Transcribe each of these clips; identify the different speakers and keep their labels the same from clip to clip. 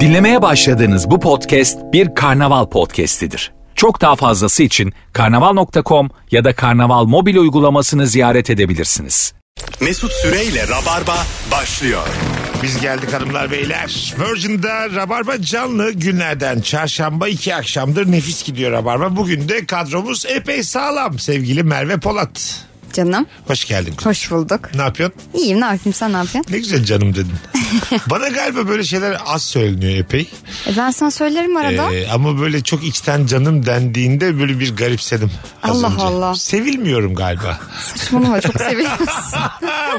Speaker 1: Dinlemeye başladığınız bu podcast bir karnaval podcastidir. Çok daha fazlası için karnaval.com ya da karnaval mobil uygulamasını ziyaret edebilirsiniz.
Speaker 2: Mesut Süreyle Rabarba başlıyor.
Speaker 3: Biz geldik hanımlar beyler. Virgin'da Rabarba canlı günlerden çarşamba iki akşamdır nefis gidiyor Rabarba. Bugün de kadromuz epey sağlam sevgili Merve Polat.
Speaker 4: Canım.
Speaker 3: Hoş geldin. kızım.
Speaker 4: Hoş bulduk.
Speaker 3: Ne yapıyorsun?
Speaker 4: İyiyim ne yapayım sen ne yapıyorsun?
Speaker 3: Ne güzel canım dedin. Bana galiba böyle şeyler az söyleniyor epey.
Speaker 4: E, ben sana söylerim arada.
Speaker 3: Ee, ama böyle çok içten canım dendiğinde böyle bir garipsedim. az
Speaker 4: Allah
Speaker 3: önce.
Speaker 4: Allah.
Speaker 3: Sevilmiyorum galiba.
Speaker 4: Saçmalama çok seviyorsun.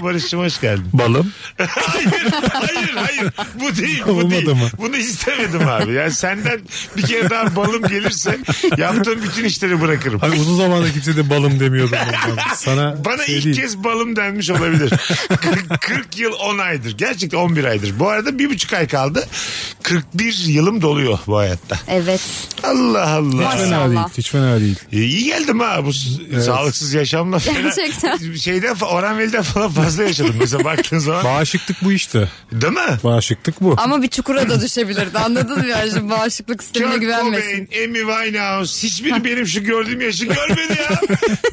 Speaker 3: Barış'cığım hoş geldin.
Speaker 5: Balım.
Speaker 3: hayır hayır hayır bu değil bu
Speaker 5: Olmadı
Speaker 3: değil.
Speaker 5: mı?
Speaker 3: Bunu istemedim abi. Yani senden bir kere daha balım gelirse yaptığım bütün işleri bırakırım.
Speaker 5: Hani uzun zamanda kimse de balım demiyordu. bundan. Sana
Speaker 3: Bana
Speaker 5: şey
Speaker 3: ilk
Speaker 5: değil.
Speaker 3: kez balım denmiş olabilir. 40 yıl 10 aydır. Gerçekten 11 aydır. Bu arada bir buçuk ay kaldı. 41 yılım doluyor bu hayatta.
Speaker 4: evet.
Speaker 3: Allah
Speaker 5: Hiç
Speaker 3: Allah.
Speaker 5: fena
Speaker 4: Maşallah.
Speaker 5: değil. Hiç fena değil.
Speaker 3: Ee, İyi geldim ha bu s- sağlıksız yaşamla. falan.
Speaker 4: Gerçekten.
Speaker 3: Şeyden, fa- Orhan Veli'den falan fazla yaşadım. Mesela baktığın zaman.
Speaker 5: Bağışıklık bu işte.
Speaker 3: Değil mi?
Speaker 5: Bağışıklık bu.
Speaker 4: Ama bir çukura da düşebilirdi anladın mı? Yani şimdi bağışıklık sistemine
Speaker 3: Kurt
Speaker 4: güvenmesin.
Speaker 3: Cobain, Amy Winehouse hiçbiri benim şu gördüğüm yaşı görmedi ya.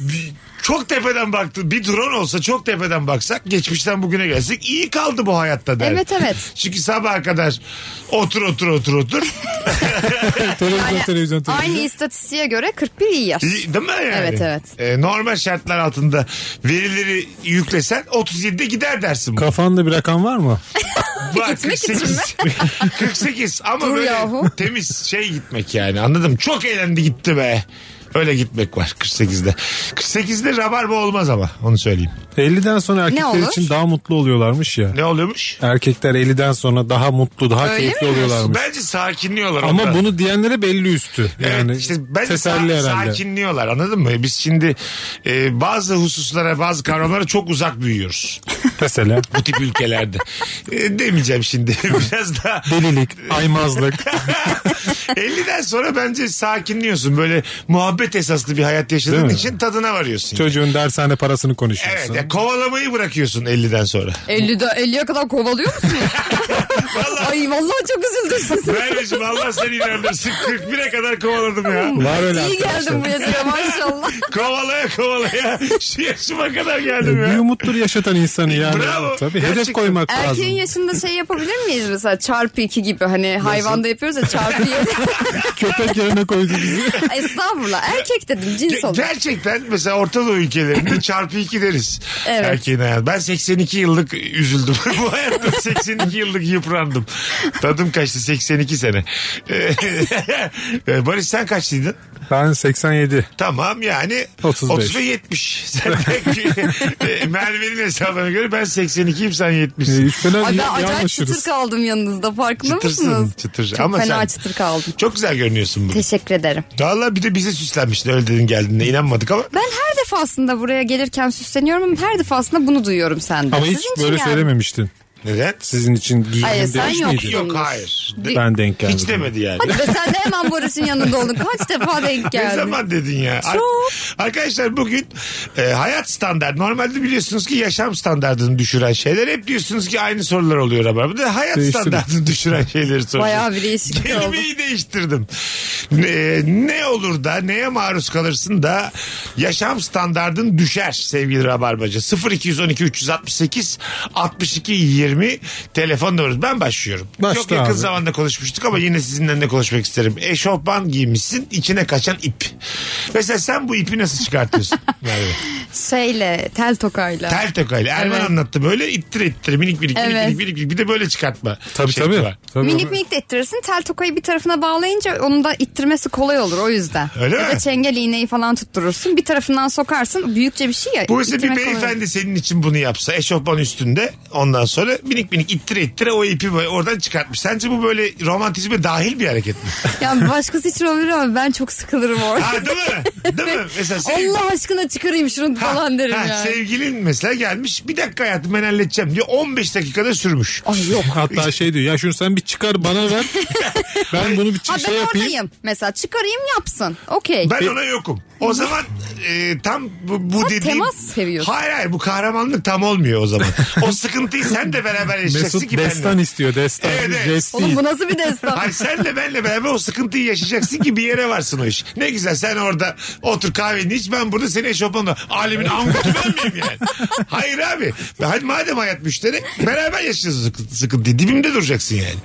Speaker 3: Bir- çok tepeden baktı. Bir drone olsa çok tepeden baksak geçmişten bugüne gelsek iyi kaldı bu hayatta der.
Speaker 4: Evet, evet.
Speaker 3: Çünkü sabaha kadar otur otur otur otur.
Speaker 5: televizyon televizyon televizyon.
Speaker 4: Aynı istatistiğe göre 41 iyi yaş.
Speaker 3: İyi, Değil mi yani?
Speaker 4: Evet, evet.
Speaker 3: Ee, normal şartlar altında verileri yüklesen 37'de gider dersin.
Speaker 5: Kafanda bir rakam var mı?
Speaker 3: Var,
Speaker 4: Gitmek için
Speaker 3: 48 ama
Speaker 4: Dur
Speaker 3: böyle
Speaker 4: yahu.
Speaker 3: temiz şey gitmek yani anladım. Çok eğlendi gitti be. Öyle gitmek var 48'de. 48'de rabarba olmaz ama onu söyleyeyim.
Speaker 5: 50'den sonra erkekler
Speaker 4: olur?
Speaker 5: için daha mutlu oluyorlarmış ya.
Speaker 3: Ne oluyormuş?
Speaker 5: Erkekler 50'den sonra daha mutlu, daha
Speaker 4: Öyle
Speaker 5: keyifli
Speaker 4: mi?
Speaker 5: oluyorlarmış.
Speaker 3: Bence sakinliyorlar.
Speaker 5: Ama
Speaker 3: onlar.
Speaker 5: bunu diyenlere belli üstü.
Speaker 3: Evet,
Speaker 5: Yani
Speaker 3: işte bence
Speaker 5: teselli
Speaker 3: sa-
Speaker 5: herhalde.
Speaker 3: sakinliyorlar anladın mı? Biz şimdi e, bazı hususlara bazı kavramlara çok uzak büyüyoruz.
Speaker 5: Mesela
Speaker 3: Bu tip ülkelerde. E, demeyeceğim şimdi biraz daha.
Speaker 5: delilik, aymazlık.
Speaker 3: 50'den sonra bence sakinliyorsun. Böyle muhabbet esaslı bir hayat yaşadığın
Speaker 5: Değil mi?
Speaker 3: için tadına varıyorsun.
Speaker 5: Çocuğun dershane parasını
Speaker 3: Evet
Speaker 5: konuşuyorsun.
Speaker 3: ya kovalamayı bırakıyorsun 50'den sonra.
Speaker 4: 50'de 50'ye kadar kovalıyor musun?
Speaker 3: Valla
Speaker 4: Ay vallahi çok üzüldüm.
Speaker 3: Merveciğim Allah seni inandırsın. 41'e kadar kovaladım ya.
Speaker 5: Var öyle
Speaker 4: İyi
Speaker 5: arkadaşlar.
Speaker 4: geldim bu yazıya maşallah.
Speaker 3: Kovalaya kovalaya şu yaşıma kadar geldim
Speaker 5: Bir
Speaker 3: ya.
Speaker 5: umuttur yaşatan insanı yani.
Speaker 3: Bravo.
Speaker 5: Tabii hedef
Speaker 3: Gerçekten.
Speaker 5: koymak lazım.
Speaker 4: Erkeğin yaşında şey yapabilir miyiz mesela çarpı 2 gibi hani hayvanda yapıyoruz ya çarpı 7.
Speaker 5: Köpek yerine koydu bizi.
Speaker 4: Estağfurullah erkek dedim cins
Speaker 3: Ge-
Speaker 4: olarak.
Speaker 3: Gerçekten mesela Orta Doğu ülkelerinde çarpı 2 deriz.
Speaker 4: Evet.
Speaker 3: Erkeğin hayatı. Ben 82 yıllık üzüldüm. Bu hayatta 82 yıllık yıprandım. Tadım kaçtı 82 sene. Ee, Barış sen kaçlıydın?
Speaker 5: Ben 87.
Speaker 3: Tamam yani
Speaker 5: 35.
Speaker 3: 30 ve 70. Sen de ki, e, Merve'nin hesabına göre ben 82'yim sen 70'sin.
Speaker 5: Hiç fena
Speaker 4: Ay ben
Speaker 5: ya-
Speaker 4: acayip çıtır
Speaker 5: yanlışırız.
Speaker 4: kaldım yanınızda farkında
Speaker 3: Çıtırsın,
Speaker 4: mısınız?
Speaker 3: çıtır.
Speaker 4: Çok
Speaker 3: Ama
Speaker 4: fena
Speaker 3: sen-
Speaker 4: çıtır kaldım.
Speaker 3: Çok güzel görünüyorsun bugün.
Speaker 4: Teşekkür ederim.
Speaker 3: Valla bir de bize süslenmiştin öyle dedin geldiğinde inanmadık ama.
Speaker 4: Ben her defasında buraya gelirken süsleniyorum ama her defasında bunu duyuyorum senden.
Speaker 5: Ama hiç
Speaker 4: Sizin için
Speaker 5: böyle
Speaker 4: yani.
Speaker 5: söylememiştin.
Speaker 3: Neden?
Speaker 5: Sizin için
Speaker 4: Hayır
Speaker 5: giyindim
Speaker 4: sen
Speaker 5: demiş
Speaker 4: yoksun.
Speaker 5: miydin?
Speaker 3: Yok, hayır.
Speaker 4: Bir-
Speaker 5: Ben denk geldim.
Speaker 3: Hiç demedi yani.
Speaker 4: Hadi be sen de hemen Barış'ın yanında oldun. Kaç defa denk
Speaker 3: Ne
Speaker 4: geldin?
Speaker 3: zaman dedin ya? Ar-
Speaker 4: Çok.
Speaker 3: Arkadaşlar bugün e, hayat standart. Normalde biliyorsunuz ki yaşam standartını düşüren şeyler. Hep diyorsunuz ki aynı sorular oluyor ama. Bu da hayat
Speaker 5: Değiştirin.
Speaker 3: standartını düşüren şeyleri soruyorsunuz.
Speaker 4: Bayağı bir değişiklik oldu.
Speaker 3: Kelimeyi değiştirdim. Ne, ne olur da neye maruz kalırsın da yaşam standardın düşer sevgili Rabarbacı. 0212 368 62 20 telefon numarası. Ben başlıyorum.
Speaker 5: Başla
Speaker 3: Çok yakın
Speaker 5: abi.
Speaker 3: zamanda konuşmuştuk ama yine sizinle de konuşmak isterim. Eşofman giymişsin içine kaçan ip. Mesela sen bu ipi nasıl çıkartıyorsun? Merve?
Speaker 4: Şeyle tel tokayla.
Speaker 3: Tel tokayla. Erman
Speaker 4: Evet.
Speaker 3: anlattı böyle ittir ittir minik minik minik,
Speaker 4: Evet.
Speaker 3: minik minik minik. Bir de böyle çıkartma.
Speaker 5: Tabii
Speaker 3: şekli
Speaker 5: tabii.
Speaker 3: Şey var.
Speaker 5: tabii.
Speaker 4: Minik minik de ettirirsin. Tel tokayı bir tarafına bağlayınca onu da ittirmesi kolay olur o yüzden.
Speaker 3: Öyle
Speaker 4: ya
Speaker 3: mi?
Speaker 4: da çengel iğneyi falan tutturursun. Bir tarafından sokarsın. Büyükçe bir şey ya.
Speaker 3: Bu ise bir
Speaker 4: ittirmek kolay olur.
Speaker 3: beyefendi senin için bunu yapsa eşofman üstünde ondan sonra minik minik ittire ittire o ipi böyle oradan çıkartmış. Sence bu böyle romantizme dahil bir hareket mi?
Speaker 4: Ya başkası için olabilir ama ben çok sıkılırım orada.
Speaker 3: ha değil mi? Değil mi? Mesela sev-
Speaker 4: Allah aşkına çıkarayım şunu
Speaker 3: Ha,
Speaker 4: falan derim
Speaker 3: ha, şey-
Speaker 4: yani.
Speaker 3: Sevgilin mesela gelmiş bir dakika hayatım ben halledeceğim diyor 15 dakikada sürmüş.
Speaker 4: Ay yok.
Speaker 5: Hatta şey diyor ya şunu sen bir çıkar bana ver. ben bunu bir
Speaker 4: Ha
Speaker 5: çık-
Speaker 4: ben
Speaker 5: şey yapayım.
Speaker 4: oradayım. Mesela çıkarayım yapsın. Okey.
Speaker 3: Ben ona yokum. O zaman e, tam bu, bu
Speaker 4: Sen
Speaker 3: dediğim...
Speaker 4: temas seviyorsun.
Speaker 3: Hayır hayır bu kahramanlık tam olmuyor o zaman. o sıkıntıyı sen de beraber yaşayacaksın
Speaker 5: Mesut
Speaker 3: ki benimle.
Speaker 5: destan istiyor destan.
Speaker 3: Evet, evet.
Speaker 5: Jest
Speaker 4: Oğlum
Speaker 5: değil.
Speaker 4: bu nasıl bir destan?
Speaker 3: Hayır senle benle beraber o sıkıntıyı yaşayacaksın ki bir yere varsın o iş. Ne güzel sen orada otur kahveni iç ben burada seni eşofmanla. Alemin angutu ben miyim yani? Hayır abi. Hadi madem hayat müşterek beraber yaşayacağız sıkıntı, sıkıntıyı. Dibimde duracaksın yani.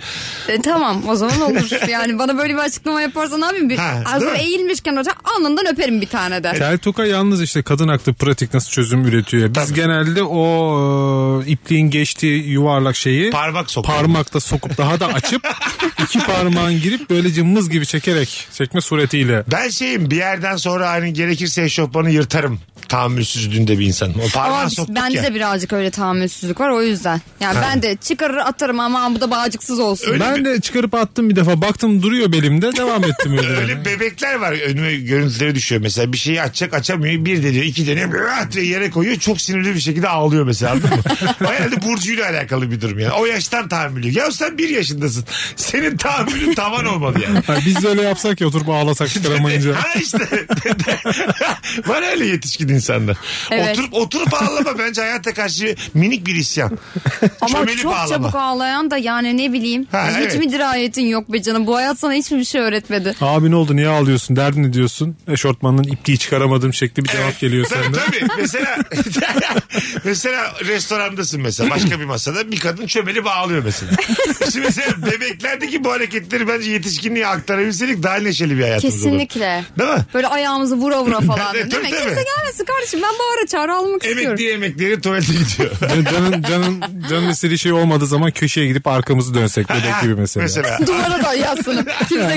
Speaker 4: E, tamam o zaman olur. Yani bana böyle bir açıklama yaparsan abi bir
Speaker 3: Ha, değil
Speaker 4: ağzım
Speaker 3: mi?
Speaker 4: eğilmişken hoca alnından öperim bir tane de.
Speaker 5: Keltoka yalnız işte kadın haklı pratik nasıl çözüm üretiyor. ya. Biz
Speaker 3: Tabii.
Speaker 5: genelde o e, ipliğin geçtiği yuvarlak şeyi
Speaker 3: Parmak sokuyor.
Speaker 5: parmakla sokup daha da açıp iki parmağın girip böylece mız gibi çekerek çekme suretiyle.
Speaker 3: Ben şeyim bir yerden sonra hani gerekirse eşofmanı yırtarım. Tahammülsüzlüğünde bir insan. O
Speaker 4: Ama
Speaker 3: parmağı
Speaker 4: biz-
Speaker 3: soktuk
Speaker 4: bende
Speaker 3: ya.
Speaker 4: de birazcık öyle tahammülsüzlük var o yüzden. Yani ben de çıkarır atarım ama bu da bağcıksız olsun.
Speaker 3: Öyle mi?
Speaker 5: ben de çıkarıp attım bir defa baktım duruyor belimde devam ettim öyle.
Speaker 3: Öyle bebekler var önüme görüntüleri düşüyor mesela bir şeyi açacak açamıyor bir deniyor iki deniyor bırak diye yere koyuyor çok sinirli bir şekilde ağlıyor mesela anladın mı? O herhalde Burcu'yla alakalı bir durum yani o yaştan tahammülü ya sen bir yaşındasın senin tahammülün tavan olmalı yani.
Speaker 5: Ha, biz de öyle yapsak ya oturup ağlasak çıkaramayınca.
Speaker 3: Ha işte. Var öyle yetişkin insanlar.
Speaker 4: Evet.
Speaker 3: Oturup oturup ağlama bence hayata karşı minik bir isyan.
Speaker 4: Ama
Speaker 3: Çömelip
Speaker 4: çok
Speaker 3: ağlama.
Speaker 4: çabuk ağlayan da yani ne bileyim.
Speaker 3: Ha,
Speaker 4: hiç
Speaker 3: evet.
Speaker 4: mi dirayetin yok be canım? Bu hayat sana hiç mi bir şey öğretmedi?
Speaker 5: Abi ne oldu niye ağlıyorsun derdin ne diyorsun? Eşortmanın ipliği çıkaramadım şekli bir cevap geliyor
Speaker 3: Tabii
Speaker 5: senden.
Speaker 3: tabii. Mesela, mesela restorandasın mesela başka bir masada bir kadın çömelip ağlıyor mesela. Şimdi mesela bebeklerdeki bu hareketleri bence yetişkinliğe aktarabilseydik daha neşeli bir hayatımız
Speaker 4: Kesinlikle.
Speaker 3: olur. Değil mi?
Speaker 4: Böyle ayağımızı vura vura falan.
Speaker 3: Tabii,
Speaker 4: değil mi?
Speaker 3: tabii.
Speaker 4: Kimse gelmesin kardeşim ben bağıra çağıra almak istiyorum.
Speaker 3: Emekli emekleri tuvalete gidiyor.
Speaker 5: Yani canın, canın, canın istediği şey olmadığı zaman köşeye gidip arkamızı dönsek bebek gibi mesela.
Speaker 3: mesela.
Speaker 4: Duvara da yazsın. Kimse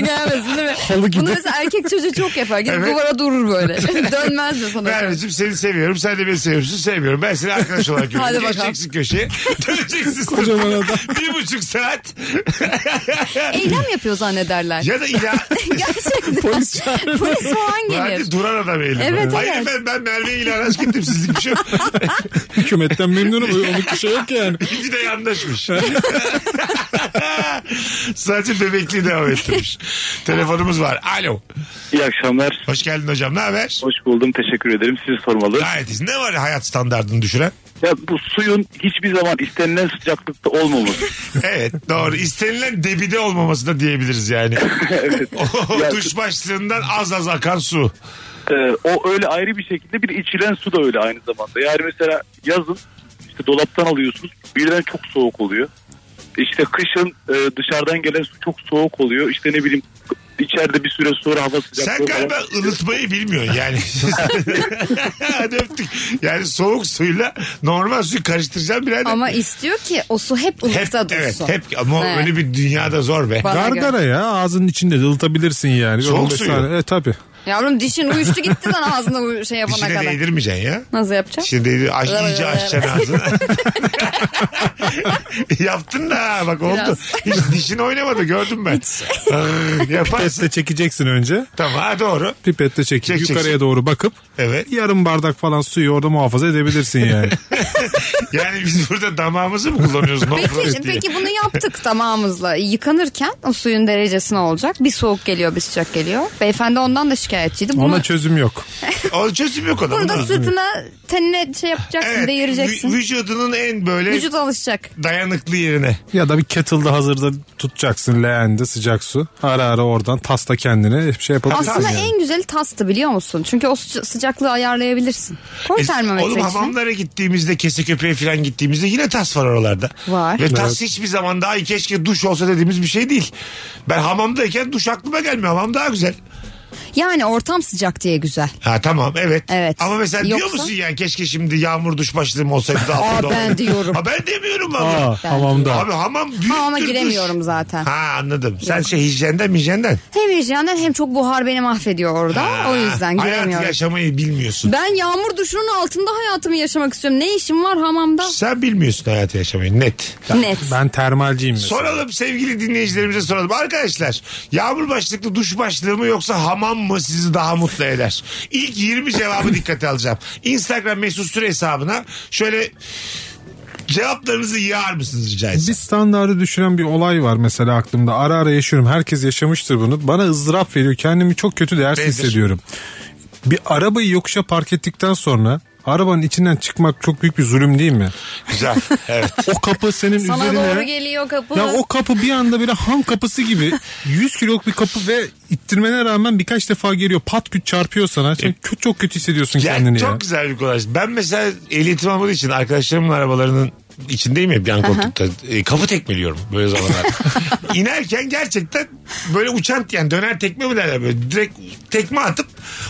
Speaker 4: gelmesin değil mi? Bunu mesela erkek çocuğu çok yapar. Gidip
Speaker 3: Evet.
Speaker 4: duvara durur böyle. Dönmez de sana.
Speaker 3: Merveciğim seni seviyorum. Sen de beni seviyorsun. Sevmiyorum. Ben seni arkadaş olarak görüyorum.
Speaker 4: Hadi bakalım.
Speaker 3: Geçeceksin köşeye. Döneceksin.
Speaker 5: Kocaman adam.
Speaker 3: Bir buçuk saat.
Speaker 4: Eylem yapıyor zannederler.
Speaker 3: ya da ila...
Speaker 4: Gerçekten. Polis, falan gelir.
Speaker 3: Hadi duran adam eğilim.
Speaker 4: Evet,
Speaker 3: Hayır
Speaker 4: evet.
Speaker 3: ben, ben Merve'ye ilaç gittim. Sizlik bir şey yok.
Speaker 5: Hükümetten memnunum. Onun bir şey yok yani.
Speaker 3: İki de yandaşmış. Sadece bebekliği devam ettirmiş. Telefonumuz var. Alo.
Speaker 6: İyi akşamlar.
Speaker 3: Hoş geldin hocam. Ne haber?
Speaker 6: Hoş buldum. Teşekkür ederim. Sizi sormalı.
Speaker 3: Gayet iyisin. Ne var hayat standartını düşüren?
Speaker 6: Ya bu suyun hiçbir zaman istenilen sıcaklıkta olmaması.
Speaker 3: Evet doğru. İstenilen debide olmaması da diyebiliriz yani.
Speaker 6: evet.
Speaker 3: O
Speaker 6: Ya-
Speaker 3: duş başlığından az az akan su.
Speaker 6: Ee, o öyle ayrı bir şekilde bir içilen su da öyle aynı zamanda. Yani mesela yazın işte dolaptan alıyorsunuz. Birden çok soğuk oluyor. İşte kışın e, dışarıdan gelen su çok soğuk oluyor. İşte ne bileyim içeride bir süre sonra hava sıcaklığı
Speaker 3: Sen
Speaker 6: falan-
Speaker 3: galiba ılıtmayı bilmiyorsun yani. Hadi öptük. Yani soğuk suyla normal suyu karıştıracağım birader.
Speaker 4: Ama istiyor ki o su hep
Speaker 3: hep,
Speaker 4: ılıkta
Speaker 3: evet,
Speaker 4: dursun.
Speaker 3: hep ama
Speaker 4: Evet.
Speaker 3: öyle bir dünyada zor be.
Speaker 4: Bana göre.
Speaker 5: Gargara ya ağzının içinde de ılıtabilirsin yani.
Speaker 3: Soğuk
Speaker 5: 15
Speaker 3: suyu.
Speaker 5: saniye- E tabii.
Speaker 4: Yavrum dişin uyuştu gitti lan ağzına uy- şey yapana
Speaker 3: Dişine
Speaker 4: kadar.
Speaker 3: değdirmeyeceksin ya.
Speaker 4: Nasıl yapacağım?
Speaker 3: Şimdi dedi aç,
Speaker 4: Evet,
Speaker 3: iyice
Speaker 4: evet,
Speaker 3: açacaksın ağzını. Yaptın da ha, bak oldu.
Speaker 4: Biraz.
Speaker 3: Hiç dişin oynamadı gördüm ben. Aa, Yaparsın.
Speaker 5: Pipetle çekeceksin önce.
Speaker 3: tamam ha, doğru.
Speaker 5: Pipetle çekip
Speaker 3: Çekeceksin.
Speaker 5: yukarıya doğru bakıp
Speaker 3: Evet.
Speaker 5: yarım bardak falan suyu orada muhafaza edebilirsin yani.
Speaker 3: Yani biz burada damağımızı mı kullanıyoruz? No
Speaker 4: Peki,
Speaker 3: profit diye.
Speaker 4: peki bunu yaptık damağımızla. Yıkanırken o suyun derecesi ne olacak? Bir soğuk geliyor bir sıcak geliyor. Beyefendi ondan da şikayetçiydi. Bunu,
Speaker 5: Ona çözüm yok.
Speaker 3: O çözüm yok ona.
Speaker 4: bunu da
Speaker 3: Ona-
Speaker 4: sırtına tenine şey yapacaksın
Speaker 3: Evet, vü-
Speaker 4: değireceksin.
Speaker 3: vücudunun en böyle
Speaker 4: Vücut alışacak.
Speaker 3: dayanıklı yerine.
Speaker 5: Ya da bir kettle'da hazırda tutacaksın leğende sıcak su. Ara ara oradan tasla kendine bir şey yapabilirsin.
Speaker 4: Aslında
Speaker 5: yani.
Speaker 4: en güzeli tastı biliyor musun? Çünkü o sıca- sıcaklığı ayarlayabilirsin. Koy
Speaker 3: E,
Speaker 4: termometre
Speaker 3: Oğlum
Speaker 4: içine.
Speaker 3: hamamlara gittiğimizde kese köpeğe falan gittiğimizde yine tas var oralarda.
Speaker 4: Var.
Speaker 3: Ve tas hiçbir zaman daha iyi keşke duş olsa dediğimiz bir şey değil. Ben hamamdayken duş aklıma gelmiyor. Hamam daha güzel.
Speaker 4: Yani ortam sıcak diye güzel.
Speaker 3: Ha tamam evet.
Speaker 4: Evet.
Speaker 3: Ama mesela diyor
Speaker 4: Yoksa-
Speaker 3: musun yani keşke şimdi yağmur duş başlığım olsaydı da altında
Speaker 4: Aa, ben
Speaker 3: olsaydı.
Speaker 4: diyorum.
Speaker 3: Ha, ben demiyorum
Speaker 5: Aa,
Speaker 3: valla.
Speaker 5: hamamda.
Speaker 3: Abi hamam büyüktür
Speaker 4: Hamama
Speaker 3: duş.
Speaker 4: giremiyorum zaten.
Speaker 3: Ha anladım. Sen şey hijyenden mijyenden.
Speaker 4: Hem hijyenden hem çok buhar beni mahvediyor orada.
Speaker 3: Ha,
Speaker 4: o yüzden
Speaker 3: Hayat
Speaker 4: giremiyorum.
Speaker 3: yaşamayı bilmiyorsun.
Speaker 4: Ben yağmur duşunun altında hayatımı yaşamak istiyorum. Ne işim var hamamda?
Speaker 3: Sen bilmiyorsun hayatı yaşamayı net.
Speaker 4: Net.
Speaker 5: Ben termalciyim mesela.
Speaker 3: Soralım sevgili dinleyicilerimize soralım. Arkadaşlar yağmur başlıklı duş başlığı mı yoksa hamam mı sizi daha mutlu eder? İlk 20 cevabı dikkate alacağım. Instagram mesut süre hesabına şöyle cevaplarınızı yığar mısınız rica etsem?
Speaker 5: Bir standardı düşüren bir olay var mesela aklımda. Ara ara yaşıyorum. Herkes yaşamıştır bunu. Bana ızdırap veriyor. Kendimi çok kötü değersiz
Speaker 3: Nedir?
Speaker 5: hissediyorum. Bir arabayı yokuşa park ettikten sonra arabanın içinden çıkmak çok büyük bir zulüm değil mi?
Speaker 3: Güzel. Evet.
Speaker 5: O kapı senin
Speaker 4: Sana
Speaker 5: üzerine.
Speaker 4: doğru geliyor kapı.
Speaker 5: Ya o kapı bir anda böyle ham kapısı gibi 100 kiloluk bir kapı ve ittirmene rağmen birkaç defa geliyor. Pat küt çarpıyor sana. Sen kö- çok kötü hissediyorsun
Speaker 3: E, Ya
Speaker 5: kendini
Speaker 3: çok
Speaker 5: ya.
Speaker 3: güzel bir kolaj. Ben mesela ehliyetim olmadığı için arkadaşlarımın arabalarının içindeyim hep yan koltukta. E, kapı tekmeliyorum böyle zamanlarda. İnerken gerçekten böyle uçan yani döner tekme mi derler böyle direkt tekme atıp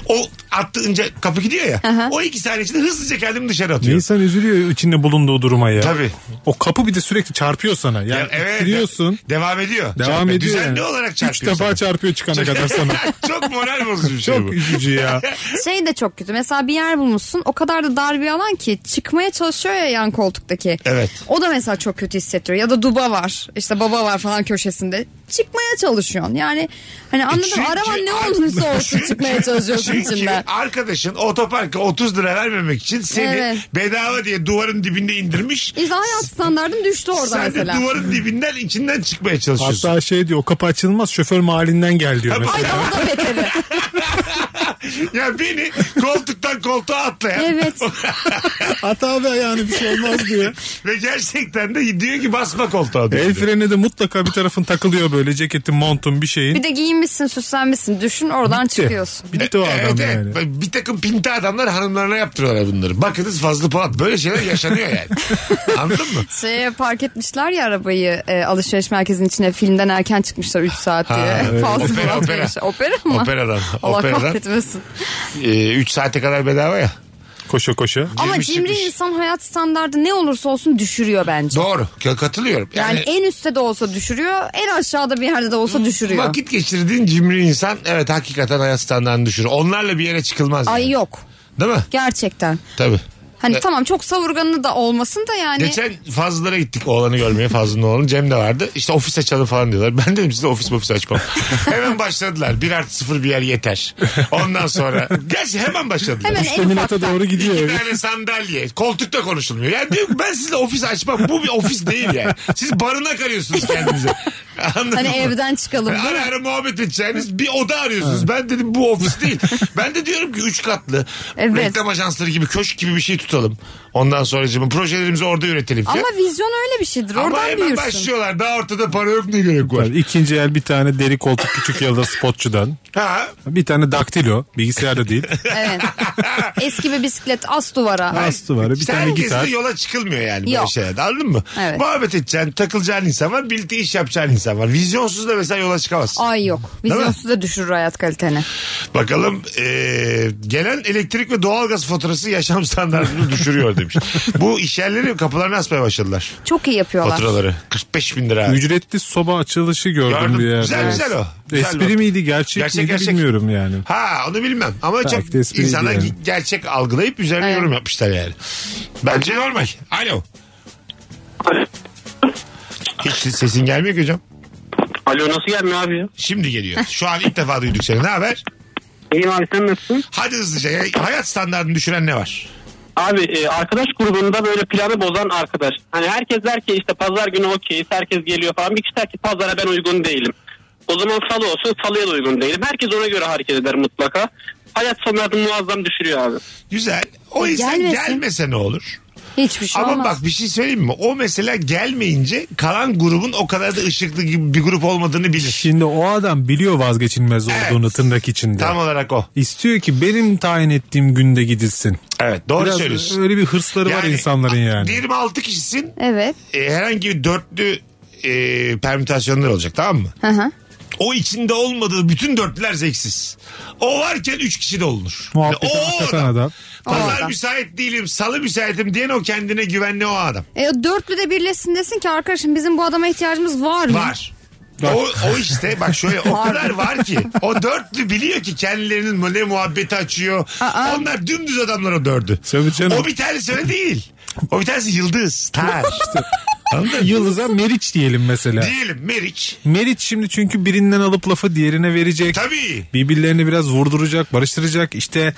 Speaker 3: o attığınca kapı gidiyor ya. o iki saniye içinde hızlıca kendimi dışarı atıyorum.
Speaker 5: İnsan üzülüyor içinde bulunduğu duruma ya.
Speaker 3: Tabii.
Speaker 5: O kapı bir de sürekli çarpıyor sana. Yani
Speaker 3: Yani evet,
Speaker 5: ittiriyorsun.
Speaker 3: de- devam ediyor.
Speaker 5: Devam
Speaker 3: Çarpma.
Speaker 5: ediyor
Speaker 3: Düzenli
Speaker 5: yani.
Speaker 3: olarak çarpıyor.
Speaker 5: Üç defa
Speaker 3: sana.
Speaker 5: çarpıyor çıkana kadar sana.
Speaker 3: Çok moral bozucu bir şey bu.
Speaker 5: Çok üzücü ya.
Speaker 4: Şey de çok kötü. Mesela bir yer bulmuşsun. O kadar da dar bir alan ki çıkmaya çalışıyor ya yan koltuktaki.
Speaker 3: Evet.
Speaker 4: O da mesela çok kötü hissettiriyor. Ya da duba var. işte baba var falan köşesinde. Çıkmaya çalışıyorsun. Yani hani anladım
Speaker 3: E çünkü-
Speaker 4: araban ne olursa olsun çıkmaya çalışıyorsun
Speaker 3: Çünkü
Speaker 4: içinden.
Speaker 3: Şey, arkadaşın otoparka 30 lira vermemek için seni
Speaker 4: Evet.
Speaker 3: bedava diye duvarın dibinde indirmiş.
Speaker 4: İşte hayat standartım düştü orada
Speaker 3: Sen
Speaker 4: mesela.
Speaker 3: de duvarın dibinden içinden çıkmaya çalışıyorsun.
Speaker 5: Hatta şey diyor o kapı açılmaz şoför mahallinden gel diyor
Speaker 3: Tabii.
Speaker 5: mesela.
Speaker 4: Ay daha da beteri.
Speaker 3: Ya beni koltuktan koltuğa atlayan
Speaker 4: Evet.
Speaker 5: At abi ayağını bir şey olmaz diyor.
Speaker 3: ve gerçekten de diyor ki basma koltuğa diyor.
Speaker 5: El freni de mutlaka bir tarafın takılıyor böyle ceketin montun bir şeyin.
Speaker 4: Bir de giyinmişsin süslenmişsin. Düşün oradan
Speaker 5: Bitti.
Speaker 4: çıkıyorsun.
Speaker 5: Bitti o adam
Speaker 3: Evet, evet.
Speaker 5: yani.
Speaker 3: Bir takım pinti adamlar hanımlarına yaptırıyorlar bunları. Bakınız fazla Polat. Böyle şeyler yaşanıyor yani. Anladın mı?
Speaker 4: Şeye park etmişler ya arabayı e, alışveriş merkezinin içine filmden erken çıkmışlar 3 saat diye.
Speaker 3: Ha, evet.
Speaker 4: Fazla
Speaker 3: Opera,
Speaker 4: Polat
Speaker 3: opera.
Speaker 4: Bey'miş. Opera mı?
Speaker 3: Operadan,
Speaker 4: Allah
Speaker 3: operadan.
Speaker 4: kahretmesin.
Speaker 3: 3 Ee, saate kadar bedava ya.
Speaker 5: Koşa koşa.
Speaker 4: Ama
Speaker 3: Girmiş
Speaker 4: cimri
Speaker 3: çıkmış.
Speaker 4: insan hayat standardı ne olursa olsun düşürüyor bence.
Speaker 3: Doğru. Katılıyorum.
Speaker 4: yani, en üstte de olsa düşürüyor, en aşağıda bir yerde de
Speaker 3: Hmm,
Speaker 4: olsa düşürüyor.
Speaker 3: Vakit geçirdiğin cimri insan evet hakikaten hayat standartını düşürür. Onlarla bir yere çıkılmaz.
Speaker 4: Ay
Speaker 3: yani.
Speaker 4: yok.
Speaker 3: Değil mi?
Speaker 4: Gerçekten.
Speaker 3: Tabii.
Speaker 4: Hani tamam çok savurganı da olmasın da yani.
Speaker 3: Geçen Fazlılara gittik oğlanı görmeye Fazlı'nın oğlanı. Cem de vardı. İşte ofis açalım falan diyorlar. Ben dedim size ofis ofis açmam. hemen başladılar. Bir artı sıfır bir yer yeter. Ondan sonra. Gerçi hemen başladılar.
Speaker 4: Hemen en
Speaker 5: Dominata
Speaker 4: ufakta.
Speaker 5: doğru gidiyor.
Speaker 3: Bir tane sandalye. Koltukta konuşulmuyor. Yani diyorum ben size ofis açmam. Bu bir ofis değil yani. Siz barınak arıyorsunuz kendinize. Anladın
Speaker 4: Hani
Speaker 3: mı?
Speaker 4: evden çıkalım değil
Speaker 3: Ara
Speaker 4: mi?
Speaker 3: ara muhabbet edeceğiniz bir oda arıyorsunuz. Ben dedim bu ofis değil. ben de diyorum ki üç katlı
Speaker 4: Evet.
Speaker 3: reklam ajansları gibi köşk gibi bir şey tutalım. Ondan sonracığım projelerimizi orada üretelim. falan.
Speaker 4: Ama vizyon öyle bir şeydir.
Speaker 3: Ama
Speaker 4: Oradan
Speaker 3: hemen
Speaker 4: büyürsün.
Speaker 3: başlıyorlar. Daha ortada para yok ne gerek var?
Speaker 5: Yani İkinci el bir tane deri koltuk küçük yılda spotçudan.
Speaker 3: Ha?
Speaker 5: Bir tane daktilo bilgisayarda değil.
Speaker 4: Evet. Eski bir bisiklet as duvara.
Speaker 5: Astı var bir tane
Speaker 3: Herkes
Speaker 5: gitar.
Speaker 3: de yola çıkılmıyor yani böyle
Speaker 4: Yok.
Speaker 3: şeyler. Anladın mı?
Speaker 4: Evet.
Speaker 3: Muhabbet edeceksin, takılacağın insan var, birlikte iş yapacağın insan var. Vizyonsuz da mesela yola çıkamazsın.
Speaker 4: Ay yok.
Speaker 3: mi?
Speaker 4: Vizyonsuz da düşürür hayat kaliteni.
Speaker 3: Bakalım eee, gelen elektrik ve doğalgaz faturası yaşam standartını düşürüyor demiş. Bu iş yerleri kapılarını asmaya başladılar.
Speaker 4: Çok iyi yapıyorlar.
Speaker 3: Faturaları. 45 bin lira.
Speaker 5: Ücretli soba açılışı gördüm,
Speaker 3: Gördüm.
Speaker 5: bir yerde.
Speaker 3: Güzel, güzel o. Güzel
Speaker 5: Espri
Speaker 3: o.
Speaker 5: miydi gerçek,
Speaker 3: Gerçek,
Speaker 5: miydi
Speaker 3: gerçek.
Speaker 5: bilmiyorum yani.
Speaker 3: Ha onu bilmem ama
Speaker 5: Belki
Speaker 3: çok
Speaker 5: de espriydi
Speaker 3: insanlar
Speaker 5: yani.
Speaker 3: ge- gerçek algılayıp üzerine
Speaker 4: Evet.
Speaker 3: yorum yapmışlar yani. Bence normal. Alo. Hiç sesin gelmiyor ki hocam.
Speaker 7: Alo nasıl gelmiyor abi?
Speaker 3: Şimdi geliyor. Şu an ilk defa duyduk seni. Ne haber?
Speaker 7: İyiyim abi sen nasılsın?
Speaker 3: Hadi hızlıca. ya- Hayat standartını düşüren ne var?
Speaker 7: Abi e, arkadaş grubunda böyle planı bozan arkadaş. Hani herkes der ki işte pazar günü okeyiz herkes geliyor falan. Bir kişi der ki pazara ben uygun değilim. O zaman salı olsun salıya da uygun değilim. Herkes ona göre hareket eder mutlaka. Hayat standartını muazzam düşürüyor abi.
Speaker 3: Güzel. O
Speaker 4: E,
Speaker 3: insan
Speaker 4: gelmesin.
Speaker 3: gelmese ne olur?
Speaker 4: Hiçbir şey
Speaker 3: Ama
Speaker 4: olmaz.
Speaker 3: bak bir şey söyleyeyim mi? O mesela gelmeyince kalan grubun o kadar da ışıklı gibi bir grup olmadığını bilir.
Speaker 5: Şimdi o adam biliyor vazgeçilmez olduğunu tırnak içinde.
Speaker 3: Tam olarak o.
Speaker 5: İstiyor ki benim tayin ettiğim günde gidilsin.
Speaker 3: Evet doğru
Speaker 5: Biraz
Speaker 3: söylüyorsun.
Speaker 5: öyle bir hırsları var insanların yani.
Speaker 3: Diyelim 6 kişisin.
Speaker 4: Evet.
Speaker 3: e, herhangi bir dörtlü e, permütasyonlar olacak tamam mı?
Speaker 4: Hı hı.
Speaker 3: O içinde olmadığı bütün dörtlüler zevksiz. O varken üç kişi de olunur.
Speaker 5: Muhabbete
Speaker 3: Yani o
Speaker 5: hakikaten adam.
Speaker 3: Pazar
Speaker 4: adam.
Speaker 3: müsait değilim, salı müsaitim diyen o kendine güvenli o adam.
Speaker 4: E, o dörtlü de birleşsin desin ki arkadaşım bizim bu adama ihtiyacımız var mı?
Speaker 3: Var. O, o işte bak şöyle o kadar var ki o dörtlü biliyor ki kendilerinin ne muhabbeti açıyor.
Speaker 4: Aa.
Speaker 3: Onlar dümdüz adamlar o dördü.
Speaker 5: Tabii canım.
Speaker 3: O bir tanesi öyle değil. O bir tanesi yıldız, tar. Anladın mı?
Speaker 5: Yıldız'a Meriç diyelim mesela.
Speaker 3: Diyelim Meriç.
Speaker 5: Meriç şimdi çünkü birinden alıp lafı diğerine verecek.
Speaker 3: Tabii.
Speaker 5: Birbirlerini biraz vurduracak, barıştıracak. İşte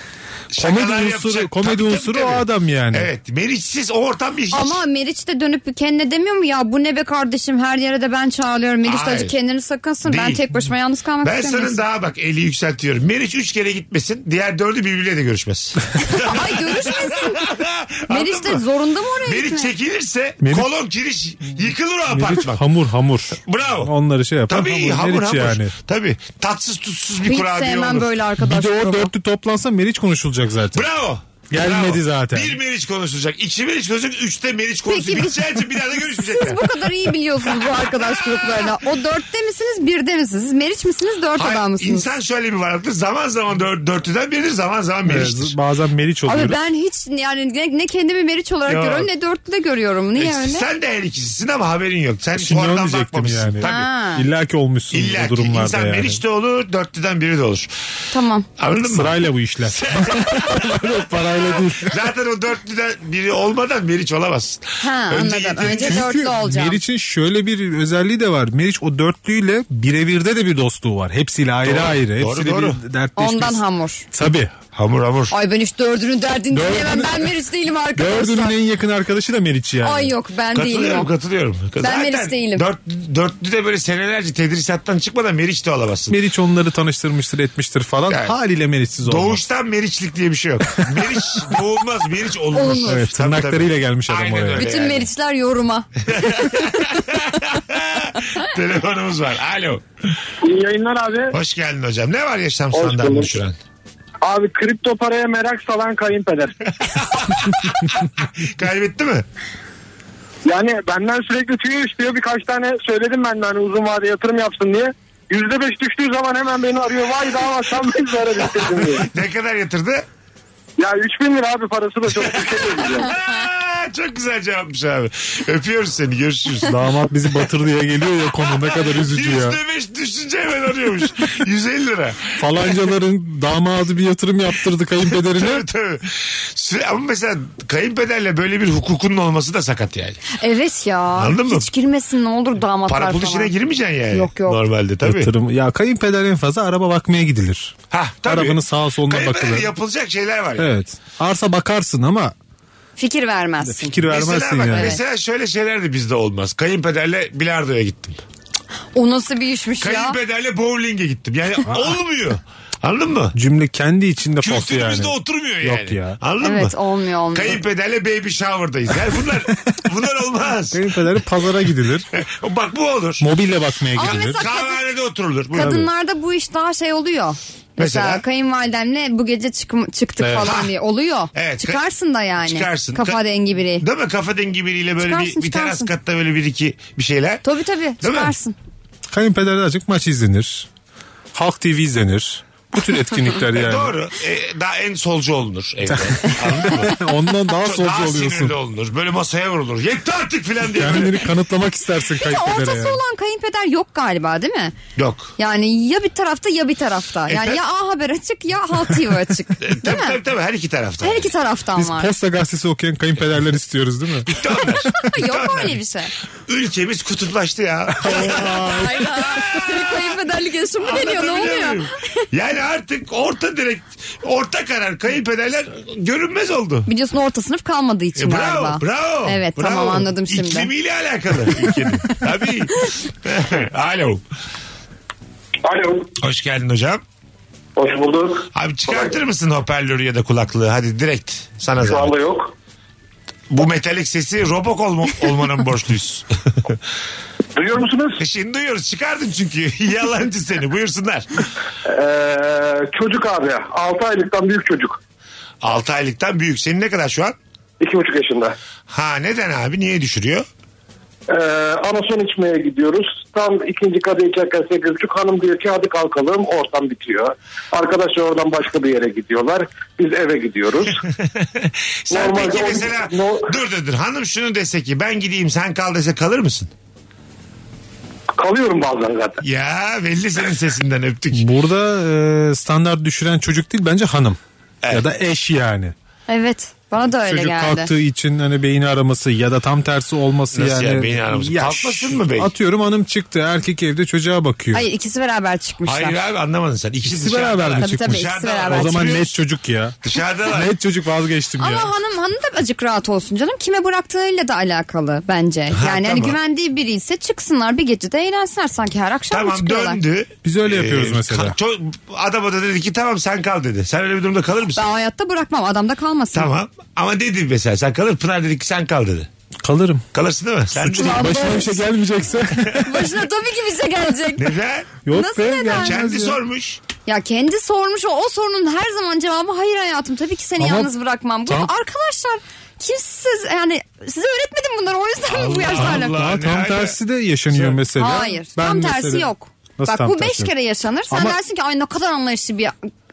Speaker 5: komedi
Speaker 3: Şakalar
Speaker 5: unsuru,
Speaker 3: yapacak.
Speaker 5: komedi
Speaker 3: Tabii, tabii,
Speaker 5: unsuru
Speaker 3: tabii.
Speaker 5: o adam yani.
Speaker 3: Evet Meriçsiz o ortam bir
Speaker 4: Ama Meriç de dönüp kendine demiyor mu ya bu ne be kardeşim her yere de ben çağırıyorum. Meriç de
Speaker 3: Hayır.
Speaker 4: acı kendini sakınsın. Ben
Speaker 3: Değil.
Speaker 4: tek başıma yalnız kalmak
Speaker 3: Ben
Speaker 4: istemiyorum.
Speaker 3: sana daha bak eli yükseltiyorum. Meriç üç kere gitmesin. Diğer dördü birbiriyle de görüşmez.
Speaker 4: Ay görüşmesin.
Speaker 3: Anladın
Speaker 4: Meriç de
Speaker 3: mı?
Speaker 4: zorunda mı oraya
Speaker 3: Meriç
Speaker 4: gitmek?
Speaker 3: çekilirse
Speaker 5: Meriç-
Speaker 3: kolon kiriş yıkılır o
Speaker 5: Meriç
Speaker 3: apartman.
Speaker 5: hamur hamur.
Speaker 3: Bravo.
Speaker 5: Onları şey yapar.
Speaker 3: Tabii hamur
Speaker 5: Meriç
Speaker 3: hamur.
Speaker 5: yani.
Speaker 3: Tabii tatsız tutsuz bir
Speaker 4: Hiç
Speaker 3: kurabiye
Speaker 4: sevmem
Speaker 3: olur.
Speaker 4: böyle
Speaker 5: Bir
Speaker 4: arkadaş
Speaker 5: de o
Speaker 4: grubu.
Speaker 5: dörtlü toplansa Meriç konuşulacak zaten.
Speaker 3: Bravo.
Speaker 5: Gelmedi zaten.
Speaker 3: Bir Meriç konuşulacak. iki Meriç konuşulacak. Üçte Meriç konuşulacak.
Speaker 4: Peki biz-
Speaker 3: Biteceği için bir daha da görüşmeyecekler.
Speaker 4: Siz bu kadar iyi biliyorsunuz bu arkadaş gruplarına. O dörtte misiniz birde misiniz? Siz Meriç misiniz dört
Speaker 3: Hayır,
Speaker 4: adam mısınız?
Speaker 3: İnsan şöyle bir varlıktır. Zaman zaman dört, dörtlüden biridir. Zaman zaman
Speaker 5: Evet,
Speaker 3: Meriç'tir.
Speaker 5: Bazen Meriç oluyoruz.
Speaker 4: Abi ben hiç yani ne, ne kendimi Meriç olarak
Speaker 3: Yok.
Speaker 4: görüyorum ne dörtlüde görüyorum. Niye
Speaker 3: E,
Speaker 4: öyle?
Speaker 3: Sen de her ikisisin ama haberin yok. Sen hiç
Speaker 5: Şimdi onu
Speaker 3: oradan
Speaker 5: diyecektim
Speaker 3: bakmamışsın.
Speaker 5: yani.
Speaker 3: Tabii.
Speaker 4: Ha.
Speaker 5: İlla ki olmuşsun
Speaker 3: İlla
Speaker 5: bu
Speaker 3: ki
Speaker 5: durumlarda
Speaker 3: insan
Speaker 5: yani.
Speaker 3: Meriç de olur, dörtlüden biri de olur.
Speaker 4: Tamam.
Speaker 3: Anladın mı?
Speaker 5: Sırayla bu işler. Parayla değil.
Speaker 3: Zaten o dörtlüden biri olmadan Meriç olamazsın.
Speaker 4: Ha anladım.
Speaker 3: yedi-
Speaker 4: Önce
Speaker 5: Çünkü
Speaker 4: dörtlü olacağım.
Speaker 5: Meriç'in şöyle bir özelliği de var. Meriç o dörtlüyle birebirde de bir dostluğu var. Hepsiyle ayrı
Speaker 3: Doğru,
Speaker 5: ayrı.
Speaker 3: doğru,
Speaker 5: Hepsiyle
Speaker 3: doğru.
Speaker 5: bir dertleşmesi.
Speaker 4: Ondan hamur.
Speaker 5: Tabii.
Speaker 3: Hamur hamur.
Speaker 4: Ay ben hiç dördünün derdini
Speaker 5: Dördünün-
Speaker 4: dinlemem. Ben Meriç değilim
Speaker 5: Dördünün
Speaker 4: arkadaşlar.
Speaker 5: en yakın arkadaşı da Meriç yani.
Speaker 4: Ay yok ben değilim
Speaker 3: Katılıyorum
Speaker 4: o.
Speaker 3: katılıyorum. Ben
Speaker 4: Meriç değilim.
Speaker 3: Dört, dörtlü de böyle senelerce tedrisattan çıkmadan Meriç de olamazsın.
Speaker 5: Meriç onları tanıştırmıştır etmiştir falan.
Speaker 3: Evet.
Speaker 5: Haliyle Meriç'siz olmaz.
Speaker 3: Doğuştan Meriçlik diye bir şey yok. Meriç doğulmaz, Meriç olunur.
Speaker 4: Olunur.
Speaker 5: Evet,
Speaker 3: Tabii,
Speaker 5: tırnaklarıyla
Speaker 3: tabii.
Speaker 5: gelmiş adam
Speaker 3: Aynen
Speaker 5: oraya.
Speaker 3: öyle
Speaker 4: Bütün
Speaker 3: yani.
Speaker 4: Meriçler yoruma.
Speaker 3: Telefonumuz var. Alo.
Speaker 7: İyi yayınlar abi.
Speaker 3: Hoş geldin hocam. Ne var yaşam
Speaker 7: Hoş
Speaker 3: standartını
Speaker 7: bulduk.
Speaker 3: düşüren?
Speaker 7: Abi kripto paraya merak salan kayınpeder.
Speaker 3: Kaybetti mi?
Speaker 7: Yani benden sürekli tüy istiyor. Birkaç tane söyledim ben de hani uzun vade yatırım yapsın diye. Yüzde beş düştüğü zaman hemen beni arıyor. Vay daha sen beni zara getirdin diye.
Speaker 3: Ne kadar yatırdı?
Speaker 7: Ya 3000 lira abi parası da çok yüksek ödeyeceğim.
Speaker 3: Aa, Çok güzel cevapmış abi. Öpüyoruz seni. Görüşürüz.
Speaker 5: Damat bizi batır diye geliyor ya konu ne kadar üzücü ya.
Speaker 3: %5 düşünce hemen arıyormuş. 150 lira.
Speaker 5: Falancaların damadı bir yatırım yaptırdı kayınpederine.
Speaker 3: Tabii tabii. Süre- Ama mesela kayınpederle böyle bir hukukunun olması da sakat yani.
Speaker 4: Evet ya.
Speaker 3: Anladın mı?
Speaker 4: Hiç girmesin ne olur damatlar
Speaker 3: Para pul
Speaker 4: falan.
Speaker 3: işine girmeyeceksin yani.
Speaker 4: Yok, yok.
Speaker 3: Normalde tabii.
Speaker 5: Yatırım. Ya kayınpeder en fazla araba bakmaya gidilir.
Speaker 3: Ha, tabii.
Speaker 5: Arabanın sağa soluna
Speaker 3: Kayınpederle
Speaker 5: bakılır.
Speaker 3: yapılacak şeyler var. yani.
Speaker 5: Evet. Arsa bakarsın ama
Speaker 4: Fikir vermezsin.
Speaker 5: fikir vermezsin
Speaker 3: Mesela, bak,
Speaker 5: yani.
Speaker 3: mesela şöyle şeyler de bizde olmaz. Kayınpederle bilardoya gittim.
Speaker 4: O nasıl bir işmiş ya?
Speaker 3: Kayınpederle bowling'e gittim. Yani olmuyor. Anladın mı?
Speaker 5: Cümle kendi içinde fos yani.
Speaker 3: Kültürümüzde oturmuyor yani.
Speaker 5: Yok ya.
Speaker 3: Anladın mı?
Speaker 4: Evet olmuyor olmuyor.
Speaker 3: Kayınpederle baby shower'dayız. Yani bunlar bunlar olmaz.
Speaker 5: Kayınpederi pazara gidilir.
Speaker 3: Bak bu olur.
Speaker 5: Mobilya bakmaya
Speaker 4: Ama
Speaker 5: gidilir.
Speaker 4: mesela kadın-
Speaker 3: Kahvehanede oturulur. Buyurun.
Speaker 4: Kadınlarda bu iş daha şey oluyor. Mesela,
Speaker 3: Mesela?
Speaker 4: kayınvalidemle bu gece çıkım, çıktık
Speaker 5: Evet.
Speaker 4: falan
Speaker 3: Ha.
Speaker 4: diye oluyor.
Speaker 3: Evet.
Speaker 4: Çıkarsın da yani.
Speaker 3: Çıkarsın.
Speaker 4: Kafa
Speaker 3: Ka-
Speaker 4: dengi biri.
Speaker 3: Değil mi? Kafa dengi biriyle böyle
Speaker 4: Çıkarsın,
Speaker 3: bir, bir teras
Speaker 4: çıkarsın.
Speaker 3: katta böyle bir iki bir şeyler.
Speaker 4: Tabii tabii
Speaker 3: Değil mi?
Speaker 4: çıkarsın.
Speaker 5: Kayınpederle azıcık maç izlenir. Halk TV izlenir. Bu tür etkinlikler
Speaker 3: E,
Speaker 5: yani.
Speaker 3: Doğru. E, daha en solcu olunur evde. Anladın mı?
Speaker 5: Ondan daha
Speaker 3: Çok-
Speaker 5: solcu
Speaker 3: daha
Speaker 5: oluyorsun.
Speaker 3: sinirli olunur. Böyle masaya vurulur. Yetti artık filan diye. böyle.
Speaker 5: Kendini kanıtlamak istersin
Speaker 4: Bir de
Speaker 5: kayınpedere
Speaker 4: ortası
Speaker 5: yani.
Speaker 4: olan kayınpeder yok galiba değil mi?
Speaker 3: Yok.
Speaker 4: Yani ya bir tarafta ya bir tarafta. Yani
Speaker 3: Efendim?
Speaker 4: ya A Haber açık ya Halk TV açık.
Speaker 3: E,
Speaker 4: değil
Speaker 3: tabii,
Speaker 4: mi?
Speaker 3: tabii tabii her iki tarafta.
Speaker 4: Her iki taraftan
Speaker 5: Biz
Speaker 4: var.
Speaker 5: posta gazetesi okuyan kayınpederler istiyoruz değil mi?
Speaker 3: Tamamdır.
Speaker 4: yok öyle bir şey.
Speaker 3: Ülkemiz kutuplaştı ya.
Speaker 4: Hayda. Senin kayınpederlik yaşın mı geliyor ne
Speaker 3: Anlatabiliyor
Speaker 4: oluyor?
Speaker 3: muyum? Yani artık orta direkt orta karar kayınpederler görünmez oldu.
Speaker 4: Biliyorsun orta sınıf kalmadığı için
Speaker 3: E, bravo,
Speaker 4: galiba.
Speaker 3: bravo.
Speaker 4: Evet
Speaker 3: bravo.
Speaker 4: tamam anladım şimdi.
Speaker 3: İklimiyle alakalı. ülkenin. Tabii. Alo.
Speaker 7: Alo.
Speaker 3: Hoş geldin hocam.
Speaker 7: Hoş bulduk.
Speaker 3: Abi çıkartır mısın hoparlörü ya da kulaklığı? Hadi direkt sana
Speaker 7: Şu
Speaker 3: zahmet.
Speaker 7: anda yok.
Speaker 3: Bu metalik sesi Robocall mu- olmana mı borçluyuz? E,
Speaker 7: Duyuyor musunuz?
Speaker 3: Şimdi duyuyoruz. Çıkardın çünkü. Yalancı seni. Buyursunlar.
Speaker 7: Ee, çocuk abi. 6 aylıktan büyük çocuk.
Speaker 3: 6 aylıktan büyük. Senin ne kadar şu an?
Speaker 7: 2,5 yaşında.
Speaker 3: Ha neden abi? Niye düşürüyor?
Speaker 7: Ee, anason içmeye gidiyoruz. Tam ikinci kadeh içerken sekiz buçuk hanım diyor ki hadi kalkalım ortam bitiyor. Arkadaşlar oradan başka bir yere gidiyorlar. Biz eve gidiyoruz.
Speaker 3: Sen
Speaker 7: Normalde
Speaker 3: peki
Speaker 7: on-
Speaker 3: mesela
Speaker 7: no-
Speaker 3: dur dur dur hanım şunu dese ki ben gideyim sen kal dese kalır mısın?
Speaker 7: Kalıyorum bazen zaten.
Speaker 3: Ya belli senin sesinden öptük.
Speaker 5: Burada e, standart düşüren çocuk değil bence hanım.
Speaker 3: Evet.
Speaker 5: Ya da eş yani.
Speaker 4: Evet Bana da öyle
Speaker 5: Çocuk
Speaker 4: geldi.
Speaker 5: kalktığı için hani beyni araması ya da tam tersi olması
Speaker 3: Nasıl
Speaker 5: yani.
Speaker 3: yani beyni araması? Kalkmasın mı beyin?
Speaker 5: Atıyorum hanım çıktı erkek evde çocuğa bakıyor.
Speaker 4: Hayır ikisi beraber çıkmışlar.
Speaker 3: Hayır abi anlamadın sen. İkisi,
Speaker 5: İkisi
Speaker 3: dışarıda.
Speaker 5: beraber mi
Speaker 4: Tabii,
Speaker 5: çıkmış?
Speaker 4: tabii, ikisi
Speaker 3: Dışarıda
Speaker 4: beraber
Speaker 5: o zaman
Speaker 3: oturuyoruz.
Speaker 5: net çocuk ya.
Speaker 3: Dışarıdalar.
Speaker 5: net çocuk vazgeçtim
Speaker 4: Ama
Speaker 5: ya.
Speaker 4: hanım hanım da acık rahat olsun canım. Kime bıraktığıyla da alakalı bence. Yani hani
Speaker 3: tamam.
Speaker 4: güvendiği biri ise çıksınlar bir gecede eğlensinler sanki her akşam mı
Speaker 3: Tamam
Speaker 4: çıkıyorlar?
Speaker 3: döndü.
Speaker 5: Biz öyle yapıyoruz
Speaker 3: Ee,
Speaker 5: mesela.
Speaker 3: ka- ço- adam da dedi ki tamam sen kal dedi. Sen öyle bir durumda kalır mısın?
Speaker 4: Ben hayatta bırakmam adamda kalmasın.
Speaker 3: Tamam. Ama dedi mesela sen kalır. Pınar dedi ki sen kal dedi.
Speaker 5: Kalırım.
Speaker 3: Kalırsın değil mi? Sen
Speaker 5: Suçlu.
Speaker 3: de-
Speaker 4: Vallahi-
Speaker 5: Başına bir şey gelmeyecekse.
Speaker 4: Başına tabii ki bize gelecek.
Speaker 3: Neden?
Speaker 5: Yok
Speaker 4: Nasıl
Speaker 5: be.
Speaker 4: neden?
Speaker 5: gelmez
Speaker 3: Kendi
Speaker 5: ya.
Speaker 3: sormuş.
Speaker 4: Ya kendi sormuş o, o sorunun her zaman cevabı hayır hayatım tabii ki seni
Speaker 5: Ama-
Speaker 4: yalnız bırakmam. Bu
Speaker 5: Tamam.
Speaker 4: arkadaşlar kimsiz yani size öğretmedim bunları o yüzden mi bu yaşlarla?
Speaker 3: Allah.
Speaker 5: Daha
Speaker 3: Ne
Speaker 5: tam
Speaker 3: ala-
Speaker 5: tersi de yaşanıyor mesela.
Speaker 4: Hayır
Speaker 5: Ben
Speaker 4: tam tersi
Speaker 5: mesela-
Speaker 4: yok.
Speaker 5: Nasıl
Speaker 4: Bak
Speaker 5: tam
Speaker 4: bu
Speaker 5: tersi
Speaker 4: beş
Speaker 5: yok?
Speaker 4: kere yaşanır sen
Speaker 5: Ama-
Speaker 4: dersin ki ay ne kadar anlayışlı bir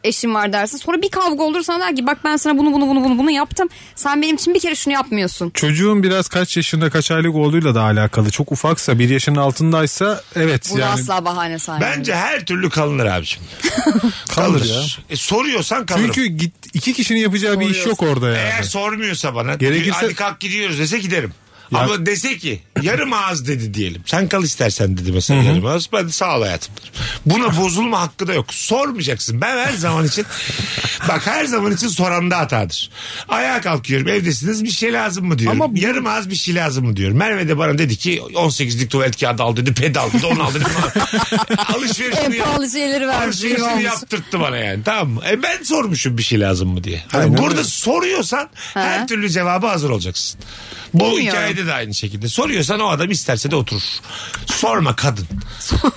Speaker 4: eşim var dersin. Sonra bir kavga olur sana der ki bak ben sana bunu bunu bunu bunu bunu yaptım. Sen benim için bir kere şunu yapmıyorsun.
Speaker 5: Çocuğun biraz kaç yaşında kaç aylık olduğuyla da alakalı. Çok ufaksa bir yaşının altındaysa evet
Speaker 4: Bunu
Speaker 5: yani.
Speaker 4: asla bahane sayma.
Speaker 3: Bence her türlü kalınır abiciğim. kalır. E, soruyorsan kalırım.
Speaker 5: Çünkü git, iki kişinin yapacağı bir iş yok orada yani.
Speaker 3: Eğer sormuyorsa bana
Speaker 5: Gerekirse-
Speaker 3: hadi kalk gidiyoruz dese giderim.
Speaker 5: Ya-
Speaker 3: Ama dese ki yarım ağız dedi diyelim. Sen kal istersen dedi mesela yarım ağız. Ben de sağ ol hayatım derim. Buna bozulma hakkı da yok. Sormayacaksın. Ben her zaman için bak her zaman için soranda hatadır. Ayağa kalkıyorum evdesiniz bir şey lazım mı diyorum.
Speaker 5: Ama bu-
Speaker 3: Yarım ağız bir şey lazım mı diyorum. Merve de bana dedi ki 18'lik tuvalet kağıdı al dedi. Ped al dedi onu al dedi. Alışverişini
Speaker 4: en
Speaker 3: yap.
Speaker 4: pahalı şeyleri vermiş. gibi
Speaker 3: Alışverişini
Speaker 4: olmuş.
Speaker 3: yaptırttı bana yani tamam mı? E ben sormuşum bir şey lazım mı diye. Hani
Speaker 5: Aynen
Speaker 3: burada
Speaker 5: öyle.
Speaker 3: soruyorsan her türlü cevaba hazır olacaksın. Bu hikayede de aynı şekilde. Soruyorsan o adam isterse de oturur. Sorma kadın.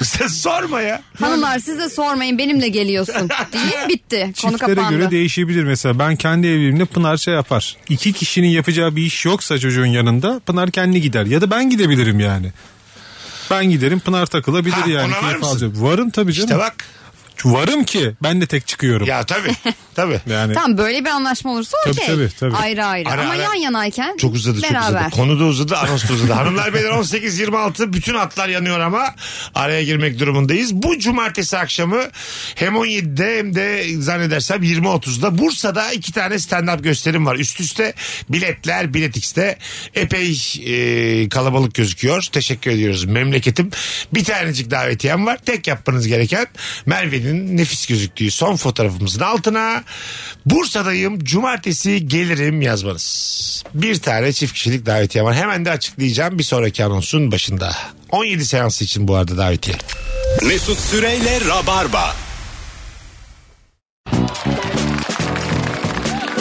Speaker 3: Sen sorma ya.
Speaker 4: Hanımlar siz de sormayın benimle geliyorsun. Değil bitti. Konu
Speaker 5: Çiftlere
Speaker 4: kapandı.
Speaker 5: göre değişebilir mesela. Ben kendi evimde Pınar şey yapar. İki kişinin yapacağı bir iş yoksa çocuğun yanında Pınar kendi gider. Ya da ben gidebilirim yani. Ben giderim Pınar takılabilir
Speaker 3: Ha,
Speaker 5: yani.
Speaker 3: ona var
Speaker 5: keyif
Speaker 3: mısın?
Speaker 5: alacak. Varım tabii canım.
Speaker 3: İşte bak.
Speaker 5: Varım ki ben de tek çıkıyorum.
Speaker 3: Ya tabii. Tabii.
Speaker 5: Yani
Speaker 4: Tamam böyle bir anlaşma olursa
Speaker 5: Tabii,
Speaker 4: okey.
Speaker 5: tabii, tabii.
Speaker 4: Ayrı ayrı.
Speaker 3: Ara,
Speaker 4: Ama
Speaker 3: ara.
Speaker 4: yan yanayken
Speaker 3: Çok uzadı çok
Speaker 4: beraber.
Speaker 3: uzadı. Konu da uzadı anons da uzadı. Hanımlar beyler 18-26 bütün hatlar yanıyor ama araya girmek durumundayız. Bu cumartesi akşamı hem 17'de hem de zannedersem 20.30'da Bursa'da iki tane stand-up gösterim var. Üst üste biletler Bilet X'te epey e, kalabalık gözüküyor. Teşekkür ediyoruz memleketim. Bir tanecik davetiyem var. Tek yapmanız gereken Merve'nin nefis gözüktüğü son fotoğrafımızın altına Bursa'dayım cumartesi gelirim yazmanız. Bir tane çift kişilik davetiye var. Hemen de açıklayacağım bir sonraki anonsun başında. 17 seansı için bu arada davetiye.
Speaker 2: Mesut Süreyle Rabarba.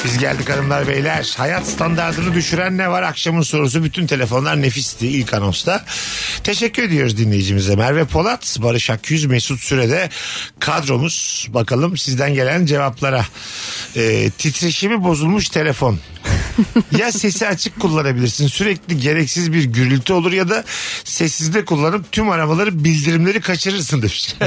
Speaker 3: Biz geldik hanımlar beyler. Hayat standartını düşüren ne var? Akşamın sorusu bütün telefonlar nefisti ilk anonsta. Teşekkür ediyoruz dinleyicimize. Merve Polat, Barış Akyüz, Mesut Süre'de kadromuz. Bakalım sizden gelen cevaplara. Ee, titreşimi bozulmuş telefon. ya sesi açık kullanabilirsin. Sürekli gereksiz bir gürültü olur ya da sessizde kullanıp tüm aramaları bildirimleri kaçırırsın demiş.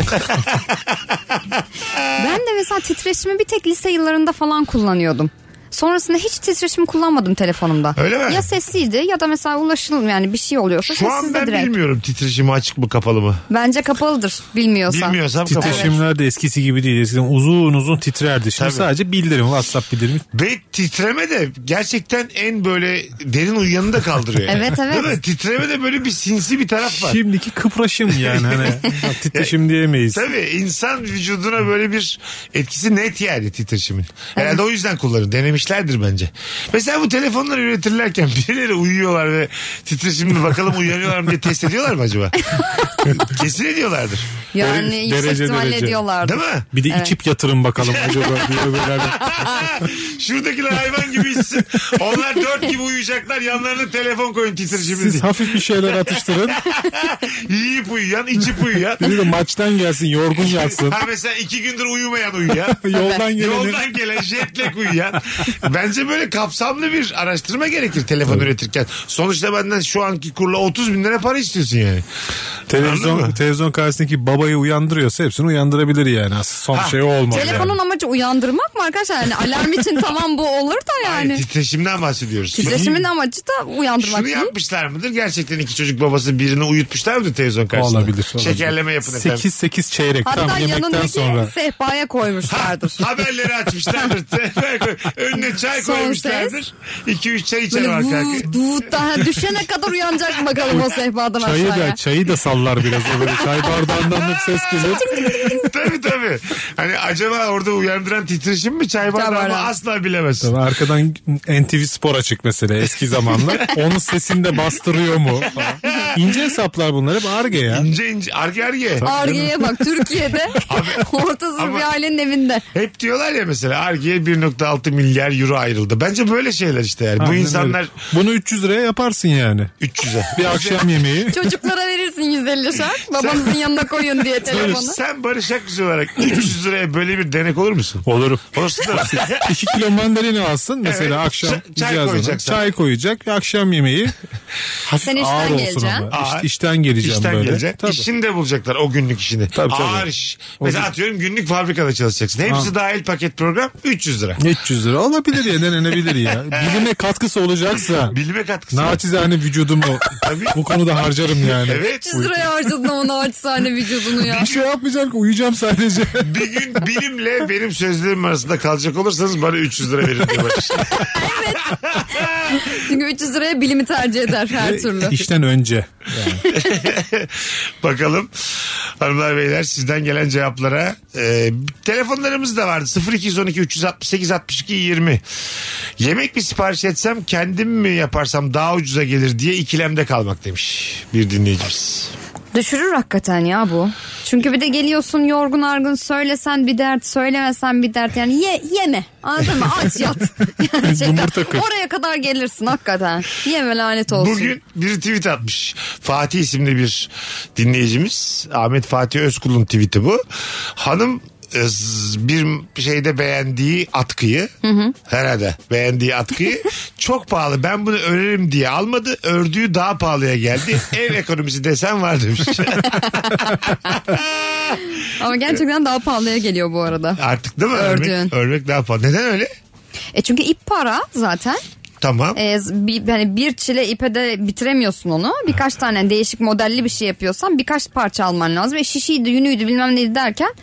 Speaker 4: Ben de mesela titreşimi bir tek lise yıllarında falan kullanıyordum. Sonrasında hiç titreşimi kullanmadım telefonumda.
Speaker 3: Öyle mi?
Speaker 4: Ya sesliydi ya da mesela ulaşılım yani bir şey oluyorsa
Speaker 3: Şu an
Speaker 4: sessizde
Speaker 3: ben
Speaker 4: direkt.
Speaker 3: bilmiyorum titreşimi açık mı kapalı mı.
Speaker 4: Bence kapalıdır bilmiyorsan.
Speaker 3: Bilmiyorsam kapalı.
Speaker 5: titreşimler de eskisi gibi değil. Eskiden uzun uzun titrerdi. Şimdi
Speaker 3: Tabii.
Speaker 5: sadece bildirim WhatsApp bildirimi.
Speaker 3: Ve titreme de gerçekten en böyle derin uyuyanı da kaldırıyor. yani.
Speaker 4: Evet, evet.
Speaker 3: Değil mi? Titreme de böyle bir sinsi bir taraf var.
Speaker 5: Şimdiki kıpraşım yani hani Ya titreşim diyemeyiz.
Speaker 3: Tabii insan vücuduna böyle bir etkisi net yani titreşimin. Herhalde o yüzden kullanır. Denemişlerdir bence. Mesela bu telefonları üretirlerken birileri uyuyorlar ve titreşimle bakalım uyanıyorlar mı diye test ediyorlar mı acaba? Kesin ediyorlardır.
Speaker 4: Yani
Speaker 5: Dere-
Speaker 4: yüksek
Speaker 5: derece
Speaker 4: ihtimalle
Speaker 5: derece.
Speaker 4: diyorlardı.
Speaker 3: Değil mi?
Speaker 5: Bir de içip yatırın bakalım acaba diye böyle bir-
Speaker 3: Şuradakiler hayvan gibi içsin. Onlar dört gibi uyuyacaklar. Yanlarına telefon koyun titreşimin diye.
Speaker 5: Siz hafif bir şeyler atıştırın.
Speaker 3: Yiyip uyuyan, içip uyuyan.
Speaker 5: Biri de maçtan gelsin yorgun yatsın.
Speaker 3: Ha mesela iki gündür uyumayan uyuyan.
Speaker 5: Yoldan geleni.
Speaker 3: Şey, Yoldan gelen jetlek uyuyan. Bence böyle kapsamlı bir araştırma gerekir telefon üretirken. Sonuçta benden şu anki kurla 30 bin lira para istiyorsun yani. Anladın
Speaker 5: Televizyon,
Speaker 3: mı?
Speaker 5: televizyon karşısındaki babayı uyandırıyorsa hepsini uyandırabilir yani. Aslında son
Speaker 3: Ha,
Speaker 5: şey o olmalı.
Speaker 4: Telefonun
Speaker 5: yani.
Speaker 4: amacı uyandırmak mı arkadaşlar? Yani alarm için tamam bu olur da
Speaker 3: Hayır,
Speaker 4: yani.
Speaker 3: E, titreşimden bahsediyoruz.
Speaker 4: Titreşimin amacı da uyandırmak
Speaker 3: Şunu
Speaker 4: değil.
Speaker 3: yapmışlar mıdır? Gerçekten iki çocuk babası birini uyutmuşlar mıdır televizyon karşısında? aslında.
Speaker 5: Olabilir, olabilir.
Speaker 3: Şekerleme yapın efendim.
Speaker 5: 8-8 çeyrek
Speaker 4: Hatta şey
Speaker 5: tam yemekten
Speaker 4: yanındaki
Speaker 5: sonra.
Speaker 4: sehpaya koymuşlardır.
Speaker 3: Haberleri açmışlardır. Önüne çay
Speaker 4: Son
Speaker 3: koymuşlardır. 2-3 çay içer
Speaker 4: Böyle
Speaker 3: şey var
Speaker 4: vut vut daha düşene kadar uyanacak bakalım o sehpadan
Speaker 5: Çayı
Speaker 4: aşağıya.
Speaker 5: da, çayı da sallar biraz. O böyle çay bardağından hep ses gelir.
Speaker 3: tabii tabii. Hani acaba orada uyandıran titreşim mi çay bardağı mı
Speaker 4: bardağı.
Speaker 3: asla bilemezsin.
Speaker 5: Tabii arkadan NTV Spor açık mesela eski zamanlar. Onun sesinde bastırıyor mu? falan. İnce hesaplar bunlar hep arge ya.
Speaker 3: İnce ince arge arge.
Speaker 4: Arge'ye bak Türkiye'de orta sınıf
Speaker 3: ama-
Speaker 4: bir ailenin evinde.
Speaker 3: Hep diyorlar ya mesela argeye 1.6 milyar euro ayrıldı. Bence böyle şeyler işte yani. Bu
Speaker 5: Aynen
Speaker 3: insanlar
Speaker 5: öyle. Bunu 300 liraya yaparsın yani.
Speaker 3: 300'e.
Speaker 5: Bir akşam yemeği.
Speaker 4: Çocuklara verirsin 150 şart. Babanızın yanına koyun diye telefonu.
Speaker 3: Sen Barış Akgüz olarak 300 liraya böyle bir denek olur musun?
Speaker 5: Olurum.
Speaker 3: Olursun da.
Speaker 5: 2 kilo mandalina alsın mesela
Speaker 3: Evet.
Speaker 5: akşam
Speaker 3: Çay- çay
Speaker 5: cihazına.
Speaker 3: koyacaksın.
Speaker 5: çay koyacak akşam yemeği hafif
Speaker 4: Sen işten
Speaker 5: ağır olsun
Speaker 4: geleceksin.
Speaker 5: ama
Speaker 3: Ağır.
Speaker 5: İş- işten geleceğim
Speaker 3: İşten
Speaker 5: böyle
Speaker 3: gelecek.
Speaker 5: Tabii.
Speaker 3: İşini de bulacaklar o günlük işini.
Speaker 5: Tabii, tabii.
Speaker 3: Ağır iş. Mesela atıyorum günlük fabrikada çalışacaksın. Hepsi dahil paket program 300 lira.
Speaker 5: 300 lira olabilir ya denenebilir ya bilime katkısı olacaksa
Speaker 3: Bilme katkısı.
Speaker 5: naçizane vücudumu
Speaker 3: Tabii.
Speaker 5: bu konuda harcarım yani
Speaker 3: Evet.
Speaker 4: 300 liraya harcadın ama naçizane vücudunu ya.
Speaker 5: bir şey yapmayacağım ki uyuyacağım sadece
Speaker 3: Bir gün bilimle benim sözlerim arasında kalacak olursanız bana 300 lira verin diyor Barış.
Speaker 4: Çünkü 300 liraya bilimi tercih eder her türlü.
Speaker 5: işten önce
Speaker 3: Bakalım hanımlar beyler sizden gelen cevaplara. Ee, telefonlarımız da vardı 0212 368 62 20. Yemek mi sipariş etsem kendim mi yaparsam daha ucuza gelir diye ikilemde kalmak demiş bir dinleyicimiz.
Speaker 4: Düşürür hakikaten ya bu. Çünkü bir de geliyorsun yorgun argın söylesen bir dert söylemesen bir dert yani ye yeme anladın mı aç yat. Yani şeyden-
Speaker 5: Yumurta kır.
Speaker 4: oraya kadar gelirsin hakikaten yeme lanet olsun.
Speaker 3: Bugün bir tweet atmış. Fatih isimli bir dinleyicimiz. Ahmet Fatih Özkul'un tweeti bu. Hanım e, z- bir şeyde beğendiği atkıyı herhalde beğendiği atkıyı çok pahalı ben bunu örerim diye almadı ördüğü daha pahalıya geldi ev ekonomisi desen var demiş
Speaker 4: Ama gerçekten daha pahalıya geliyor bu arada.
Speaker 3: artık değil mi örmek,
Speaker 4: Ördüğün.
Speaker 3: örmek daha pahalı neden öyle
Speaker 4: E çünkü ip para zaten.
Speaker 3: tamam
Speaker 4: E, bir, yani bir çile ipe de bitiremiyorsun onu. Birkaç tane değişik modelli bir şey yapıyorsan birkaç parça alman lazım. E şişiydi, yünüydü bilmem neydi derken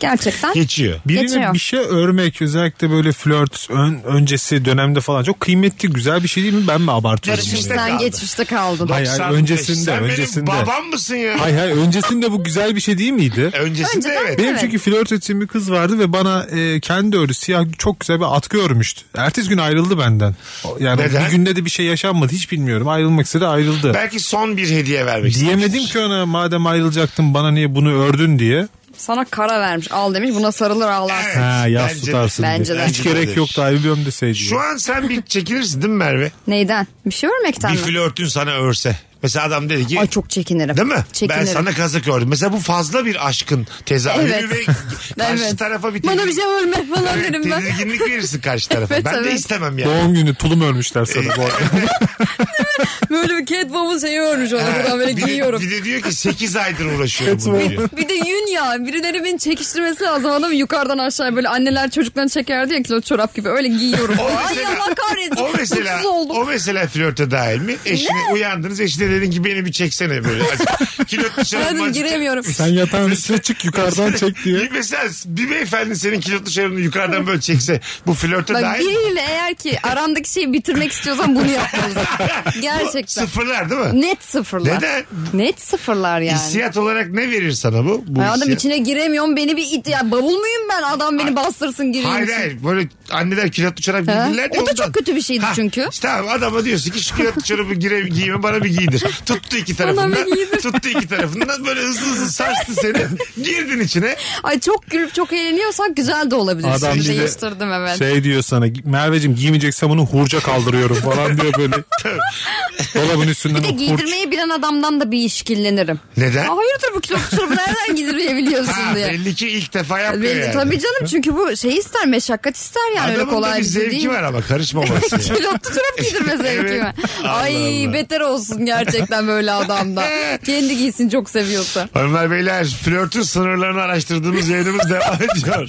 Speaker 4: gerçekten
Speaker 3: geçiyor
Speaker 5: Birine
Speaker 4: Geçiyor.
Speaker 5: bir şey örmek özellikle böyle flört ön- öncesi dönemde falan çok kıymetli güzel bir şey değil mi ben mi abartıyorum?
Speaker 3: Yarışmış
Speaker 5: bunu?
Speaker 3: da-
Speaker 4: sen
Speaker 3: kaldı.
Speaker 4: geçmişte kaldın.
Speaker 5: Hayır, hayır,
Speaker 3: 95.
Speaker 5: öncesinde,
Speaker 3: sen
Speaker 5: öncesinde.
Speaker 3: benim babam mısın ya
Speaker 5: Hayır hayır öncesinde bu güzel bir şey değil miydi?
Speaker 3: öncesinde
Speaker 4: Önceden-
Speaker 3: evet
Speaker 5: Benim
Speaker 4: Evet.
Speaker 5: çünkü flört ettiğim bir kız vardı ve bana e, kendi öyle siyah çok güzel bir atkı örmüştü. Ertesi gün ayrıldı benden. O- Yani
Speaker 3: Neden?
Speaker 5: bir günde de bir şey yaşanmadı hiç bilmiyorum. Ayrılmak istedi ayrıldı.
Speaker 3: belki son bir hediye vermek
Speaker 5: Diyemedim ki ona madem ayrılacaktın bana niye bunu ördün diye.
Speaker 4: Sana kara vermiş al demiş buna sarılır ağlarsın.
Speaker 5: Ha yas
Speaker 3: E, Bence de.
Speaker 5: tutarsın
Speaker 4: Bence
Speaker 5: diye.
Speaker 4: de.
Speaker 5: Hiç gerek yoktu ayrılıyorum deseydi.
Speaker 3: Şu an sen bir çekinirsin değil mi Merve?
Speaker 4: Neyden? Bir şey örmekten
Speaker 3: Bir
Speaker 4: mi?
Speaker 3: flörtün sana örse. Mesela adam dedi ki
Speaker 4: Ay çok çekinirim.
Speaker 3: değil mi?
Speaker 4: Çekinirim.
Speaker 3: Ben sana kazık ördüm. Mesela bu fazla bir aşkın tezahürü
Speaker 4: Evet.
Speaker 3: ve karşı
Speaker 4: Evet.
Speaker 3: tarafa bir
Speaker 4: Bana bir şey örme falan
Speaker 3: Evet,
Speaker 4: derim ben.
Speaker 3: tedirginlik verirsin karşı tarafa.
Speaker 4: Evet,
Speaker 3: ben de
Speaker 4: evet.
Speaker 3: istemem yani.
Speaker 5: Doğum günü tulum örmüşler sana bu arada.
Speaker 4: Böyle bir Catwoman şeyi örmüş ona buradan böyle
Speaker 3: bir, de,
Speaker 4: giyiyorum.
Speaker 3: bir de diyor ki 8 aydır uğraşıyorum bunu diyor.
Speaker 4: Bir de yün ya. Birileri beni çekiştirmesi lazım anladın mı? Yukarıdan aşağıya böyle anneler çocuklarını çekerdi ya kilo çorap gibi. Öyle giyiyorum.
Speaker 3: O
Speaker 4: Ay
Speaker 3: mesela-
Speaker 4: Allah kahretsin.
Speaker 3: O mesela,
Speaker 4: Mutsuz oldum.
Speaker 3: o mesela flörte dahil mi? Eşine uyandınız eşine dedin ki beni bir çeksene böyle. Kilot dışarı
Speaker 4: Efendim, giremiyorum.
Speaker 5: Sen yatağın üstüne çık yukarıdan çek diye.
Speaker 3: Bir mesela bir beyefendi senin kilotlu şarabını yukarıdan böyle çekse bu flörte
Speaker 4: Bak
Speaker 3: dahil mi?
Speaker 4: biriyle eğer ki arandaki şeyi bitirmek istiyorsan bunu yapmalısın. Gerçekten.
Speaker 3: Sıfırlar değil mi?
Speaker 4: Net sıfırlar.
Speaker 3: Neden?
Speaker 4: Net sıfırlar yani.
Speaker 3: Hissiyat olarak ne verir sana bu? bu
Speaker 4: Ya adam
Speaker 3: hissiyat?
Speaker 4: içine giremiyorum beni bir it ya bavul muyum ben adam beni bastırsın gireyim
Speaker 3: Hayır
Speaker 4: için.
Speaker 3: hayır böyle anneler kilotlu çorap
Speaker 4: Ha?
Speaker 3: giydirirler de
Speaker 4: O da çok
Speaker 3: ondan.
Speaker 4: kötü bir şeydi
Speaker 3: Ha,
Speaker 4: çünkü.
Speaker 3: işte tamam adama diyorsun ki şu kilotlu çorabı gire, giyme bana bir giydir. Tuttu iki tarafından.
Speaker 4: bir giydir.
Speaker 3: tuttu iki tarafından böyle hızlı hızlı sarstı seni. Girdin içine.
Speaker 4: Ay çok gülüp çok eğleniyorsak güzel de olabilir.
Speaker 5: Adam
Speaker 4: Şimdi
Speaker 5: bir de
Speaker 4: değiştirdim evet.
Speaker 5: Şey diyor sana Merveciğim giymeyeceksen bunu hurca kaldırıyorum falan diyor böyle. Dolabın üstünden
Speaker 4: bir de
Speaker 5: o hurç-
Speaker 4: giydirmeyi bilen adamdan da bir işkillenirim.
Speaker 3: Neden?
Speaker 4: Aa, hayırdır bu kilo çorabı nereden giydirmeyebiliyorsun
Speaker 3: Ha,
Speaker 4: diye.
Speaker 3: belli ki ilk defa yapıyor
Speaker 4: Belli,
Speaker 3: yani.
Speaker 4: Tabii canım çünkü bu şey ister meşakkat ister yani öyle
Speaker 3: Adamın
Speaker 4: kolay
Speaker 3: da bir
Speaker 4: şey
Speaker 3: zevki
Speaker 4: değil.
Speaker 3: var ama karışmaması. yani.
Speaker 4: Pilotlu çorap giydirme zevki
Speaker 3: Evet.
Speaker 4: var.
Speaker 3: Allah
Speaker 4: Ay
Speaker 3: Allah.
Speaker 4: beter olsun gerçekten böyle adamda. Kendi giysin çok seviyorsa.
Speaker 3: Hanımlar beyler flörtün sınırlarını araştırdığımız yayınımız devam ediyor.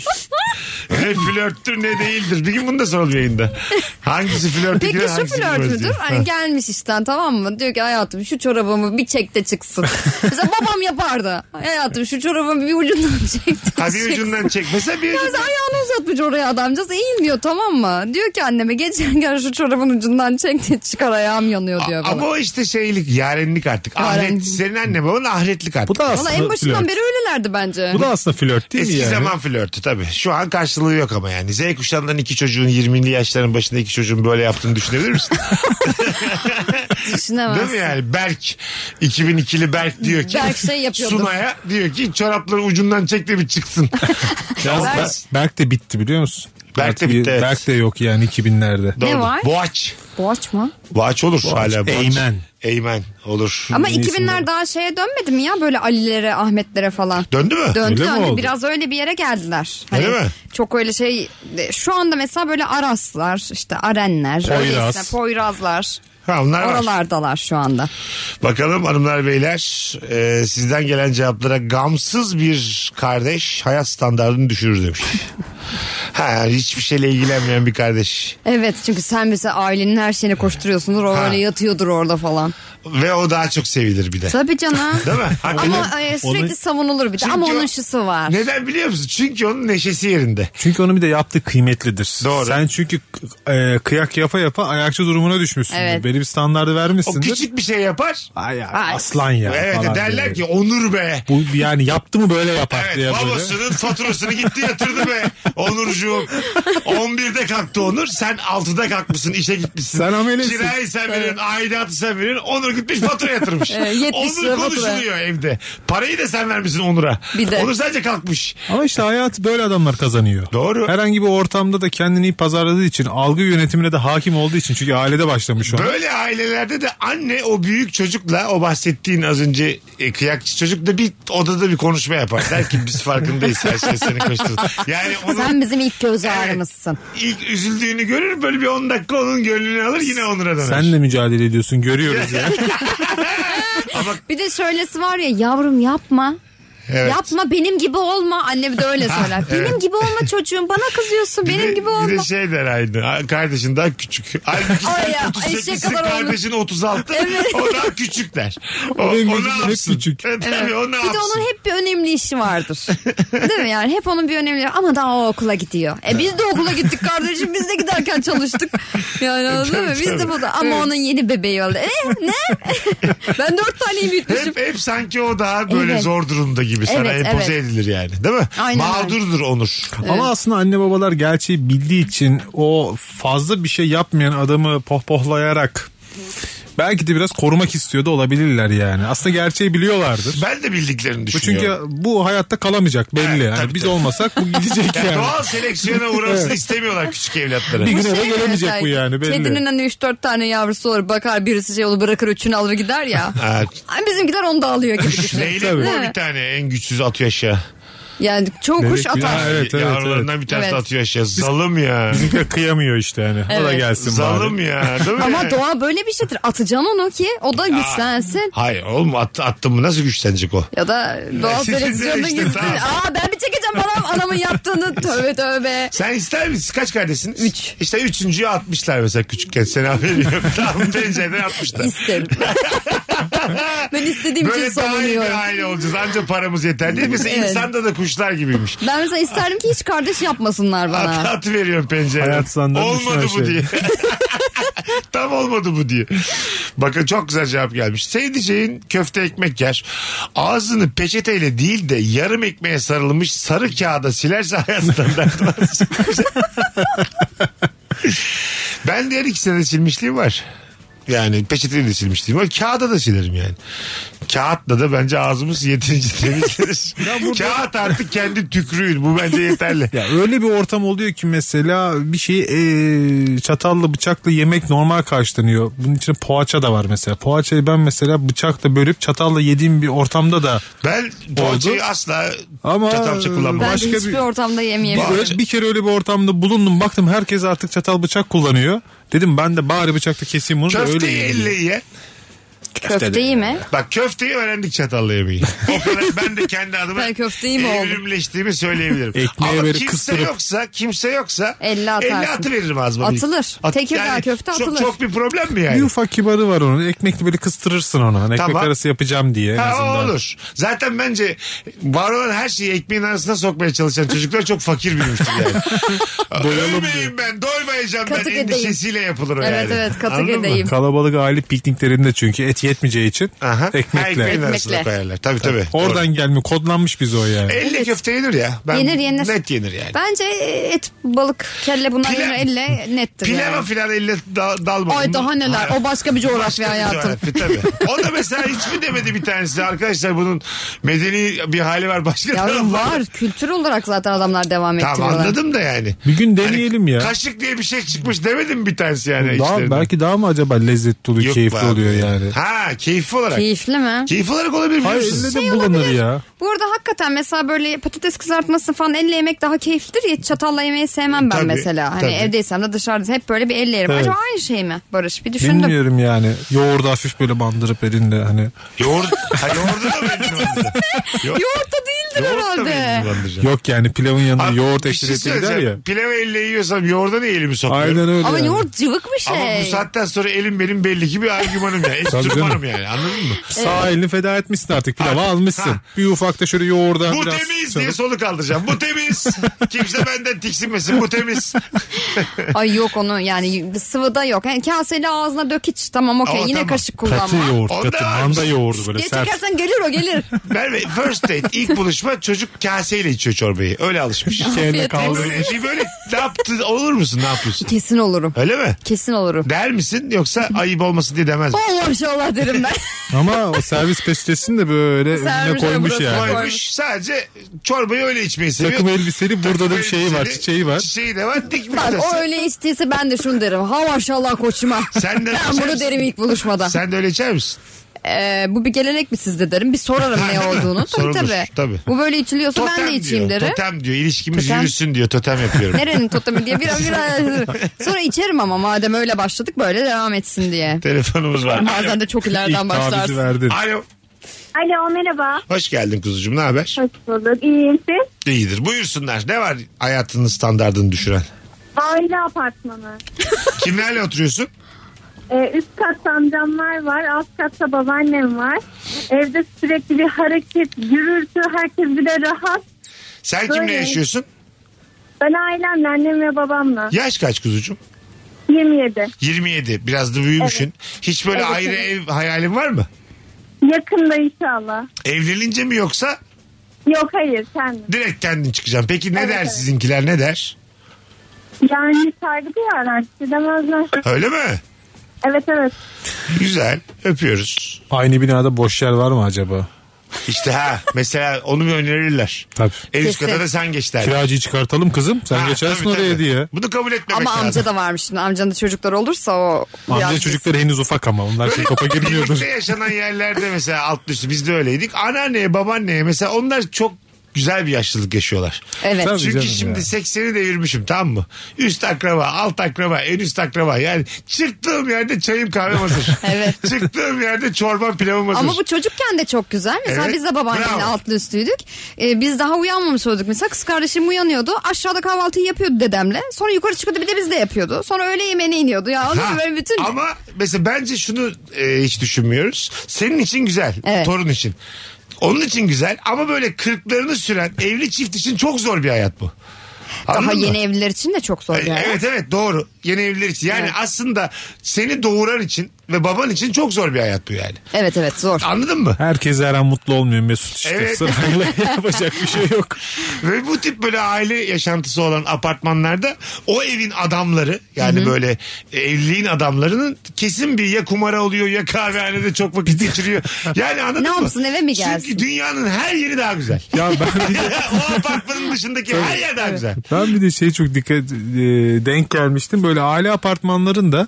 Speaker 3: ne flörttür ne değildir. Bir gün bunu da soralım yayında. Hangisi flörte
Speaker 4: Peki
Speaker 3: girer
Speaker 4: şu
Speaker 3: hangisi
Speaker 4: flört
Speaker 3: girmez diye.
Speaker 4: müdür? Hani gelmiş işten tamam mı? Diyor ki hayatım şu çorabımı bir çek de çıksın. Mesela babam yapardı. Hayatım şu çorabımı bir ucundan çek de
Speaker 3: Ha bir
Speaker 4: çıksın.
Speaker 3: ucundan çek. Mesela bir
Speaker 4: Mesela
Speaker 3: ucundan.
Speaker 4: ayağını uzatmış oraya adamcağız eğilmiyor tamam mı? Diyor ki anneme geçen gel şu çorabın ucundan çek de çıkar ayağım yanıyor diyor bana.
Speaker 3: Ama o işte şeylik, yarenlik artık. Ahret,
Speaker 4: Yarenlik.
Speaker 3: senin anne baban ahretlik artık.
Speaker 5: Bu da
Speaker 4: Valla
Speaker 5: aslında
Speaker 4: en başından
Speaker 5: flört.
Speaker 4: beri öylelerdi bence.
Speaker 5: Bu da aslında flört değil
Speaker 3: Eski
Speaker 5: mi yani?
Speaker 3: zaman flörtü tabii. Şu an karşılığı yok ama yani. Z kuşağından iki çocuğun 20'li yaşların başında iki çocuğun böyle yaptığını düşünebilir misin?
Speaker 4: Düşünemezsin.
Speaker 3: Değil mi yani? Berk 2002'li Berk diyor ki.
Speaker 4: Berk şey yapıyordu.
Speaker 3: Sunay'a diyor ki çorapları ucundan çek de bir çıksın.
Speaker 5: Yalnız
Speaker 4: Berk-
Speaker 5: Berk, Berk de bitti biliyor musun?
Speaker 3: Berk de
Speaker 5: Artık-
Speaker 3: bitti, evet.
Speaker 5: Berk de yok yani 2000'lerde.
Speaker 3: Doğru.
Speaker 4: var?
Speaker 3: Boğaç.
Speaker 4: Boğaç mı?
Speaker 3: Boğaç olur hala. Boğaç.
Speaker 5: Eymen.
Speaker 3: Eymen olur.
Speaker 4: Ama
Speaker 5: Yeni
Speaker 4: 2000'ler
Speaker 5: isimler.
Speaker 4: daha şeye dönmedi mi ya böyle Ali'lere, Ahmet'lere falan?
Speaker 3: Döndü mü?
Speaker 4: Döndü
Speaker 5: Öyle mi
Speaker 4: döndü.
Speaker 5: oldu?
Speaker 4: Biraz öyle bir yere geldiler. Hani
Speaker 3: Öyle mi?
Speaker 4: Çok öyle şey. Şu anda mesela böyle Araslar, işte Arenler.
Speaker 5: Poyraz.
Speaker 4: öylesine Poyrazlar.
Speaker 3: Ha, onlar var.
Speaker 4: Oralardalar şu anda.
Speaker 3: Bakalım hanımlar beyler e, sizden gelen cevaplara gamsız bir kardeş hayat standartını düşürür demiş. ha hiçbir şeyle ilgilenmeyen bir kardeş.
Speaker 4: Evet çünkü sen mesela ailenin her şeyine koşturuyorsundur. O
Speaker 3: Ha.
Speaker 4: öyle yatıyordur orada falan.
Speaker 3: Ve o daha çok sevilir bir de.
Speaker 4: Tabii canım.
Speaker 3: Değil mi? Hakikaten.
Speaker 4: Ama e, sürekli
Speaker 5: Onu-
Speaker 4: savunulur bir de. Ama
Speaker 3: Çünkü o-
Speaker 4: onun şusu var.
Speaker 3: Neden biliyor musun? Çünkü onun neşesi yerinde.
Speaker 5: Çünkü onun bir de yaptığı kıymetlidir.
Speaker 3: Doğru.
Speaker 5: Sen çünkü e, kıyak yapa yapa ayakçı durumuna düşmüşsündür.
Speaker 4: Evet.
Speaker 5: Belli bir standardı
Speaker 3: O
Speaker 5: vermişsindir.
Speaker 3: küçük bir şey yapar.
Speaker 5: Ay, ay,
Speaker 4: Ay.
Speaker 5: aslan ya.
Speaker 3: evet
Speaker 5: falan
Speaker 3: derler
Speaker 5: diye.
Speaker 3: ki onur be.
Speaker 5: Bu yani yaptı mı böyle yapar diye
Speaker 3: Evet
Speaker 5: böyle.
Speaker 3: babasının faturasını gitti yatırdı be Onurcuğum. 11'de kalktı Onur sen 6'da kalkmışsın işe gitmişsin.
Speaker 5: Sen amelesin.
Speaker 3: Kirayı sen veriyorsun aidatı sen veriyorsun Onur gitmiş fatura yatırmış.
Speaker 4: Evet, 70
Speaker 3: Onur
Speaker 4: lira fatura.
Speaker 3: konuşuluyor evde. Parayı da sen vermişsin Onur'a.
Speaker 4: Bir de.
Speaker 3: Onur sadece kalkmış.
Speaker 5: Ama işte hayatı böyle adamlar kazanıyor.
Speaker 3: Doğru.
Speaker 5: Herhangi bir ortamda da kendini iyi pazarladığı için, algı yönetimine de hakim olduğu için çünkü ailede başlamış o.
Speaker 3: Böyle ailelerde de anne o büyük çocukla o bahsettiğin az önce e, kıyakçı çocukla bir odada bir konuşma yapar. Der ki biz farkındayız her şey seni koşturdu. Yani onun
Speaker 4: Sen bizim ilk göz
Speaker 3: Evet.
Speaker 4: ağrımızsın.
Speaker 3: ilk üzüldüğünü görür böyle bir 10 dakika onun gönlünü alır yine Onur'a döner.
Speaker 5: Senle mücadele ediyorsun görüyoruz ya.
Speaker 4: Bir de şöylesi var ya yavrum yapma.
Speaker 3: Evet.
Speaker 4: Yapma benim gibi olma. Annem de öyle söyler. Benim gibi olma çocuğum. Bana kızıyorsun.
Speaker 3: Bir
Speaker 4: Benim
Speaker 3: de-
Speaker 4: gibi
Speaker 3: Bir
Speaker 4: olma.
Speaker 3: de şey der aynı. "Aa, Kardeşin daha küçük. Halbuki
Speaker 4: Ay
Speaker 3: sen
Speaker 4: ya,
Speaker 3: 38
Speaker 4: eşek kadar olmuş.
Speaker 3: kardeşin 36. O daha küçük der. O,
Speaker 5: O benim
Speaker 3: o ne
Speaker 5: gözümde hep
Speaker 3: yapsın?
Speaker 5: küçük.
Speaker 3: E, tabii o ne
Speaker 4: Bir de
Speaker 3: yapsın?
Speaker 4: onun hep bir önemli işi vardır. Değil mi yani? Hep onun bir önemli ama daha o okula gidiyor. E biz de okula gittik kardeşim. Biz de giderken çalıştık. Yani
Speaker 3: E,
Speaker 4: anladın mı? Biz de bu da. Ama onun yeni bebeği oldu. E ne? ben dört taneyi büyütmüşüm.
Speaker 3: Hep, hep sanki o daha böyle
Speaker 4: Evet.
Speaker 3: zor durumda gibi sana
Speaker 4: Evet,
Speaker 3: empoze edilir yani değil mi?
Speaker 4: Aynen öyle.
Speaker 3: Mağdurdur Onur.
Speaker 5: Ama aslında anne babalar gerçeği bildiği için o fazla bir şey yapmayan adamı pohpohlayarak belki de biraz korumak istiyordu olabilirler yani. Aslında gerçeği biliyorlardır.
Speaker 3: Ben de bildiklerini
Speaker 5: Bu çünkü
Speaker 3: düşünüyorum.
Speaker 5: bu hayatta kalamayacak belli.
Speaker 3: Evet,
Speaker 5: yani
Speaker 3: tabii,
Speaker 5: biz
Speaker 3: tabii.
Speaker 5: olmasak bu gidecek
Speaker 3: Yani
Speaker 5: yani.
Speaker 3: doğal seleksiyona uğramasını istemiyorlar küçük evlatlara.
Speaker 5: Bir gün eve
Speaker 4: Şey gibi
Speaker 5: gelemeyecek
Speaker 4: mesela,
Speaker 5: bu yani belli.
Speaker 4: Kedinin hani 3-4 tane yavrusu olur bakar birisi şey olur bırakır üçünü alır gider ya.
Speaker 3: Ha,
Speaker 4: Ay, Bizimkiler onu da alıyor gibi düşün.
Speaker 3: Leylek mi o
Speaker 4: Tabii.
Speaker 3: bir tane en güçsüz atıyor aşağı.
Speaker 4: Yani çoğu kuş
Speaker 5: Leylek-
Speaker 4: atar.
Speaker 5: Ha, evet, evet,
Speaker 3: Yavrularından bir tanesi
Speaker 4: Evet.
Speaker 3: atıyor aşağı. Zalım ya.
Speaker 5: Bizimkiler kıyamıyor işte yani. O da
Speaker 4: Evet.
Speaker 5: gelsin
Speaker 3: Zalım
Speaker 5: bari.
Speaker 3: ya. Değil mi?
Speaker 4: Ama doğa böyle bir şeydir. Atacaksın onu ki o da güçlensin.
Speaker 3: Hayır oğlum at, attın mı nasıl güçlenecek o?
Speaker 4: Ya da doğal
Speaker 3: İşte
Speaker 4: seleksiyonuna
Speaker 3: işte
Speaker 4: gitsin.
Speaker 3: tamam.
Speaker 4: Aa ben bir çekeceğim bana anamın yaptığını. Tövbe tövbe.
Speaker 3: Sen ister misin? Kaç kardeşsiniz?
Speaker 4: Üç.
Speaker 3: İşte üçüncüyü atmışlar mesela küçükken. Sen haberin yok. Tam pencereden atmışlar.
Speaker 4: İsterim. ben istediğim
Speaker 3: Böyle
Speaker 4: için
Speaker 3: daha iyi
Speaker 4: savunuyorum.
Speaker 3: bir aile olacağız. Anca paramız yeter değil. Mesela
Speaker 4: Evet.
Speaker 3: insanda da kuşlar gibiymiş.
Speaker 4: Ben mesela isterdim ki hiç kardeş yapmasınlar
Speaker 3: At,
Speaker 4: bana.
Speaker 3: at veriyorum pencereden.
Speaker 5: Hayat senden
Speaker 3: Olmadı bu
Speaker 5: düşman şey.
Speaker 3: diye. Tam olmadı bu diye. Bakın çok güzel cevap gelmiş. Sevdiceğin köfte ekmek yer. Ağzını peçeteyle değil de yarım ekmeğe sarılmış sarı kağıda silerse hayat standartı var. ben diğer ikisine de silmişliğim var. Yani peçeteyle de silmişliğim var. Kağıda da silerim yani. Kağıtla da bence ağzımız yeterince temizlenir. Kağıt artık kendi tükrüğün. Bu bence yeterli.
Speaker 5: Ya öyle bir ortam oluyor ki mesela bir şeyi eee, çatalla bıçakla yemek normal karşılanıyor. Bunun içine poğaça da var mesela. Poğaçayı ben mesela bıçakla bölüp çatalla yediğim bir ortamda da
Speaker 3: Ben poğaçayı asla
Speaker 5: Ama- e,
Speaker 3: çatalça kullanmam.
Speaker 4: Ben de
Speaker 5: Başka bir-
Speaker 4: hiçbir ortamda yemeyemiyorum.
Speaker 5: Öyle- bir kere öyle bir ortamda bulundum. Baktım herkes artık çatal bıçak kullanıyor. Dedim ben de bari bıçakla keseyim bunu da şey öyle
Speaker 3: Köfteyi
Speaker 5: yiyeyim.
Speaker 3: elle ye.
Speaker 4: Köfteyi mi?
Speaker 3: Bak köfteyi öğrendik çatallı yemeği. O kadar ben de kendi adıma
Speaker 4: Ben köfteyi mi oldum?
Speaker 3: evrimleştiğimi söyleyebilirim.
Speaker 5: Ekmeğe
Speaker 3: Ama
Speaker 5: böyle
Speaker 3: kimse
Speaker 5: kıstırıp-
Speaker 3: yoksa kimse yoksa
Speaker 4: Elle atarsın.
Speaker 3: atıveririm ağzıma.
Speaker 4: Atılır. Tekirdağ köfte
Speaker 3: çok,
Speaker 4: atılır.
Speaker 3: Çok bir problem mi yani?
Speaker 5: Bir ufak kibarı var onun. Ekmekle böyle kıstırırsın onu. Hani
Speaker 3: Tamam.
Speaker 5: Ekmek arası yapacağım diye en
Speaker 3: Ha, o
Speaker 5: azından.
Speaker 3: olur. Zaten bence var olan her şeyi ekmeğin arasına sokmaya çalışan çocuklar çok fakir büyümüştür yani. Ölmeyeyim ben, doymayacağım
Speaker 4: Katı
Speaker 3: ben
Speaker 4: gıdayım.
Speaker 3: endişesiyle yapılır o
Speaker 4: Evet
Speaker 3: yani.
Speaker 4: evet katı
Speaker 3: Anladın mı?
Speaker 4: gedeyim.
Speaker 5: Kalabalık aile pikniklerinde çünkü et yetmeyeceği için
Speaker 3: Aha. Ha,
Speaker 5: ekmekle.
Speaker 3: ekmeğin arasına
Speaker 4: Ekmekle.
Speaker 3: koyarlar. Tabii tabii.
Speaker 5: Oradan gelme kodlanmış biz o yani.
Speaker 3: Elle köfte yenir ya. Ben
Speaker 4: Yenir, yenir.
Speaker 3: Net yenir yani.
Speaker 4: Bence et, balık, kelle bunlar
Speaker 3: Pilav-
Speaker 4: yine elle nettir
Speaker 3: Pilava
Speaker 4: yani.
Speaker 3: filan elle da- dalmadım.
Speaker 4: Ay daha neler. O başka bir coğrafya hayatım.
Speaker 3: Coğrafi, tabii. O da mesela hiç mi demedi bir tanesi arkadaşlar bunun medeni bir hali var başka
Speaker 4: Yavrum
Speaker 3: taraflar-
Speaker 4: var. Kültür olarak zaten adamlar devam
Speaker 3: Tamam
Speaker 4: ettiriyorlar.
Speaker 3: anladım da yani.
Speaker 5: Bir gün
Speaker 3: hani
Speaker 5: deneyelim ya.
Speaker 3: Kaşık diye bir şey çıkmış demedim bir tanesi yani.
Speaker 5: daha,
Speaker 3: içlerinden?
Speaker 5: belki daha mı acaba lezzetli oluyor,
Speaker 3: Yok
Speaker 5: keyifli
Speaker 3: be abi.
Speaker 5: oluyor yani.
Speaker 3: Ha keyifli olarak. Keyif,
Speaker 4: Keyifli mi?
Speaker 3: olarak olabilir biliyor
Speaker 5: Hayır
Speaker 3: musun?
Speaker 5: elle de bulanır ya.
Speaker 4: Bu arada hakikaten mesela böyle patates kızartması falan elle yemek daha keyiflidir ya çatalla yemeyi sevmem ben
Speaker 3: Tabii,
Speaker 4: mesela. Hani
Speaker 3: tabii.
Speaker 4: evdeysem de dışarıda hep böyle bir elle yerim.
Speaker 5: Evet.
Speaker 4: Acaba aynı şey mi Barış? Bir düşündüm.
Speaker 5: Bilmiyorum yani. Yoğurdu hafif böyle bandırıp elinde hani.
Speaker 3: Yoğurt. Ha, yoğurdu da benim bandıracağım.
Speaker 4: Yoğurt da değildir
Speaker 3: Yoğurt da
Speaker 4: herhalde.
Speaker 3: benim bandıracağım.
Speaker 5: Yok yani pilavın yanında
Speaker 3: Abi,
Speaker 5: Hani yoğurt
Speaker 3: bir şey
Speaker 5: eşlik gider ya.
Speaker 3: söyleyeceğim. Pilavı elle yiyorsam yoğurda niye elimi sokuyorum?
Speaker 5: Aynen öyle.
Speaker 4: Ama
Speaker 5: yani.
Speaker 4: yoğurt cıvık bir şey.
Speaker 3: Ama bu saatten sonra elim benim belli ki bir argümanım yani. Enstrümanım
Speaker 5: canım.
Speaker 3: yani anladın mı?
Speaker 5: Sağ elini feda etmişsin artık pilava
Speaker 3: Ha,
Speaker 5: almışsın.
Speaker 3: ha.
Speaker 5: Bir ufak da şöyle yoğurdan
Speaker 3: Bu
Speaker 5: biraz.
Speaker 3: temiz
Speaker 5: çalıp-
Speaker 3: diye solu kaldıracağım. Bu temiz. Kimse benden tiksinmesin. Bu temiz.
Speaker 4: Ay yok onu yani sıvıda yok. Yani kaseyle ağzına dök iç tamam okey
Speaker 3: Ama
Speaker 4: yine
Speaker 3: tamam.
Speaker 4: kaşık
Speaker 5: Katı
Speaker 4: kullanma.
Speaker 5: yoğurt
Speaker 3: Onda
Speaker 5: katı.
Speaker 3: var.
Speaker 5: Manda yoğurdu böyle
Speaker 4: Diye
Speaker 5: sert.
Speaker 4: çekersen gelir o gelir.
Speaker 3: Merve first date ilk buluşma çocuk kaseyle içiyor çorbayı. Öyle alışmış.
Speaker 5: Elle
Speaker 4: Afiyet olsun.
Speaker 5: kaldı.
Speaker 3: Böyle, bir böyle ne yaptın olur musun ne yapıyorsun?
Speaker 4: Kesin olurum.
Speaker 3: Öyle mi?
Speaker 4: Kesin olurum.
Speaker 3: Der misin yoksa ayıp olmasın diye demez mi?
Speaker 4: Allah inşallah derim ben.
Speaker 5: Ama o servis peçetesini de böyle önüne
Speaker 4: Servise
Speaker 5: koymuş
Speaker 4: burası
Speaker 5: yani.
Speaker 4: koy.
Speaker 3: Koymuş sadece çorbayı öyle içmeyi seviyor.
Speaker 5: Takım elbiseli burada da bir şeyi var
Speaker 3: Elbiseli,
Speaker 5: çiçeği var.
Speaker 3: Çiçeği de var dikmiş.
Speaker 4: Bak
Speaker 3: de.
Speaker 4: o öyle içtiyse ben de şunu derim. Ha maşallah koçuma.
Speaker 3: Sen de
Speaker 4: ben bunu derim ilk buluşmada.
Speaker 3: Sen de öyle içer misin?
Speaker 4: Ee, bu bir gelenek mi sizde derim. Bir sorarım ne olduğunu. Tabii
Speaker 3: Sorulur,
Speaker 4: tabii.
Speaker 3: tabii.
Speaker 4: Bu böyle içiliyorsa ben de
Speaker 3: Totem
Speaker 4: içeyim
Speaker 3: diyor.
Speaker 4: derim.
Speaker 3: Totem diyor. İlişkimiz
Speaker 4: Totem.
Speaker 3: yürüsün diyor. Totem yapıyorum.
Speaker 4: Nerenin totemi diye bir bir Sonra içerim ama madem öyle başladık böyle devam etsin diye.
Speaker 3: Telefonumuz var. Alo.
Speaker 4: Bazen de çok
Speaker 5: İlk
Speaker 4: ileriden
Speaker 5: tavizi
Speaker 4: başlarsın.
Speaker 5: verdin.
Speaker 3: Alo.
Speaker 8: Alo merhaba.
Speaker 3: Hoş geldin kuzucuğum. Ne haber?
Speaker 8: Hoş bulduk. İyiyim siz?
Speaker 3: İyidir. Buyursunlar. Ne var hayatının standartını düşüren?
Speaker 8: Aile apartmanı.
Speaker 3: Kimlerle oturuyorsun?
Speaker 8: Ee, üst katta amcamlar var. Alt katta babaannem var. Evde sürekli bir hareket, gürültü. Herkes bir de rahat.
Speaker 3: Sen
Speaker 8: Böyle.
Speaker 3: kimle yaşıyorsun?
Speaker 8: Ben ailemle, annem ve babamla.
Speaker 3: Yaş kaç kuzucuğum?
Speaker 8: 27.
Speaker 3: 27. Biraz da büyümüşsün. Hiç böyle
Speaker 8: Evet,
Speaker 3: ayrı
Speaker 8: evet.
Speaker 3: ev hayalin var mı?
Speaker 8: Yakında inşallah.
Speaker 3: Evlenince mi yoksa
Speaker 8: Yok hayır kendim.
Speaker 3: direkt kendin çıkacaksın? Peki ne
Speaker 8: Evet,
Speaker 3: der
Speaker 8: evet.
Speaker 3: sizinkiler ne der?
Speaker 8: Yani saygı duyarlar. işte demezler.
Speaker 3: Öyle mi?
Speaker 8: Evet evet.
Speaker 3: Güzel. Öpüyoruz.
Speaker 5: Aynı binada boş yer var mı acaba?
Speaker 3: İşte ha mesela onu mu önerirler?
Speaker 5: Tabii.
Speaker 3: En üst
Speaker 4: Kesin.
Speaker 3: kata da sen geç der.
Speaker 5: Kiracıyı çıkartalım kızım. Sen
Speaker 3: Ha,
Speaker 5: geçersin
Speaker 3: tabii,
Speaker 5: oraya
Speaker 3: tabii.
Speaker 5: diye.
Speaker 3: Bunu kabul etmemek
Speaker 4: Ama
Speaker 3: lazım.
Speaker 4: amca da varmış şimdi. Amcanın da çocukları olursa o
Speaker 5: Amca
Speaker 4: biraz-
Speaker 5: çocukları henüz ufak ama onlar şey topa girmiyordur.
Speaker 3: Birlikte yaşanan yerlerde mesela alt üstü biz de öyleydik. Anneanneye babaanneye mesela onlar çok güzel bir yaşlılık yaşıyorlar.
Speaker 4: Evet.
Speaker 5: Tabii
Speaker 3: Çünkü
Speaker 5: canım
Speaker 3: şimdi
Speaker 5: ya.
Speaker 3: 80'i devirmişim tamam mı? Üst akraba, alt akraba, en üst akraba. Yani çıktığım yerde çayım kahvem hazır.
Speaker 4: Evet.
Speaker 3: çıktığım yerde çorbam pilavım hazır.
Speaker 4: Ama bu çocukken de çok güzel. Mesela
Speaker 3: Evet,
Speaker 4: biz de babaannemle
Speaker 3: bravo.
Speaker 4: altlı üstlüydük. Ee, biz daha uyanmamış olduk. Mesela kız kardeşim uyanıyordu. Aşağıda kahvaltıyı yapıyordu dedemle. Sonra yukarı çıkıyordu bir de biz de yapıyordu. Sonra öğle yemeğine iniyordu. Ya anladın
Speaker 3: Ha,
Speaker 4: mı? Böyle bütün...
Speaker 3: Ama mesela bence şunu e, hiç düşünmüyoruz. Senin için güzel.
Speaker 4: Evet.
Speaker 3: Torun için. Onun için güzel ama böyle kırklarını süren evli çift için çok zor bir hayat bu.
Speaker 4: Daha
Speaker 3: Anladın mı?
Speaker 4: yeni evliler için de çok zor.
Speaker 3: E,
Speaker 4: yani.
Speaker 3: Evet evet doğru. Yeni evliler için. Yani
Speaker 4: Evet.
Speaker 3: aslında seni doğuran için ve baban için çok zor bir hayat bu yani.
Speaker 4: evet evet zor.
Speaker 3: Anladın mı?
Speaker 5: Herkes her an mutlu olmuyor Mesut işte.
Speaker 3: Evet.
Speaker 5: Sırayla yapacak bir şey yok.
Speaker 3: Ve bu tip böyle aile yaşantısı olan apartmanlarda o evin adamları yani böyle e, evliliğin adamlarının kesin bir ya kumara oluyor ya kahvehanede çok vakit geçiriyor. Yani anladın
Speaker 4: Ne
Speaker 3: mı?
Speaker 4: yapsın, eve mi
Speaker 3: Çünkü
Speaker 4: gelsin?
Speaker 3: dünyanın her yeri daha güzel.
Speaker 5: Ya ben bir de,
Speaker 3: o apartmanın dışındaki her yer daha güzel.
Speaker 5: ben bir de şey çok dikkat e, denk gelmiştim. Böyle aile apartmanlarında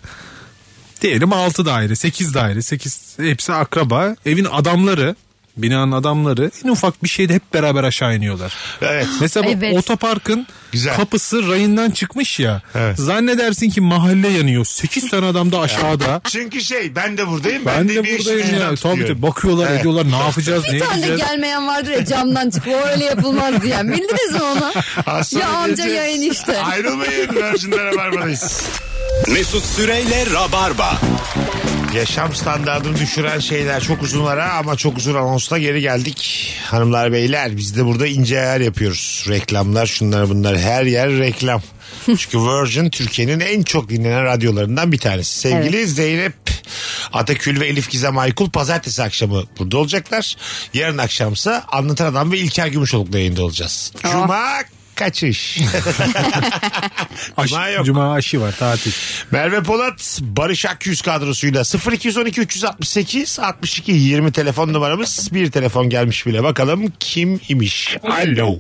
Speaker 5: diyelim 6 daire, 8 daire, 8 hepsi akraba. Evin adamları binanın adamları en ufak bir şeyde hep beraber aşağı iniyorlar.
Speaker 3: Evet.
Speaker 5: Mesela bu
Speaker 4: Evet.
Speaker 5: otoparkın
Speaker 3: Güzel.
Speaker 5: kapısı rayından çıkmış ya.
Speaker 3: Evet.
Speaker 5: Zannedersin ki mahalle yanıyor. 8 tane adam da aşağıda.
Speaker 3: Çünkü şey ben de buradayım.
Speaker 5: ben de
Speaker 3: bir işin
Speaker 5: buradayım ya.
Speaker 3: ucundan
Speaker 5: Tabii
Speaker 3: tutuyorum.
Speaker 5: ki bakıyorlar
Speaker 3: Evet.
Speaker 5: ediyorlar ne yapacağız ne
Speaker 4: Bir tane de
Speaker 5: edeceğiz.
Speaker 4: gelmeyen vardır ya camdan çıkıp "O öyle yapılmaz diyen. Bildiniz mi onu?
Speaker 3: Az sonra
Speaker 4: ya amca
Speaker 3: geleceğiz.
Speaker 4: ya enişte.
Speaker 3: Ayrılmayın. Virgin'de Rabarba'dayız.
Speaker 2: Mesut Süreyle Rabarba.
Speaker 3: Yaşam standartını düşüren şeyler çok uzun ara ama çok uzun anonsla geri geldik. Hanımlar beyler biz de burada ince ayar yapıyoruz. Reklamlar şunlar bunlar her yer reklam. Çünkü Virgin Türkiye'nin en çok dinlenen radyolarından bir tanesi. Sevgili Zeynep Atakül ve Elif Gizem Aykul pazartesi akşamı burada olacaklar. Yarın akşamsa Anlatan Adam ve İlker Gümüşoluk'la yayında olacağız. Cuma kaçış.
Speaker 5: Aş-
Speaker 3: Cuma yok.
Speaker 5: Cuma aşı var tatil.
Speaker 3: Merve Polat Barış Akyüz kadrosuyla 0212 368 62 20 telefon numaramız. Bir telefon gelmiş bile bakalım kim imiş. Alo.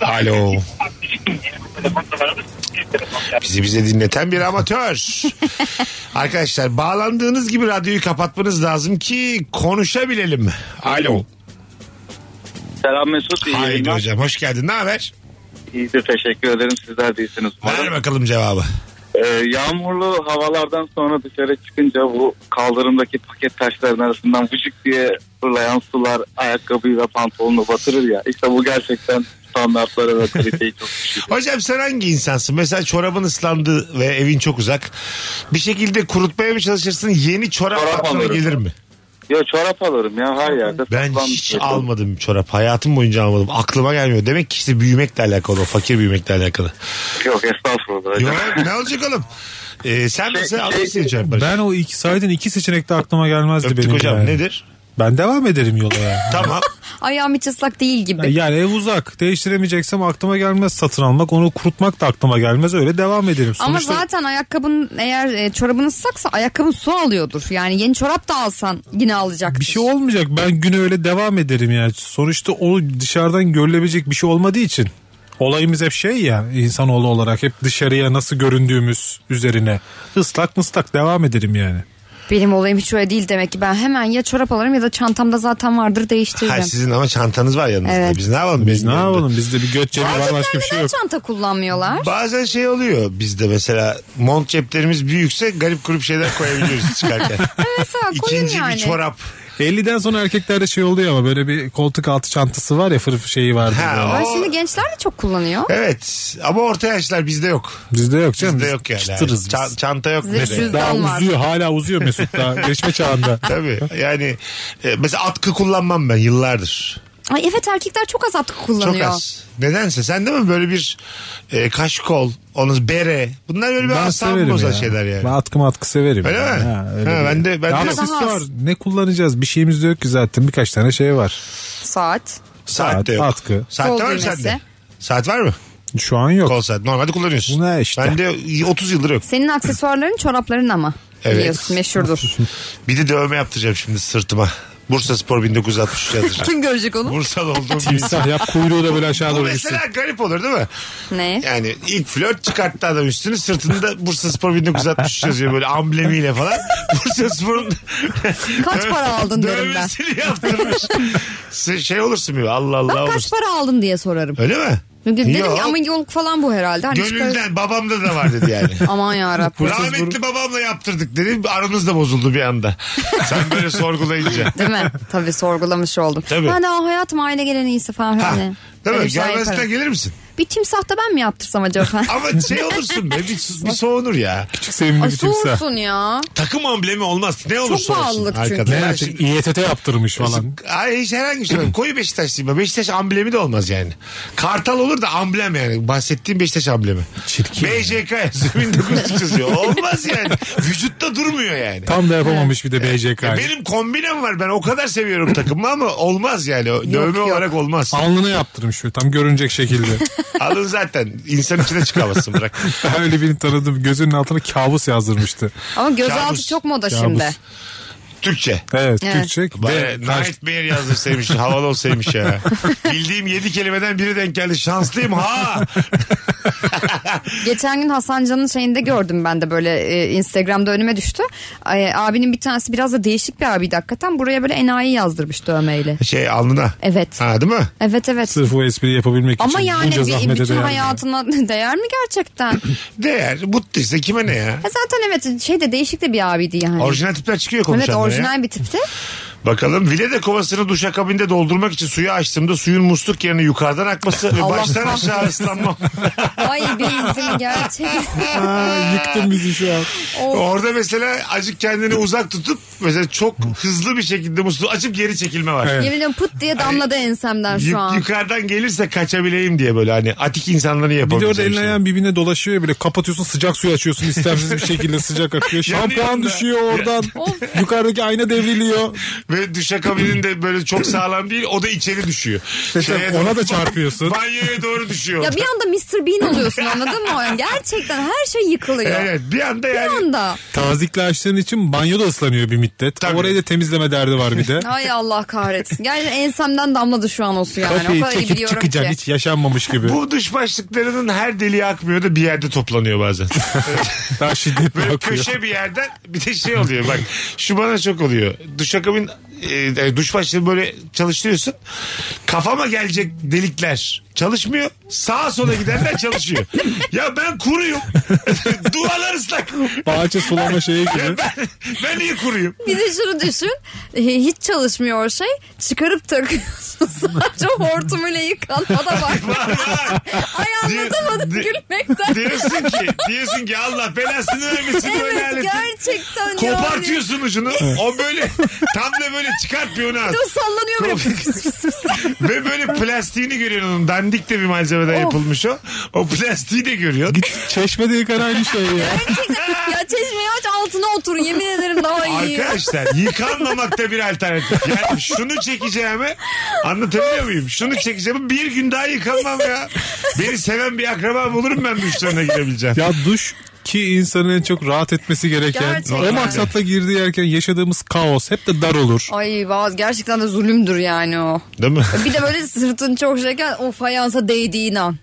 Speaker 3: Alo. Bizi bize dinleten bir amatör. Arkadaşlar bağlandığınız gibi radyoyu kapatmanız lazım ki konuşabilelim. Alo.
Speaker 6: Selam Mesut. iyi
Speaker 3: Haydi
Speaker 6: yayınlar.
Speaker 3: hocam hoş geldin. Ne haber?
Speaker 6: İyidir teşekkür ederim. Sizler de iyisiniz.
Speaker 3: Ver
Speaker 6: umarım.
Speaker 3: bakalım cevabı.
Speaker 6: Ee, yağmurlu havalardan sonra dışarı çıkınca bu kaldırımdaki paket taşların arasından vıcık diye fırlayan sular ayakkabıyı ve pantolonunu batırır ya. İşte bu gerçekten standartlara ve kaliteyi çok düşürüyor.
Speaker 3: Hocam sen hangi insansın? Mesela çorabın ıslandı ve evin çok uzak. Bir şekilde kurutmaya mı çalışırsın? Yeni çorap,
Speaker 6: Çorap
Speaker 3: patronu
Speaker 6: alırım.
Speaker 3: gelir mi?
Speaker 6: Ya çorap alırım ya her yerde.
Speaker 3: Ben
Speaker 6: satılan bir
Speaker 3: hiç
Speaker 6: şey.
Speaker 3: almadım çorap. Hayatım boyunca almadım. Aklıma gelmiyor. Demek ki işte büyümekle alakalı. O fakir büyümekle alakalı.
Speaker 6: Yok estağfurullah.
Speaker 3: Yok ne olacak oğlum? Ee, sen mesela
Speaker 6: şey-
Speaker 3: alırsın çorap. Barış.
Speaker 5: Ben o iki saydın iki seçenek de aklıma gelmezdi
Speaker 3: Öptük
Speaker 5: benim.
Speaker 3: hocam
Speaker 5: yani.
Speaker 3: nedir?
Speaker 5: Ben devam ederim yola yani.
Speaker 3: Tamam.
Speaker 4: Ayağım hiç ıslak değil gibi.
Speaker 5: Yani ev uzak. Değiştiremeyeceksem aklıma gelmez satın almak. Onu kurutmak da aklıma gelmez. Öyle devam ederim.
Speaker 4: Ama
Speaker 5: Sonuçta
Speaker 4: zaten ayakkabın eğer e, çorabın ıslaksa ayakkabın su alıyordur. Yani yeni çorap da alsan yine alacaktır.
Speaker 5: bir şey olmayacak. Ben güne öyle devam ederim yani. Sonuçta o dışarıdan görülebilecek bir şey olmadığı için. Olayımız hep şey ya insanoğlu olarak hep dışarıya nasıl göründüğümüz üzerine. Islak mıslak devam ederim yani.
Speaker 4: Benim olayım hiç öyle değil demek ki. Ben hemen ya çorap alırım ya da çantamda zaten vardır değiştiririm.
Speaker 3: Ha, sizin ama çantanız var yanınızda.
Speaker 4: Evet.
Speaker 3: Biz ne yapalım?
Speaker 5: Biz ne yapalım bizde bir göt cebi var başka bir şey
Speaker 4: Neden
Speaker 5: yok.
Speaker 4: çanta kullanmıyorlar?
Speaker 3: Bazen şey oluyor bizde mesela mont ceplerimiz büyükse garip grup şeyler koyabiliyoruz çıkarken.
Speaker 4: Mesela koyun
Speaker 3: İkinci
Speaker 4: yani.
Speaker 3: bir çorap.
Speaker 5: 50'den sonra erkeklerde şey oluyor ama böyle bir koltuk altı çantası var ya fırf şeyi vardı.
Speaker 3: Ha,
Speaker 4: Ama
Speaker 3: o-
Speaker 4: şimdi gençler de çok kullanıyor.
Speaker 3: E- Evet ama orta yaşlar bizde yok.
Speaker 5: Bizde yok canım.
Speaker 3: Bizde
Speaker 5: biz
Speaker 3: yok yani.
Speaker 5: Çıtırız biz.
Speaker 3: Çan- çanta yok.
Speaker 4: Bizde
Speaker 3: bizde.
Speaker 4: cüz-
Speaker 5: Daha
Speaker 4: Cüzdan var.
Speaker 5: uzuyor hala uzuyor Mesut daha gelişme çağında.
Speaker 3: Tabii yani e, mesela atkı kullanmam ben yıllardır.
Speaker 4: Ay evet erkekler çok az atkı kullanıyor.
Speaker 3: Çok az. Nedense sen de mi böyle bir e, kaşkol, onun bere bunlar böyle bir
Speaker 5: Ben
Speaker 3: asabı
Speaker 5: severim
Speaker 3: bozan
Speaker 5: ya.
Speaker 3: şeyler yani.
Speaker 5: Ben atkı matkı severim.
Speaker 3: Öyle
Speaker 5: yani.
Speaker 3: mi? Ha,
Speaker 5: bir-
Speaker 3: ben de- ben
Speaker 5: Ya
Speaker 3: de-
Speaker 5: ama
Speaker 4: Ama
Speaker 5: siz
Speaker 4: daha
Speaker 5: var.
Speaker 4: az.
Speaker 5: Ne kullanacağız? Bir şeyimiz de yok ki zaten. Birkaç tane şey var.
Speaker 4: Saat.
Speaker 3: Saat de
Speaker 5: Saat,
Speaker 3: yok.
Speaker 5: atkı.
Speaker 3: Saat
Speaker 4: Kol
Speaker 3: var mı
Speaker 4: düğmesi.
Speaker 3: sende? Saat var mı?
Speaker 5: Şu an yok.
Speaker 3: Kol saat. Normalde kullanıyorsun.
Speaker 5: Ne işte.
Speaker 3: Ben de 30 yıldır yok.
Speaker 4: Senin aksesuarların çorapların ama.
Speaker 3: Evet.
Speaker 4: Biliyorsun meşhurdur.
Speaker 3: Bir de dövme yaptıracağım şimdi sırtıma. Bursa Spor 1963 yazır.
Speaker 4: Kim görecek onu?
Speaker 3: Bursalı olduğum gibi.
Speaker 5: Timsah yap kuyruğu da böyle aşağı
Speaker 3: Bu
Speaker 5: doğru gitsin.
Speaker 3: mesela garip olur değil mi?
Speaker 4: Ne?
Speaker 3: Yani ilk flört çıkarttı adam üstünü sırtında Bursa Spor 1963 yazıyor böyle amblemiyle falan. Bursa Spor'un
Speaker 4: Kaç para aldın derim ben.
Speaker 3: dövmesini yaptırmış. Sen şey olursun bir Allah Allah
Speaker 4: Ben kaç
Speaker 3: olursun.
Speaker 4: para aldın diye sorarım.
Speaker 3: Öyle mi?
Speaker 4: Çünkü dedim
Speaker 3: E- Yok.
Speaker 4: ki ama yoluk falan bu herhalde. Hani çıkar-
Speaker 3: Gönülden babamda da var dedi yani.
Speaker 4: Aman yarabbim.
Speaker 3: Rahmetli babamla yaptırdık dedi. Aramız da bozuldu bir anda. Sen böyle sorgulayınca.
Speaker 4: Değil mi? Tabii sorgulamış oldum.
Speaker 3: Tabii.
Speaker 4: Ben de "Aa, hayatım aile gelen iyisi falan.
Speaker 3: Ha,
Speaker 4: hani.
Speaker 3: değil
Speaker 4: Böyle
Speaker 3: mi?
Speaker 4: bir şeyler
Speaker 3: Gelmezsen
Speaker 4: yaparım.
Speaker 3: gelir misin?
Speaker 4: Bir timsah da ben mi yaptırsam acaba?
Speaker 3: Ama şey olursun be bir, bir soğunur ya.
Speaker 5: Küçük sevimli
Speaker 4: Ay
Speaker 5: bir timsah.
Speaker 4: soğursun ya.
Speaker 3: Takım amblemi olmaz. Ne olursa olsun.
Speaker 4: pahalılık çünkü.
Speaker 5: Ne
Speaker 3: arkadaşlar.
Speaker 5: yapacak? İETT yaptırmış falan.
Speaker 3: Ay hiç herhangi bir şey. yok. Koyu Beşiktaşlıyım ben. Beşiktaş amblemi de olmaz yani. Kartal olur da amblem yani. Bahsettiğim Beşiktaş amblemi.
Speaker 5: Çirkin.
Speaker 3: BJK yazıyor. 1900 yazıyor. Olmaz yani. Vücutta durmuyor yani.
Speaker 5: Tam da yapamamış bir de BJK.
Speaker 3: Ya benim kombinem var. Ben o kadar seviyorum takımı ama olmaz yani. O Dövme
Speaker 4: yok.
Speaker 3: olarak olmaz.
Speaker 5: Alnına yaptırmış şu tam görünecek şekilde.
Speaker 3: Alın zaten. İnsan içine çıkamazsın bırak.
Speaker 5: Ben öyle birini tanıdım gözünün altına kabus yazdırmıştı.
Speaker 4: Ama gözaltı
Speaker 3: Kabus.
Speaker 4: çok moda
Speaker 5: Kabus.
Speaker 4: şimdi.
Speaker 3: Türkçe.
Speaker 5: Evet,
Speaker 4: Evet.
Speaker 5: Türkçe.
Speaker 3: Bari
Speaker 5: Ve karşı-
Speaker 3: Nightmare yazdırsaymış. Havalı olsaymış ya. Bildiğim yedi kelimeden biri denk geldi. Şanslıyım ha.
Speaker 4: Geçen gün Hasan Can'ın şeyinde gördüm ben de böyle e, Instagram'da önüme düştü. Ay, abinin bir tanesi biraz da değişik bir abiydi hakikaten. Buraya böyle enayi yazdırmış dövmeyle.
Speaker 3: Şey alnına.
Speaker 4: Evet.
Speaker 3: Ha değil mi?
Speaker 4: Evet evet.
Speaker 5: Sırf bu espri yapabilmek
Speaker 4: Ama
Speaker 5: için
Speaker 4: yani
Speaker 5: bunca
Speaker 4: bir,
Speaker 5: zahmete
Speaker 4: bütün
Speaker 5: değer mi?
Speaker 4: hayatına değer mi gerçekten?
Speaker 3: Değer. Mutluysa kime ne ya?
Speaker 4: E zaten evet şey de değişik de bir abiydi yani.
Speaker 3: Orijinal tipler çıkıyor
Speaker 4: evet
Speaker 3: konuşanlara
Speaker 4: orijinal bir tipti.
Speaker 3: ya. Bakalım Vilede kovasını duşakabinde doldurmak için suyu açtığımda suyun musluk yerine yukarıdan akması ve
Speaker 4: Allah
Speaker 3: baştan
Speaker 4: kahretsin.
Speaker 3: aşağı ıslanmam.
Speaker 4: Ay bir izin gerçekten.
Speaker 5: Aa, yıktın bizi şu an.
Speaker 3: Orada mesela azıcık kendini uzak tutup mesela çok hızlı bir şekilde musluğu açıp geri çekilme var.
Speaker 5: Evet.
Speaker 4: Yemin ediyorum put diye damladı ensemden
Speaker 3: Yuk-
Speaker 4: şu an.
Speaker 3: yukarıdan gelirse kaçabileyim diye böyle hani atik insanların
Speaker 5: Bir de
Speaker 3: yapabileceği
Speaker 5: orada elin
Speaker 3: şey.
Speaker 5: ayağın birbirine dolaşıyor ya böyle kapatıyorsun sıcak suyu açıyorsun istemsiz bir şekilde sıcak akıyor. Şampuan
Speaker 3: Yanıyor da.
Speaker 5: düşüyor oradan. Yukarıdaki ayna devriliyor.
Speaker 3: Ve duşakabinin de böyle çok sağlam değil o da içeri düşüyor. Şeye
Speaker 5: Şey, ona
Speaker 3: doğru-
Speaker 5: da çarpıyorsun.
Speaker 3: Banyoya doğru düşüyor.
Speaker 4: Ya bir anda Mr. Bean oluyorsun anladın mı? Yani gerçekten her şey yıkılıyor.
Speaker 3: Evet bir anda
Speaker 4: Bir
Speaker 3: yani.
Speaker 4: anda.
Speaker 5: Tazikle açtığın için banyo da ıslanıyor bir müddet.
Speaker 3: Tabii.
Speaker 5: Orayı da temizleme derdi var bir de.
Speaker 4: Ay Allah kahretsin. Gerçekten ensemden damladı şu an o su yani. o
Speaker 5: Kapıyı
Speaker 4: kadar iyi
Speaker 5: çekip
Speaker 4: biliyorum
Speaker 5: çıkacaksın
Speaker 4: ki.
Speaker 5: hiç yaşanmamış gibi.
Speaker 3: Bu dış başlıklarının her deliği akmıyor da bir yerde toplanıyor bazen.
Speaker 5: Daha şiddetli
Speaker 3: Böyle
Speaker 5: akıyor.
Speaker 3: köşe bir yerden bir de şey oluyor bak şu bana çok oluyor. Duşakabin e, e, duş başlığı böyle çalıştırıyorsun. Kafama gelecek delikler çalışmıyor. Sağa sola gidenler çalışıyor. ya ben kuruyum. Duvarlar ıslak.
Speaker 5: Bahçe sulama şeyi gibi.
Speaker 3: Ya ben, ben iyi kuruyum.
Speaker 4: Bir de şunu düşün. E, Hiç çalışmıyor şey. Çıkarıp takıyorsun. Sadece hortumuyla yıkanma da var. Ay anlatamadım
Speaker 3: Di- di-
Speaker 4: gülmekten.
Speaker 3: Diyorsun ki, diyorsun ki Allah belasını vermesin böyle
Speaker 4: Evet
Speaker 3: aletin.
Speaker 4: gerçekten yani.
Speaker 3: Kopartıyorsun ucunu. O böyle tam da böyle çıkartmıyor onu az.
Speaker 4: O sallanıyor böyle.
Speaker 3: Ve böyle plastiğini görüyorsun onun. Dandik de bir malzemeden
Speaker 4: Of.
Speaker 3: yapılmış o. O plastiği de görüyorsun.
Speaker 5: Çeşmede yıkan aynı şey ya.
Speaker 4: Gerçekten ya çeşmeyi aç altına oturun yemin ederim daha iyi.
Speaker 3: Arkadaşlar yıkanmamakta bir alternatif. Yani şunu çekeceğime anlatabiliyor muyum? Şunu çekeceğimi bir gün daha yıkanmam ya. Beni seven bir akraba bulurum ben müşterine gidebileceğim.
Speaker 5: Ya duş ki insanın en çok rahat etmesi gereken
Speaker 4: Gerçekten.
Speaker 5: o maksatla girdiği yerken yaşadığımız kaos hep de dar olur.
Speaker 4: Ay bazı gerçekten de zulümdür yani o.
Speaker 3: Değil mi?
Speaker 4: Bir de böyle sırtın çok şeyken o fayansa değdiğin an.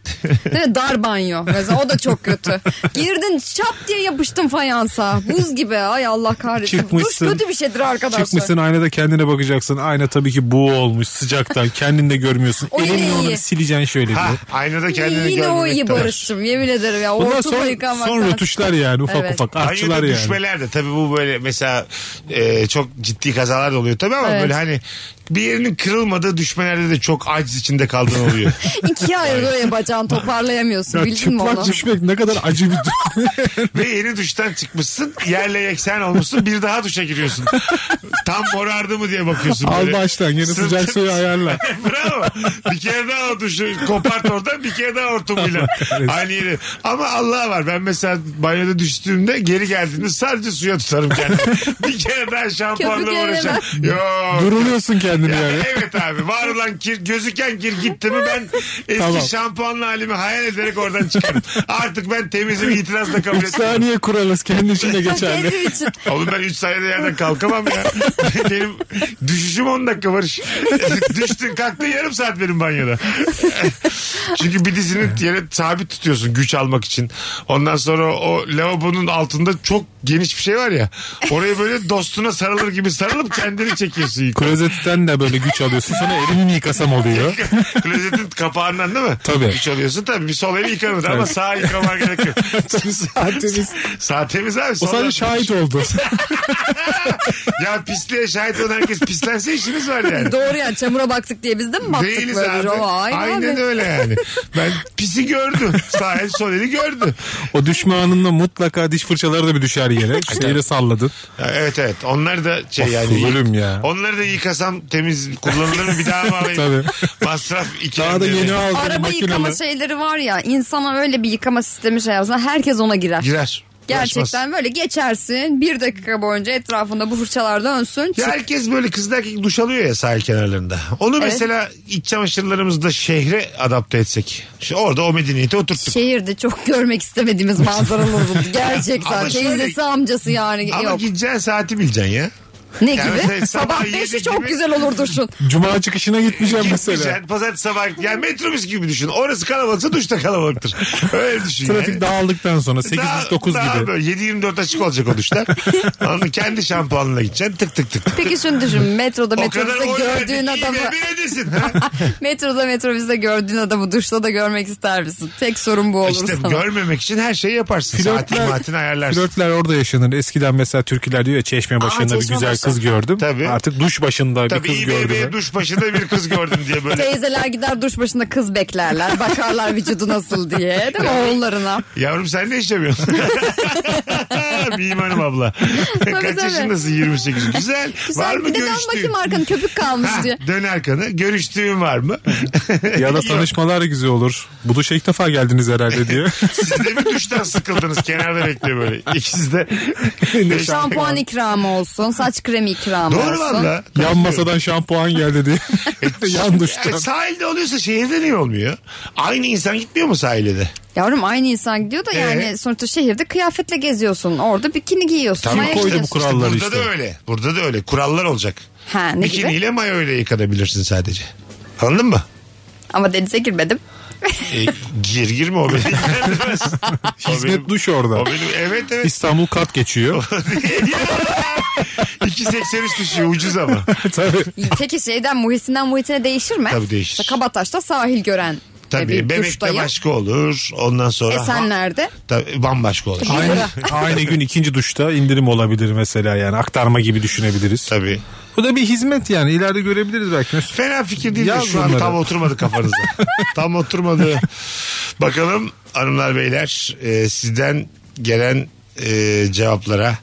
Speaker 4: Değil mi? Dar banyo. Mesela o da çok kötü. Girdin çap diye yapıştın fayansa. Buz gibi ay Allah kahretsin.
Speaker 5: Çıkmışsın.
Speaker 4: Duş kötü bir şeydir arkadaşlar.
Speaker 5: Çıkmışsın aynada kendine bakacaksın. Ayna tabii ki bu olmuş sıcaktan. Kendin de görmüyorsun.
Speaker 4: O şey. yine
Speaker 5: Elinle onu
Speaker 4: iyi.
Speaker 5: bir sileceksin şöyle bir.
Speaker 3: Ha, aynada kendini
Speaker 4: Yine o iyi
Speaker 3: görmemekte var.
Speaker 4: Barış'cığım yemin ederim ya.
Speaker 5: Bunlar
Speaker 4: Ortada
Speaker 5: son,
Speaker 4: yıkamaktan.
Speaker 5: son rötuşlar yani ufak
Speaker 4: Evet.
Speaker 5: ufak
Speaker 3: Banyoda
Speaker 5: artçılar yani.
Speaker 3: düşmeler de tabii bu böyle mesela e, çok ciddi kazalar da oluyor tabii ama
Speaker 4: Evet.
Speaker 3: böyle hani bir yerinin kırılmadığı düşmelerde de çok aciz içinde kaldığın oluyor.
Speaker 4: İkiye ayrılıyor ya bacağını toparlayamıyorsun
Speaker 5: Ya
Speaker 4: bildin mi onu?
Speaker 5: çıplak düşmek ne kadar acı bir durum.
Speaker 3: Ve yeni duştan çıkmışsın yerle yeksen olmuşsun bir daha duşa giriyorsun. Tam morardı mı diye bakıyorsun.
Speaker 5: Al
Speaker 3: böyle.
Speaker 5: baştan yine sıcak
Speaker 3: Sırtın-
Speaker 5: suyu ayarla.
Speaker 3: Bravo. Bir kere daha o duşu kopart oradan bir kere daha hortumuyla. Aynı yeri. Ama Allah var ben mesela banyoda düştüğümde geri geldiğimde sadece suya tutarım kendimi. bir kere daha şampuanla
Speaker 4: Köpük yerine
Speaker 3: uğraşacağım. Yok.
Speaker 5: Duruluyorsun kendini
Speaker 3: Ya
Speaker 5: yani.
Speaker 3: evet abi var olan kir gözüken kir gitti mi ben eski
Speaker 5: Tamam.
Speaker 3: şampuanlı halimi hayal ederek oradan çıkarım. Artık ben temizim itirazla kabul etmiyorum.
Speaker 5: Saniye kuralız kendi içinde geçerli.
Speaker 4: Kendim için.
Speaker 3: Oğlum ben 3 saniyede yerden kalkamam ya. benim düşüşüm 10 dakika var. Düştün kalktın yarım saat benim banyoda. Çünkü bir dizini yere sabit tutuyorsun güç almak için. Ondan sonra o lavabonun altında çok geniş bir şey var ya. Oraya böyle dostuna sarılır gibi sarılıp kendini çekiyorsun yukarı.
Speaker 5: Klozetten de böyle güç alıyorsun. Sonra elimi mi yıkasam oluyor.
Speaker 3: Klozetin kapağından değil mi?
Speaker 5: Tabii.
Speaker 3: Güç alıyorsun tabii. Bir sol eli yıkanır ama sağ yıkaman gerekiyor.
Speaker 5: Saatimiz.
Speaker 3: sağ temiz abi.
Speaker 5: O
Speaker 3: sol
Speaker 5: sadece
Speaker 3: da-
Speaker 5: şahit oldu.
Speaker 3: Ya pisliğe şahit olan herkes pislense işimiz var yani.
Speaker 4: Doğru yani çamura baktık diye biz de mi baktık
Speaker 3: Değiliz
Speaker 4: böyle?
Speaker 3: abi.
Speaker 4: Aa, aynen
Speaker 3: Aynen
Speaker 4: abi.
Speaker 3: öyle yani. Ben pisi gördüm. Sağ el sol eli gördü.
Speaker 5: O düşme anında mutlaka diş fırçaları da bir düşer yere. İşte yere salladın.
Speaker 3: Ya Evet evet. Onlar da şey
Speaker 5: Of,
Speaker 3: yani.
Speaker 5: zulüm ya.
Speaker 3: Onları da yıkasam temiz kullanılır mı bir daha mı alayım?
Speaker 5: Tabii.
Speaker 3: Masraf iki.
Speaker 5: Daha da yeni aldın
Speaker 4: Araba yıkama şeyleri var ya insana öyle bir yıkama sistemi şey yapsana herkes ona girer.
Speaker 3: Girer. Uğraşmaz.
Speaker 4: Gerçekten böyle geçersin bir dakika boyunca etrafında bu fırçalar dönsün.
Speaker 3: Ya
Speaker 4: çık.
Speaker 3: herkes böyle kızlı erkek duş alıyor ya sahil kenarlarında. Onu
Speaker 4: Evet.
Speaker 3: mesela iç çamaşırlarımızda şehre adapte etsek. İşte orada o medeniyeti oturttuk.
Speaker 4: Şehirde çok görmek istemediğimiz manzaralar oldu. Gerçekten
Speaker 3: Ama şöyle-
Speaker 4: teyzesi amcası yani.
Speaker 3: Ama
Speaker 4: Şey Yok.
Speaker 3: gideceğin saati bileceksin ya.
Speaker 4: Ne
Speaker 3: Yani
Speaker 4: gibi?
Speaker 3: sabah
Speaker 4: Sabah
Speaker 3: yedi
Speaker 4: 5'i
Speaker 3: gibi-
Speaker 4: çok güzel olur dursun.
Speaker 5: Cuma çıkışına gitmeyeceğim mesela.
Speaker 3: Gitmeyeceksin pazartesi sabah. Yani metrobüs gibi düşün. Orası kalabalıksa duşta kalabalıktır. Öyle düşün yani.
Speaker 5: Trafik dağıldıktan sonra 8 9
Speaker 3: daha
Speaker 5: gibi.
Speaker 3: Böyle 7-24 açık olacak o duşlar. Onu kendi şampuanla gideceksin tık tık tık.
Speaker 4: Peki şunu düşün metroda
Speaker 3: O kadar
Speaker 4: metrobüste
Speaker 3: oy
Speaker 4: gördüğün
Speaker 3: verdik, iyi
Speaker 4: adamı Ah,
Speaker 3: be, bir edesin, ha?
Speaker 4: metroda metrobüste gördüğün adamı duşta da görmek ister misin? Tek sorun bu olur
Speaker 3: İşte
Speaker 4: sana.
Speaker 3: görmemek için her şeyi yaparsın. Saatini maatini ayarlarsın.
Speaker 5: flörtler orada yaşanır. Eskiden mesela türküler diyor ya çeşme başında bir
Speaker 4: çeşme
Speaker 5: güzel
Speaker 4: başında.
Speaker 5: kız gördüm.
Speaker 3: Tabii.
Speaker 5: Artık duş başında bir
Speaker 3: Tabii
Speaker 5: kız
Speaker 3: iyi
Speaker 5: gördüm.
Speaker 3: bebeğe duş başında bir kız gördüm diye böyle.
Speaker 4: Teyzeler gider duş başında kız beklerler. Bakarlar vücudu nasıl diye. Değil mi oğullarına?
Speaker 3: Yavrum sen ne iş yapıyorsun? Mimarım abla. Kaç
Speaker 4: tabii.
Speaker 3: yaşındasın? 28. Güzel.
Speaker 4: Güzel.
Speaker 3: Var mı
Speaker 4: bir de dön bakayım
Speaker 3: görüştüğün?
Speaker 4: arkanı köpük kalmış
Speaker 3: Ha,
Speaker 4: diye.
Speaker 3: dön arkanı. Görüştüğün var mı?
Speaker 5: Ya da
Speaker 3: Yok.
Speaker 5: tanışmalar güzel olur. Bu duşa ilk defa geldiniz herhalde diyor.
Speaker 3: Siz de mi duştan sıkıldınız? Kenarda bekliyor böyle. İkiniz de.
Speaker 4: Şampuan ikramı olsun. Saç kremi ikramı
Speaker 3: Doğru
Speaker 4: olsun.
Speaker 3: valla.
Speaker 5: Yan masadan şampuan geldi diye. Yan duştan.
Speaker 3: E, sahilde oluyorsa şehirde niye olmuyor? Aynı insan gitmiyor mu sahile de?
Speaker 4: Yavrum aynı insan gidiyor da yani
Speaker 3: Ee?
Speaker 4: sonuçta şehirde kıyafetle geziyorsun. Orada bikini giyiyorsun.
Speaker 3: Tamam,
Speaker 4: maya
Speaker 5: koydu bu
Speaker 4: giyiyorsun.
Speaker 5: kural. Kurallar
Speaker 3: burada
Speaker 5: işte.
Speaker 3: da öyle. Burada da öyle. Kurallar olacak.
Speaker 4: Ha, ne gibi?
Speaker 3: Bikiniyle mayo ile yıkanabilirsin sadece. Anladın mı?
Speaker 4: Ama denize girmedim.
Speaker 3: E, gir girme o beni ilgilendirmez. O benim-
Speaker 5: Hizmet duş orada.
Speaker 3: O benim evet evet.
Speaker 5: İstanbul kat geçiyor.
Speaker 3: 2.83 düşüyor ucuz ama.
Speaker 5: Tabii.
Speaker 4: Peki şeyden muhisinden muhitine değişir mi?
Speaker 3: Tabii değişir.
Speaker 4: İşte Kabataş'ta sahil gören
Speaker 3: Tabii
Speaker 4: E, bir
Speaker 3: Bebek'te
Speaker 4: duştayım.
Speaker 3: başka olur. Ondan sonra
Speaker 4: E, Esenler'de.
Speaker 3: Tabii, bambaşka olur.
Speaker 5: Aynı, aynı gün ikinci duşta indirim olabilir mesela yani aktarma gibi düşünebiliriz.
Speaker 3: Tabii.
Speaker 5: Bu da bir hizmet yani ileride görebiliriz belki. Mesut.
Speaker 3: Fena fikir değil de
Speaker 5: Yaz
Speaker 3: şu an
Speaker 5: bunları.
Speaker 3: tam oturmadı kafanızda. tam oturmadı. Bakalım hanımlar beyler e, sizden gelen e, cevaplara.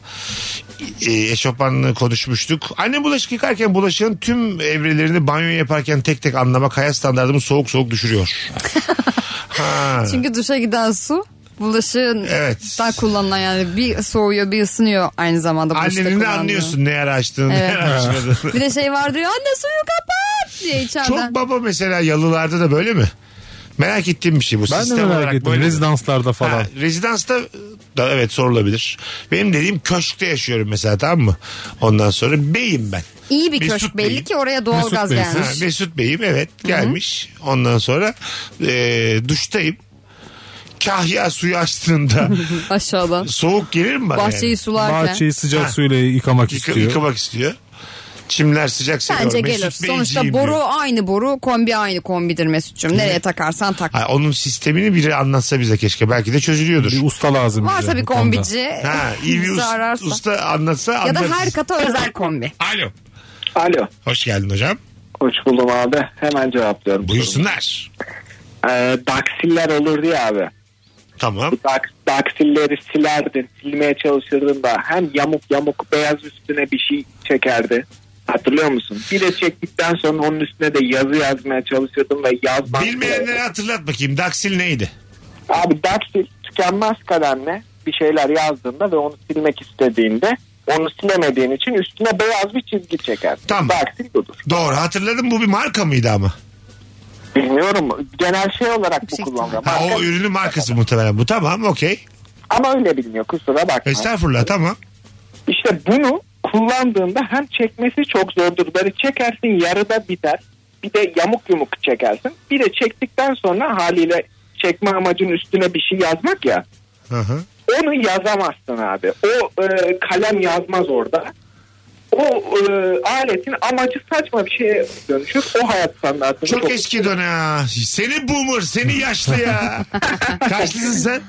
Speaker 3: E, eşofmanını konuşmuştuk. Annem bulaşık yıkarken bulaşığın tüm evrelerini banyo yaparken tek tek anlamak hayat standartımı soğuk soğuk düşürüyor. ha.
Speaker 4: Çünkü duşa giden su bulaşığın
Speaker 3: Evet.
Speaker 4: daha kullanılan yani bir soğuyor bir ısınıyor aynı zamanda. bulaşıkta
Speaker 3: Annenin de
Speaker 4: kullanılan.
Speaker 3: anlıyorsun ne ara açtığını
Speaker 4: Evet.
Speaker 3: ne ara açmadığını.
Speaker 4: Bir de şey vardır ya anne suyu kapat diye içeriden.
Speaker 3: Çok baba mesela yalılarda da böyle mi? Merak ettiğim bir şey bu.
Speaker 5: Ben de
Speaker 3: Sistem olarak
Speaker 5: merak ettim.
Speaker 3: böyle mi?
Speaker 5: Rezidanslarda
Speaker 3: Ha,
Speaker 5: falan.
Speaker 3: rezidansta e, da evet sorulabilir. Benim dediğim köşkte yaşıyorum mesela tamam mı? Ondan sonra beyim ben.
Speaker 4: İyi bir
Speaker 3: Mesut
Speaker 4: köşk
Speaker 3: Bey.
Speaker 4: belli ki oraya doğalgaz
Speaker 5: Mesut Bey, siz-
Speaker 3: Ha,
Speaker 4: gelmiş.
Speaker 3: Mesut Bey'im evet gelmiş. Ondan sonra e, duştayım. Kahya suyu açtığında
Speaker 4: Aşağıdan.
Speaker 3: soğuk gelir mi bana?
Speaker 4: Bahçeyi
Speaker 3: yani?
Speaker 4: sularken.
Speaker 5: Bahçeyi sıcak
Speaker 3: Ha.
Speaker 5: suyla yıkamak
Speaker 3: Yıka-
Speaker 5: istiyor.
Speaker 3: Yıkamak istiyor. Çimler sıcak seviyor.
Speaker 4: Bence
Speaker 3: Mesut
Speaker 4: gelir.
Speaker 3: Beyciğim
Speaker 4: Sonuçta
Speaker 3: diyor.
Speaker 4: boru aynı boru, kombi aynı kombidir Mesut'cum. Nereye takarsan tak.
Speaker 3: Ha, onun sistemini biri anlatsa bize keşke. Belki de çözülüyordur.
Speaker 5: Bir usta lazım.
Speaker 4: Varsa
Speaker 5: bize
Speaker 4: bir
Speaker 5: bu konuda.
Speaker 4: kombici.
Speaker 3: Ha, iyi bir
Speaker 4: bizi
Speaker 3: usta,
Speaker 4: E, ararsa.
Speaker 3: usta anlatsa
Speaker 4: Ya da
Speaker 3: anlarız.
Speaker 4: her kata özel kombi.
Speaker 3: Alo.
Speaker 7: Alo.
Speaker 3: Hoş geldin hocam.
Speaker 7: Hoş buldum abi. Hemen cevaplıyorum.
Speaker 3: Buyursunlar.
Speaker 7: Ee, daksiller olurdu ya abi.
Speaker 3: Tamam.
Speaker 7: Dak, daksilleri silerdin. Silmeye çalışırdın da hem yamuk yamuk beyaz üstüne bir şey çekerdi. Hatırlıyor musun? Bir de çektikten sonra onun üstüne de yazı yazmaya çalışırdım ve yazmak.
Speaker 3: Bilmeyenlere hatırlat bakayım. Daksil neydi?
Speaker 7: Abi daksil tükenmez kalemle bir şeyler yazdığında ve onu silmek istediğinde onu silemediğin için üstüne beyaz bir çizgi çeker.
Speaker 3: Tamam.
Speaker 7: Daksil budur.
Speaker 3: Doğru hatırladım bu bir marka mıydı ama?
Speaker 7: Bilmiyorum. Genel şey olarak bu
Speaker 4: Yüksek
Speaker 7: kullanılıyor.
Speaker 3: Ha, o
Speaker 7: Marka-
Speaker 3: ürünün markası muhtemelen bu. Tamam okey.
Speaker 7: Ama öyle bilmiyor kusura
Speaker 3: E
Speaker 7: bakma.
Speaker 3: Estağfurullah tamam.
Speaker 7: İşte bunu kullandığında hem çekmesi çok zordur. Böyle çekersin yarıda biter. Bir de yamuk yumuk çekersin. Bir de çektikten sonra haliyle çekme amacın üstüne bir şey yazmak ya.
Speaker 3: Hı hı.
Speaker 7: Onu yazamazsın abi. O e, kalem yazmaz orada. O e, aletin amacı saçma bir şeye dönüşür. O hayat standartını
Speaker 3: Çok eski dönem. Seni boomer, seni yaşlı ya. Kaçlısın sen?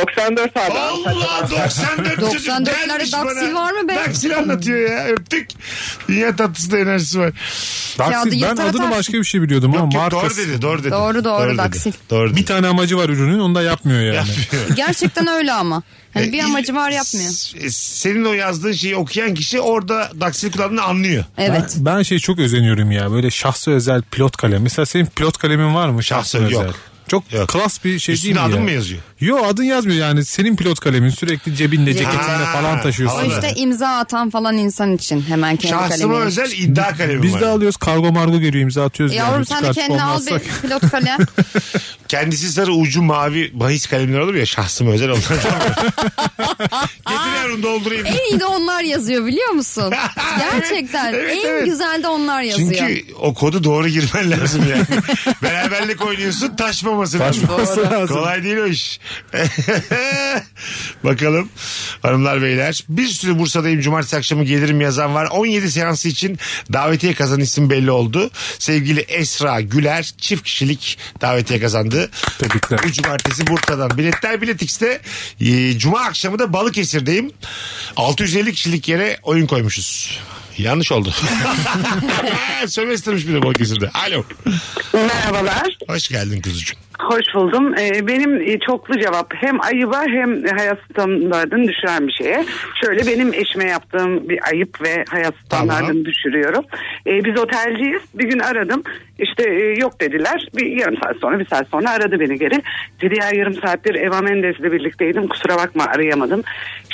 Speaker 7: 94 abi.
Speaker 3: Allah 94 çocuk
Speaker 4: 94'lerde
Speaker 3: gelmiş
Speaker 4: Daksil
Speaker 3: bana.
Speaker 4: var mı be?
Speaker 3: Daksil anlatıyor ya. Öptük. Dünya tatlısı da enerjisi var.
Speaker 4: Ya da
Speaker 5: Daksil, ben
Speaker 4: yırtar
Speaker 5: adını
Speaker 4: atarsın.
Speaker 5: başka bir şey biliyordum
Speaker 3: Yok,
Speaker 5: ama
Speaker 3: yok, doğru
Speaker 5: markası.
Speaker 3: dedi, doğru dedi.
Speaker 4: Doğru, doğru,
Speaker 3: dedi.
Speaker 4: Daksil.
Speaker 3: Doğru dedi.
Speaker 5: Bir tane amacı var ürünün onu da yapmıyor yani.
Speaker 4: Gerçekten öyle ama. Hani bir
Speaker 3: E,
Speaker 4: amacı var
Speaker 3: il-
Speaker 4: yapmıyor.
Speaker 3: s- Senin o yazdığın şeyi okuyan kişi orada daksil kullandığını anlıyor.
Speaker 4: Evet.
Speaker 5: Ben, ben şey çok özeniyorum ya böyle şahsı özel pilot kalem. Mesela senin pilot kalemin var mı şahsı
Speaker 3: Şahsı
Speaker 5: özel?
Speaker 3: yok.
Speaker 5: Çok
Speaker 3: Yok.
Speaker 5: klas bir şey
Speaker 3: Üstüne
Speaker 5: değil mi
Speaker 3: adın
Speaker 5: ya?
Speaker 3: mı yazıyor?
Speaker 5: Yo adın yazmıyor yani senin pilot kalemin sürekli cebinde ceketinde
Speaker 3: Ha,
Speaker 5: falan
Speaker 4: O
Speaker 5: taşıyorsun.
Speaker 3: anladım.
Speaker 4: işte imza atan falan insan için hemen kendi
Speaker 3: Şahsıma
Speaker 4: kalemini.
Speaker 3: özel iddia kalemi
Speaker 5: Biz
Speaker 3: var.
Speaker 5: de alıyoruz kargo margo geliyor imza atıyoruz.
Speaker 4: Yavrum sen de
Speaker 5: çıkartıp
Speaker 4: kendine al bir
Speaker 5: olmazsak.
Speaker 4: pilot kalem.
Speaker 3: Kendisi sarı ucu mavi bahis kalemler olur ya şahsıma özel onlar. Getir yavrum doldurayım.
Speaker 4: en iyi de onlar yazıyor biliyor musun? Gerçekten
Speaker 3: Evet,
Speaker 4: en
Speaker 3: evet.
Speaker 4: güzel de onlar yazıyor.
Speaker 3: Çünkü o kodu doğru girmen lazım yani. Beraberlik oynuyorsun taşmaması lazım.
Speaker 5: Taşmaması Doğru. lazım.
Speaker 3: Kolay değil o iş. Bakalım hanımlar beyler. Bir sürü Bursa'dayım cumartesi akşamı gelirim yazan var. 17 seansı için davetiye kazan isim belli oldu. Sevgili Esra Güler çift kişilik davetiye kazandı.
Speaker 5: Tebrikler.
Speaker 3: Bu cumartesi Bursa'dan. Biletler Bilet X'te. Ee, Cuma akşamı da Balıkesir'deyim. 650 kişilik yere oyun koymuşuz. Yanlış oldu. Sömestermiş bir de Balıkesir'de. Alo.
Speaker 9: Merhabalar.
Speaker 3: Hoş geldin kuzucuğum.
Speaker 9: Hoş buldum. Ee, benim e, çoklu cevap hem ayıba hem hayat standartını düşüren bir şeye. Şöyle benim eşime yaptığım bir ayıp ve hayat standartını
Speaker 3: Tamam.
Speaker 9: düşürüyorum. Ee, biz otelciyiz. Bir gün aradım. İşte e, yok dediler. Bir yarım saat sonra bir saat sonra aradı beni geri. Dedi ya yarım saattir Eva Mendes'le birlikteydim. Kusura bakma arayamadım.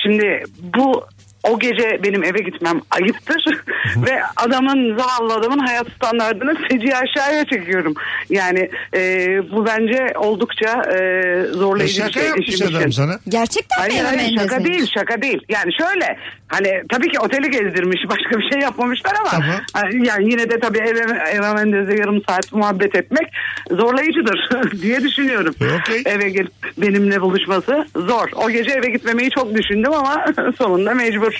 Speaker 9: Şimdi bu o gece benim eve gitmem ayıptır ve adamın zavallı adamın hayat standartını feci aşağıya çekiyorum. Yani e, bu bence oldukça e,
Speaker 3: E,
Speaker 9: zorlayıcı bir
Speaker 3: şaka
Speaker 9: şey.
Speaker 3: yapmış
Speaker 9: eşim için.
Speaker 3: adam sana.
Speaker 4: Gerçekten mi
Speaker 9: Hayır
Speaker 4: Eva
Speaker 9: hayır şaka
Speaker 4: Mendes'in?
Speaker 9: değil şaka değil. Yani şöyle hani tabii ki oteli gezdirmiş başka bir şey yapmamışlar ama
Speaker 3: Tamam.
Speaker 9: e, yani yine de tabii Eva, Eva Mendes'e yarım saat muhabbet etmek zorlayıcıdır diye düşünüyorum.
Speaker 3: E, Okey.
Speaker 9: Eve gelip benimle buluşması zor. O gece eve gitmemeyi çok düşündüm ama sonunda mecbur.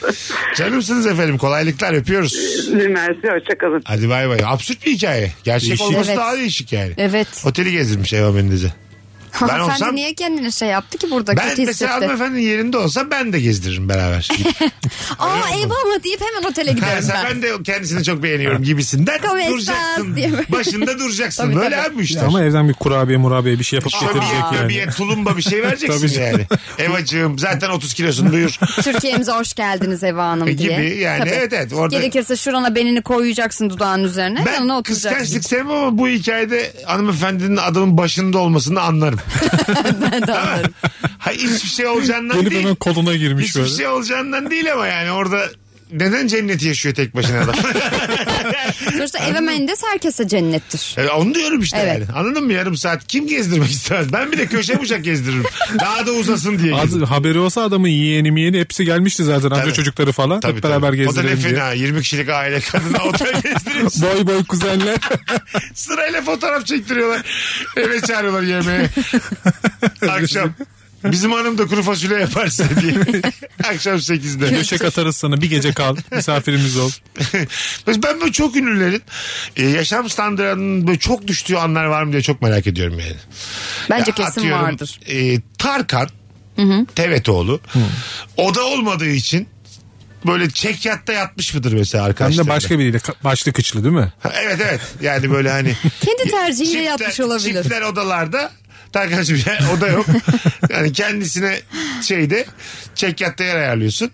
Speaker 3: Canımsınız efendim. Kolaylıklar öpüyoruz.
Speaker 9: Mersi hoşçakalın.
Speaker 3: Hadi bay bay. Absürt bir hikaye. Gerçek
Speaker 5: Değişik.
Speaker 3: olması
Speaker 4: Evet.
Speaker 3: daha değişik yani.
Speaker 4: Evet.
Speaker 3: Oteli gezdirmiş Eva Mendes'e. Ben
Speaker 4: Hanımefendi
Speaker 3: olsam-
Speaker 4: niye kendine şey yaptı ki burada
Speaker 3: Ben
Speaker 4: kötü
Speaker 3: mesela
Speaker 4: hissetti?
Speaker 3: hanımefendinin yerinde olsam ben de gezdiririm beraber.
Speaker 4: Aa eyvallah deyip hemen otele
Speaker 3: Ha,
Speaker 4: giderim
Speaker 3: sen
Speaker 4: ben.
Speaker 3: ben de kendisini çok beğeniyorum gibisinden
Speaker 4: Come estas
Speaker 3: duracaksın.
Speaker 4: diye böyle.
Speaker 3: Başında duracaksın.
Speaker 4: Tabii,
Speaker 3: Böyle
Speaker 4: tabii.
Speaker 3: abi bu işler.
Speaker 5: Ama evden bir kurabiye murabiye bir şey yapıp getirecek
Speaker 3: Şöbiye,
Speaker 5: yani.
Speaker 3: köbiye, tulumba bir şey
Speaker 5: Tabii
Speaker 3: vereceksin
Speaker 5: canım.
Speaker 3: yani. Evacığım zaten 30 kilosun buyur.
Speaker 4: Türkiye'mize hoş geldiniz Eva Hanım
Speaker 3: E Gibi
Speaker 4: diye.
Speaker 3: yani, evet, evet, orada-
Speaker 4: Gerekirse şurana benini koyacaksın dudağın üzerine. yanına
Speaker 3: Ben
Speaker 4: oturacaksın.
Speaker 3: kıskançlık sevmem ama bu hikayede hanımefendinin adamın başında olmasını anlarım.
Speaker 4: Ben de anlarım.
Speaker 3: Hayır hiçbir şey olacağından
Speaker 5: Gelip
Speaker 3: değil.
Speaker 5: hemen koluna girmiş
Speaker 3: Hiçbir
Speaker 5: böyle.
Speaker 3: şey olacağından değil ama yani orada neden cenneti yaşıyor tek başına adam?
Speaker 4: Sonuçta Eva Mendes herkese cennettir.
Speaker 3: Yani onu diyorum işte
Speaker 4: Evet.
Speaker 3: yani. Anladın mı yarım saat? Kim gezdirmek istemez? Ben bir de köşe bucak gezdiririm. Daha da uzasın diye.
Speaker 5: Az- haberi olsa adamın yeğeni yeğeni hepsi gelmişti zaten amca çocukları falan.
Speaker 3: Tabii,
Speaker 5: Hep
Speaker 3: tabii.
Speaker 5: beraber
Speaker 3: O da ne
Speaker 5: gezdirelim diye.
Speaker 3: fena. 20 kişilik aile kadına otel gezdirir.
Speaker 5: Boy boy kuzenler.
Speaker 3: Sırayla fotoğraf çektiriyorlar. Eve çağırıyorlar yemeğe. Akşam. Bizim hanım da kuru fasulye yapar size diye. Akşam 8'de.
Speaker 5: Döşek atarız sana bir gece kal misafirimiz ol.
Speaker 3: Mesela ben böyle çok ünlülerin e, yaşam standartının böyle çok düştüğü anlar var mı diye çok merak ediyorum yani.
Speaker 4: Bence
Speaker 3: Ya
Speaker 4: kesin
Speaker 3: atıyorum,
Speaker 4: vardır.
Speaker 3: e, Tarkan Tevetoğlu o da olmadığı için böyle çekyatta yatmış mıdır mesela
Speaker 5: Hem
Speaker 3: arkadaşlar?
Speaker 5: de başka biriyle ka- başlı kıçlı değil mi?
Speaker 3: Evet evet yani böyle hani
Speaker 4: Kendi tercihiyle
Speaker 3: Çiftler-
Speaker 4: yapmış olabilir.
Speaker 3: Çiftler odalarda. Tarkan'cığım yani oda yok. yani kendisine şeyde çekyatta yer ayarlıyorsun.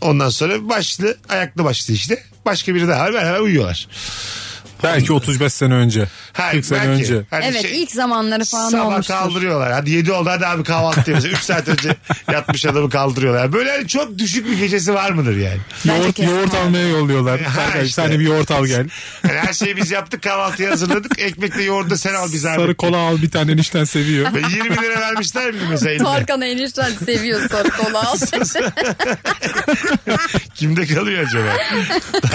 Speaker 3: Ondan sonra başlı ayaklı başlı işte. Başka biri daha var beraber uyuyorlar.
Speaker 5: Belki 35 sene önce.
Speaker 3: Ha,
Speaker 5: 40 sene
Speaker 3: belki.
Speaker 5: önce.
Speaker 3: Hani
Speaker 4: evet
Speaker 3: şey-
Speaker 4: ilk zamanları falan
Speaker 3: Sabah
Speaker 4: olmuştur.
Speaker 3: kaldırıyorlar. Hadi 7 oldu hadi abi kahvaltı diyoruz. 3 saat önce yatmış adamı kaldırıyorlar. Böyle hani çok düşük bir gecesi var mıdır yani?
Speaker 4: Bence
Speaker 5: Yoğurt,
Speaker 4: kesin
Speaker 5: yoğurt
Speaker 4: vardır.
Speaker 5: almaya yolluyorlar.
Speaker 3: Ha,
Speaker 5: Sen
Speaker 3: işte.
Speaker 5: bir yoğurt al gel.
Speaker 3: Yani her şeyi biz yaptık kahvaltıyı hazırladık. Ekmekle yoğurdu da sen al biz abi.
Speaker 5: Sarı kola al bir tane enişten seviyor.
Speaker 3: Ve 20 lira vermişler mi mesela eline?
Speaker 4: Tarkan enişten seviyor sarı kola al.
Speaker 3: Kimde kalıyor acaba?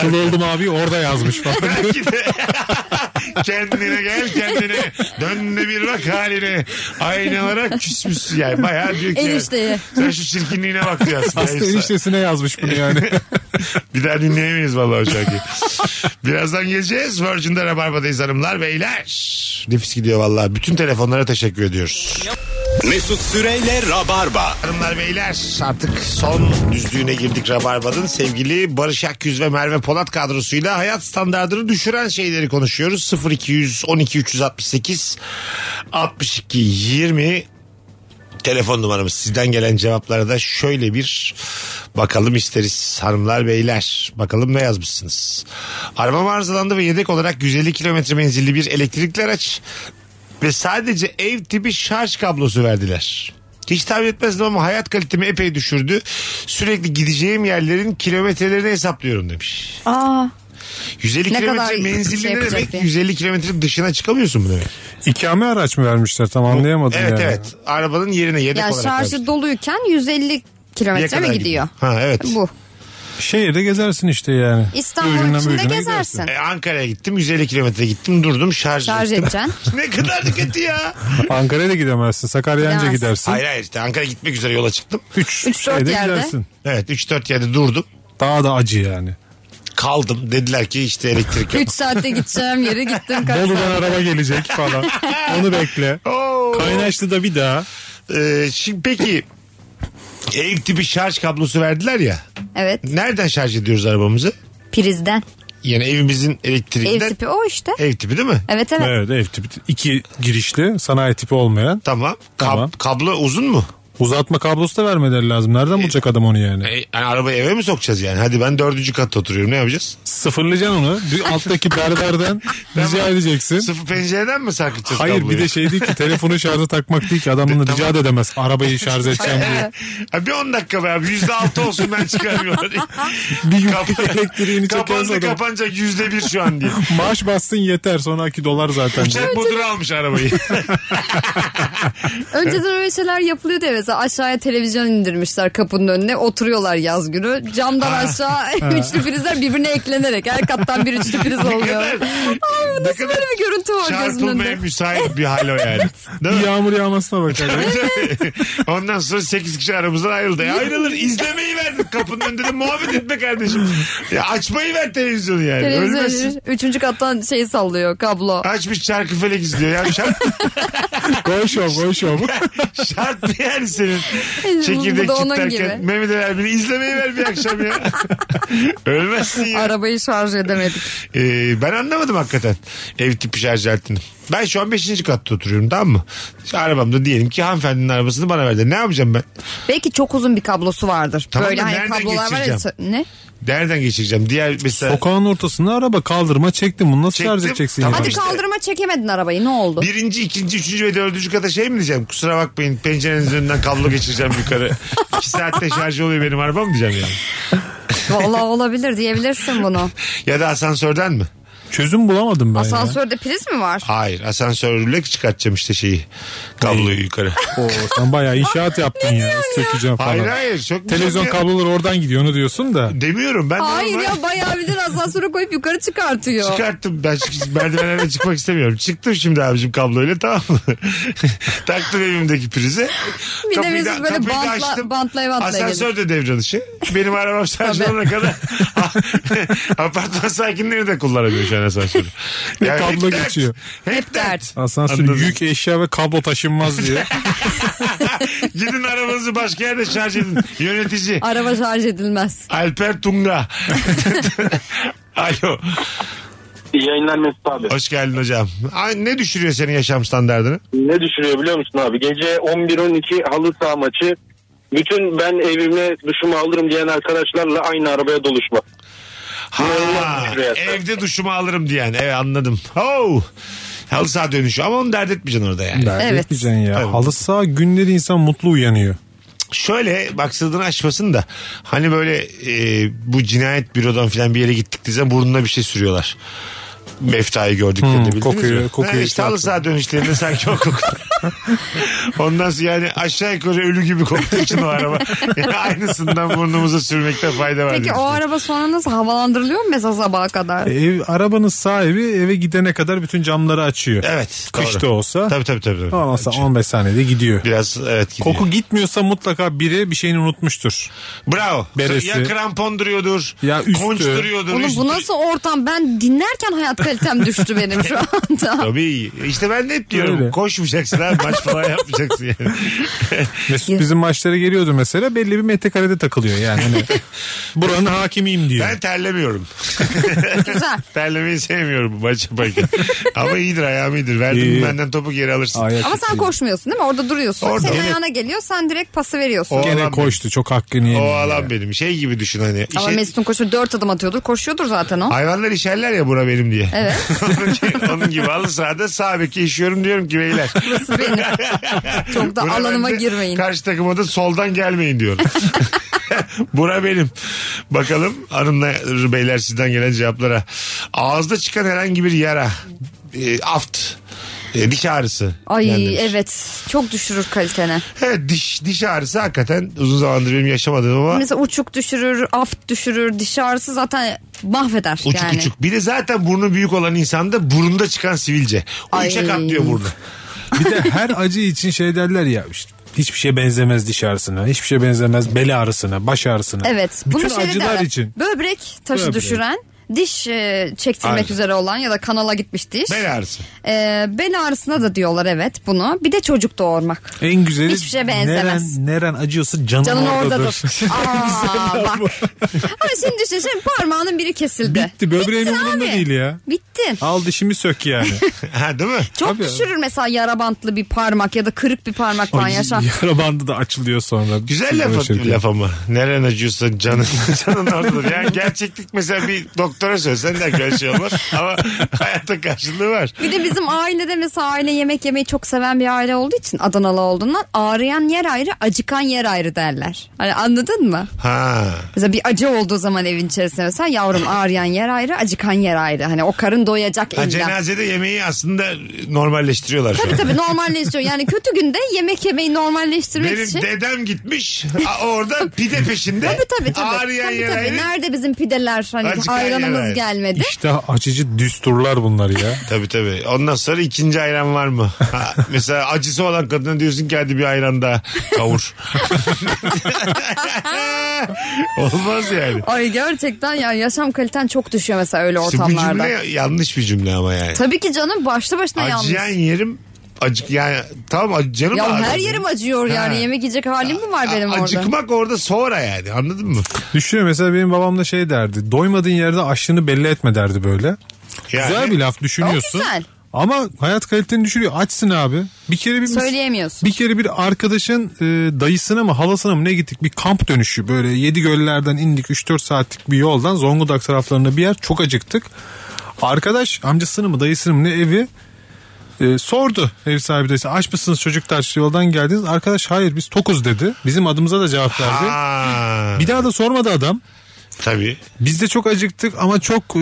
Speaker 5: Kıl oldum abi orada yazmış falan.
Speaker 3: Belki de. kendine gel kendine. Dön de bir bak haline. Aynalara küsmüşsün yani. Bayağı diyor ki.
Speaker 4: Enişteye.
Speaker 3: Sen şu çirkinliğine bak diyor aslında.
Speaker 5: Hasta eniştesine yazmış bunu yani.
Speaker 3: Bir daha dinleyemeyiz vallahi o şarkıyı. Birazdan geleceğiz. Virgin'de Rabarba'dayız hanımlar beyler. Nefis gidiyor vallahi. Bütün telefonlara teşekkür ediyoruz.
Speaker 2: Mesut Süreyle Rabarba.
Speaker 3: Hanımlar beyler artık son düzlüğüne girdik Rabarba'nın. Sevgili Barış Akyüz ve Merve Polat kadrosuyla hayat standartını düşüren şeyleri konuşuyoruz. 0200 12 368 62 20 telefon numaramız. Sizden gelen cevaplara da şöyle bir bakalım isteriz hanımlar beyler. Bakalım ne yazmışsınız. Arabam arızalandı ve yedek olarak 150 kilometre menzilli bir elektrikli araç ve sadece ev tipi şarj kablosu verdiler. Hiç tahmin etmezdim ama hayat kalitemi epey düşürdü. Sürekli gideceğim yerlerin kilometrelerini hesaplıyorum demiş.
Speaker 4: Aa,
Speaker 3: 150
Speaker 4: Ne kadar
Speaker 3: kilometre
Speaker 4: şey
Speaker 3: menzilli ne
Speaker 4: yapacak
Speaker 3: demek?
Speaker 4: diye.
Speaker 3: 150 kilometre dışına çıkamıyorsun mu demek?
Speaker 5: İkame araç mı vermişler tam anlayamadım
Speaker 3: Evet
Speaker 5: yani.
Speaker 3: evet. Arabanın yerine yedek
Speaker 4: ya
Speaker 3: olarak.
Speaker 4: şarjı
Speaker 3: lazım.
Speaker 4: doluyken 150
Speaker 3: Niye
Speaker 4: kilometre
Speaker 3: kadar
Speaker 4: mi gidiyor?
Speaker 3: Ha evet.
Speaker 4: Bu.
Speaker 5: Şehirde gezersin işte yani.
Speaker 4: İstanbul
Speaker 5: Üründen
Speaker 4: içinde
Speaker 5: ürüne
Speaker 4: gezersin.
Speaker 3: E, Ankara'ya gittim 150 kilometre gittim durdum şarj,
Speaker 4: Şarj
Speaker 3: ettim.
Speaker 4: edeceksin.
Speaker 3: ne kadar da kötü ya.
Speaker 5: gidersin. Ankara'ya da gidemezsin. Sakarya'ya anca
Speaker 4: Gidemezsin.
Speaker 5: gidersin.
Speaker 3: hayır hayır işte Ankara gitmek üzere yola çıktım.
Speaker 5: 3
Speaker 4: Üç, dört
Speaker 5: şeyde
Speaker 4: yerde.
Speaker 5: gidersin.
Speaker 3: Evet 3-4 yerde durdum.
Speaker 5: Daha da acı yani.
Speaker 3: Kaldım dediler ki işte elektrik yok.
Speaker 4: 3 saatte gideceğim yere gittim. kaç
Speaker 5: Bolu'dan
Speaker 4: saat.
Speaker 5: araba gelecek falan. Onu bekle.
Speaker 3: Oo.
Speaker 5: Kaynaşlı'da bir daha.
Speaker 3: Ee, şimdi peki ev tipi şarj kablosu verdiler ya.
Speaker 4: Evet
Speaker 3: Nereden şarj ediyoruz arabamızı?
Speaker 4: prizden.
Speaker 3: Yani evimizin
Speaker 4: Ev
Speaker 3: elektriğinden.
Speaker 4: tipi o işte.
Speaker 3: Ev tipi değil mi?
Speaker 4: Evet evet.
Speaker 5: Evet ev tipi. İki girişli sanayi tipi olmayan.
Speaker 3: Tamam. Kab-
Speaker 5: Tamam.
Speaker 3: Kablo uzun mu?
Speaker 5: Uzatma kablosu da vermeleri lazım. Nereden bulacak adam onu yani?
Speaker 3: E, yani arabayı eve mi sokacağız yani? Hadi ben dördüncü katta oturuyorum ne yapacağız?
Speaker 5: Sıfırlayacaksın onu. Bir alttaki berberden rica edeceksin.
Speaker 3: Sıfır pencereden mi sarkıtacağız
Speaker 5: Hayır
Speaker 3: kabloyu?
Speaker 5: bir de şey değil ki telefonu şarja takmak değil ki adam bunu rica da edemez. Arabayı şarj edeceğim diye.
Speaker 3: Ha, bir 10 dakika be abi. Yüzde altı olsun ben çıkarmıyorum.
Speaker 5: Bir yük elektriğini çekerse
Speaker 3: Kapandı
Speaker 5: adam.
Speaker 3: kapanacak yüzde bir şu an diye.
Speaker 5: Maaş bassın yeter sonraki dolar zaten.
Speaker 3: Uçak modunu almış arabayı.
Speaker 4: Önceden öyle şeyler yapılıyordu ya mesela aşağıya televizyon indirmişler kapının önüne oturuyorlar yaz günü camdan aşağı üçlü prizler birbirine eklenerek her kattan bir üçlü priz oluyor.
Speaker 3: kadar-
Speaker 4: Ay bu
Speaker 3: ne
Speaker 4: nasıl
Speaker 3: kadar
Speaker 4: böyle bir görüntü var gözünün
Speaker 3: Çarpılmaya
Speaker 4: önünde.
Speaker 3: müsait bir hal o yani. Değil
Speaker 5: Bir
Speaker 3: mi?
Speaker 5: yağmur yağmasına bakar.
Speaker 3: Ondan sonra 8 kişi aramızdan ayrıldı. E, ayrılır izlemeyi verdik kapının önünde de muhabbet etme kardeşim. Ya açmayı ver televizyonu yani. Ölmezsin.
Speaker 4: Televizyon üçüncü kattan şey sallıyor kablo.
Speaker 3: Açmış çarkı felek izliyor. Ya şart,
Speaker 5: Koy şov koy şov.
Speaker 3: şart mı yani senin?
Speaker 4: Bu- bu
Speaker 3: Çekirdek
Speaker 4: da onun
Speaker 3: çitlerken
Speaker 4: gibi.
Speaker 3: Mehmet Ali Erbil'i izlemeyi ver bir akşam ya. Ölmezsin ya.
Speaker 4: Arabayı şarj edemedik.
Speaker 3: Ee, ben anlamadım hakikaten ev tipi şarj aletini. Ben şu an 5. katta oturuyorum tamam mı? Şu Arabamda diyelim ki hanımefendinin arabasını bana verdi. Ne yapacağım ben?
Speaker 4: Belki çok uzun bir kablosu vardır.
Speaker 3: Tamam
Speaker 4: böyle
Speaker 3: da
Speaker 4: hani
Speaker 3: nereden
Speaker 4: kablolar var ya.
Speaker 3: geçireceğim?
Speaker 4: Ne?
Speaker 3: Nereden geçireceğim? Diğer mesela
Speaker 5: Sokağın ortasında araba kaldırma çektim. Bunu nasıl
Speaker 3: Çektim.
Speaker 5: şarj edeceksin?
Speaker 3: Tamam.
Speaker 5: yani?
Speaker 4: Hadi
Speaker 3: işte.
Speaker 4: kaldırma çekemedin arabayı ne oldu?
Speaker 3: birinci, ikinci, üçüncü ve dördüncü kata şey mi diyeceğim? Kusura bakmayın pencerenizin önünden kablo geçireceğim yukarı. İki saatte şarj oluyor benim arabam mı diyeceğim yani?
Speaker 4: Vallahi olabilir diyebilirsin bunu.
Speaker 3: Ya da asansörden mi?
Speaker 5: Çözüm bulamadım ben ya.
Speaker 4: Asansörde priz mi var?
Speaker 3: Hayır asansörle çıkartacağım işte şeyi. Kabloyu yukarı.
Speaker 5: Oo, sen bayağı inşaat yaptın ya. Sökeceğim falan.
Speaker 3: Hayır hayır. Çok
Speaker 5: Televizyon
Speaker 3: çok-
Speaker 5: kabloları oradan gidiyor onu diyorsun da.
Speaker 3: Demiyorum ben.
Speaker 4: Hayır
Speaker 3: normal-
Speaker 4: ya bayağı bir de asansöre koyup yukarı çıkartıyor.
Speaker 3: Çıkarttım ben çünkü merdivenlerden çıkmak istemiyorum. Çıktım şimdi abicim kabloyla tamam mı? Taktım evimdeki prize.
Speaker 4: Bir de
Speaker 3: Kapıyı
Speaker 4: biz
Speaker 3: da-
Speaker 4: böyle
Speaker 3: kapıyı da
Speaker 4: bantla-
Speaker 3: açtım.
Speaker 4: bantlaya bantlaya
Speaker 3: Asansör de devre dışı. Benim arabam şarj
Speaker 4: Tabii.
Speaker 3: olana kadar apartman sakinleri de kullanamıyor şu an asansörü. Yani
Speaker 5: kablo
Speaker 3: hep dert.
Speaker 5: geçiyor.
Speaker 3: Hep dert.
Speaker 5: Asansör
Speaker 3: Anladım.
Speaker 5: yük eşya ve kablo taşınmaz diyor.
Speaker 3: Gidin arabanızı başka yerde şarj edin. Yönetici.
Speaker 4: Araba şarj edilmez.
Speaker 3: Alper Tunga. Alo.
Speaker 7: İyi yayınlar Mesut abi.
Speaker 3: Hoş geldin hocam. Ay, Ne düşürüyor senin yaşam standartını?
Speaker 7: Ne düşünüyor biliyor musun abi? Gece 11-12 halı saha maçı. Bütün ben evime duşumu alırım diyen arkadaşlarla aynı arabaya doluşma.
Speaker 3: Ha,
Speaker 7: Evet.
Speaker 3: evde duşumu alırım diyen. Evet anladım. Oh. Halı saha dönüşü ama onu dert etmeyeceksin orada yani.
Speaker 5: Dert
Speaker 4: Evet.
Speaker 5: etmeyeceksin ya.
Speaker 3: Tabii.
Speaker 5: Halı saha günleri insan mutlu uyanıyor.
Speaker 3: Şöyle maksadını aşmasın da hani böyle e, bu cinayet bürodan falan bir yere gittik diye burnuna bir şey sürüyorlar. Meftayı gördük
Speaker 5: Hmm,
Speaker 3: dedi.
Speaker 5: kokuyor, kokuyor
Speaker 3: işte
Speaker 5: işte
Speaker 3: halı saha dönüşlerinde sanki o koku. Ondan sonra yani aşağı yukarı ölü gibi koktuğu için o araba. Yani aynısından burnumuza sürmekte fayda var.
Speaker 4: Peki
Speaker 3: diye
Speaker 4: o araba sonra nasıl havalandırılıyor mu mesela sabaha
Speaker 3: E,
Speaker 4: kadar?
Speaker 5: Ev, arabanın sahibi eve gidene kadar bütün camları açıyor.
Speaker 3: Evet.
Speaker 5: Kış
Speaker 3: doğru.
Speaker 5: da olsa.
Speaker 3: Tabii tabii tabii. tabii.
Speaker 5: Ondan sonra 15 saniyede gidiyor.
Speaker 3: Biraz evet gidiyor.
Speaker 5: Koku gitmiyorsa mutlaka biri bir şeyini unutmuştur.
Speaker 3: Bravo.
Speaker 5: Beresi.
Speaker 3: Ya krampon duruyordur.
Speaker 5: Ya üstü.
Speaker 3: Konç duruyordur.
Speaker 4: Oğlum
Speaker 3: üstü.
Speaker 4: bu nasıl ortam? Ben dinlerken hayat kalitem düştü benim şu anda.
Speaker 3: Tabii. İşte ben de hep diyorum.
Speaker 5: Öyle.
Speaker 3: Koşmayacaksın abi. Maç falan yapmayacaksın yani.
Speaker 5: Mesut bizim maçlara geliyordu mesela belli bir metrekarede takılıyor yani. Hani buranın hakimiyim diyor.
Speaker 3: Ben terlemiyorum.
Speaker 4: Güzel.
Speaker 3: Terlemeyi sevmiyorum bu maç yaparken. Ama iyidir ayağım iyidir. Verdin mi
Speaker 5: İyi.
Speaker 3: benden topu geri alırsın.
Speaker 5: Ayak
Speaker 4: Ama sen
Speaker 5: izi.
Speaker 4: koşmuyorsun değil mi? Orada duruyorsun.
Speaker 3: Orada.
Speaker 4: Senin
Speaker 3: Evet.
Speaker 4: ayağına geliyor sen direkt pası veriyorsun.
Speaker 3: O
Speaker 5: Gene
Speaker 3: alan-
Speaker 5: koştu çok hakkını yedi.
Speaker 3: O alan benim. Şey gibi düşün hani.
Speaker 4: Ama
Speaker 3: İşe-
Speaker 4: Mesut'un koşu dört adım atıyordur. Koşuyordur zaten o.
Speaker 3: Hayvanlar işerler ya bura benim diye.
Speaker 4: Evet.
Speaker 3: onun, gibi, onun gibi halı sahada sağ beki işiyorum diyorum ki beyler.
Speaker 4: beni. Çok da
Speaker 3: Bura
Speaker 4: alanıma
Speaker 3: bende,
Speaker 4: girmeyin.
Speaker 3: Karşı takıma da soldan gelmeyin diyorum. Bura benim. Bakalım hanımlar beyler sizden gelen cevaplara. Ağızda çıkan herhangi bir yara. e, aft. e, diş ağrısı. Yani demiş.
Speaker 4: Ay evet çok düşürür kalitene.
Speaker 3: Evet diş, diş ağrısı hakikaten uzun zamandır benim yaşamadığım ama
Speaker 4: Mesela uçuk düşürür, aft düşürür, diş ağrısı zaten mahveder
Speaker 3: uçuk
Speaker 4: yani.
Speaker 3: uçuk. Bir de zaten burnu büyük olan insanda burunda çıkan sivilce. O
Speaker 4: Ay.
Speaker 3: üçe katlıyor burnu.
Speaker 5: Bir de her acı için şey derler ya işte hiçbir şey benzemez diş ağrısına, hiçbir şey benzemez bel ağrısına, baş ağrısına.
Speaker 4: Evet.
Speaker 5: Bütün
Speaker 4: bunu şeyde de
Speaker 5: acılar
Speaker 4: var.
Speaker 5: için.
Speaker 4: Böbrek taşı
Speaker 5: Böbrek.
Speaker 4: düşüren, diş e, çektirmek
Speaker 3: Aynen.
Speaker 4: üzere olan ya da kanala gitmiş diş.
Speaker 3: Bel ağrısı.
Speaker 4: E, bel ağrısına da diyorlar evet bunu. Bir de çocuk doğurmak.
Speaker 5: En güzeli
Speaker 4: Hiçbir şeye benzemez.
Speaker 5: Neren, neren acıyorsa canın,
Speaker 4: Canın
Speaker 5: oradadır.
Speaker 4: oradadır. Aa bak. Ama şimdi düşün şimdi parmağının biri kesildi.
Speaker 5: Bitti böbreğin umurunda
Speaker 4: abi.
Speaker 5: değil ya.
Speaker 4: Bittin.
Speaker 5: Al dişimi sök yani.
Speaker 3: Ha, değil mi?
Speaker 4: Çok
Speaker 5: Tabii.
Speaker 4: düşürür mesela yara bantlı bir parmak ya da kırık bir parmak falan
Speaker 5: Ay,
Speaker 4: yaşa.
Speaker 5: Yara bandı da açılıyor sonra.
Speaker 3: Güzel laf,
Speaker 5: Böyle şey.
Speaker 3: laf ama. Neren acıyorsa canın, canın oradadır. Yani gerçeklik mesela bir doktora söylesen de her şey olmaz. Ama hayatta karşılığı var.
Speaker 4: Bir de bizim ailede mesela aile yemek yemeyi çok seven bir aile olduğu için Adanalı olduğundan ağrıyan yer ayrı acıkan yer ayrı derler. Hani anladın mı?
Speaker 3: Ha.
Speaker 4: Mesela bir acı olduğu zaman evin içerisinde mesela yavrum ağrıyan yer ayrı acıkan yer ayrı. Hani o karın doyacak
Speaker 3: ha
Speaker 4: illa.
Speaker 3: cenazede yemeği aslında normalleştiriyorlar şu an.
Speaker 4: Tabii tabii normalleştiriyor. Yani kötü günde yemek yemeyi normalleştirmek
Speaker 3: Benim
Speaker 4: için.
Speaker 3: dedem gitmiş a- orada pide peşinde.
Speaker 4: Şey- Tabii tabii tabii.
Speaker 3: Ağrıyan
Speaker 4: Tabii,
Speaker 3: yer
Speaker 4: tabii.
Speaker 3: ayrı.
Speaker 4: Nerede bizim pideler hani
Speaker 3: Acıkan yer ayrı.
Speaker 4: ayranımız gelmedi.
Speaker 5: İşte açıcı düsturlar bunlar ya.
Speaker 3: Tabii tabii. Ondan sonra ikinci ayran var mı? Ha, mesela acısı olan kadına diyorsun ki hadi bir ayran daha kavur. Olmaz yani.
Speaker 4: Ay gerçekten ya yaşam kaliten çok düşüyor mesela öyle
Speaker 3: İşte bu
Speaker 4: ortamlarda.
Speaker 3: cümle yanlış bir cümle ama yani.
Speaker 4: Tabii ki canım başlı başına yalnız.
Speaker 3: Acıyan yerim acık yani tamam acı- canım
Speaker 4: Ya
Speaker 3: ağrıyor.
Speaker 4: her yerim acıyor yani.
Speaker 3: Ha.
Speaker 4: Yemek yiyecek halim mi var benim
Speaker 3: A-
Speaker 4: orada?
Speaker 3: Acıkmak orada sonra yani anladın mı?
Speaker 5: Düşünüyorum mesela benim babam da şey derdi. Doymadığın yerde açlığını belli etme derdi böyle.
Speaker 3: Yani,
Speaker 5: Güzel bir laf düşünüyorsun.
Speaker 4: O güzel.
Speaker 5: Ama hayat kaliteni düşürüyor. Açsın abi. Bir kere bir
Speaker 4: Söyleyemiyorsun.
Speaker 5: Bir kere bir arkadaşın e, dayısına mı halasına mı ne gittik bir kamp dönüşü böyle yedi göllerden indik 3-4 saatlik bir yoldan Zonguldak taraflarında bir yer çok acıktık. Arkadaş amcasını mı dayısını mı ne evi e, sordu ev sahibi dayısı aç mısınız çocuklar Şu yoldan geldiniz arkadaş hayır biz tokuz dedi bizim adımıza da cevap verdi.
Speaker 3: Ha,
Speaker 5: Bir daha da sormadı adam.
Speaker 3: tabii.
Speaker 5: Biz de çok acıktık ama çok e,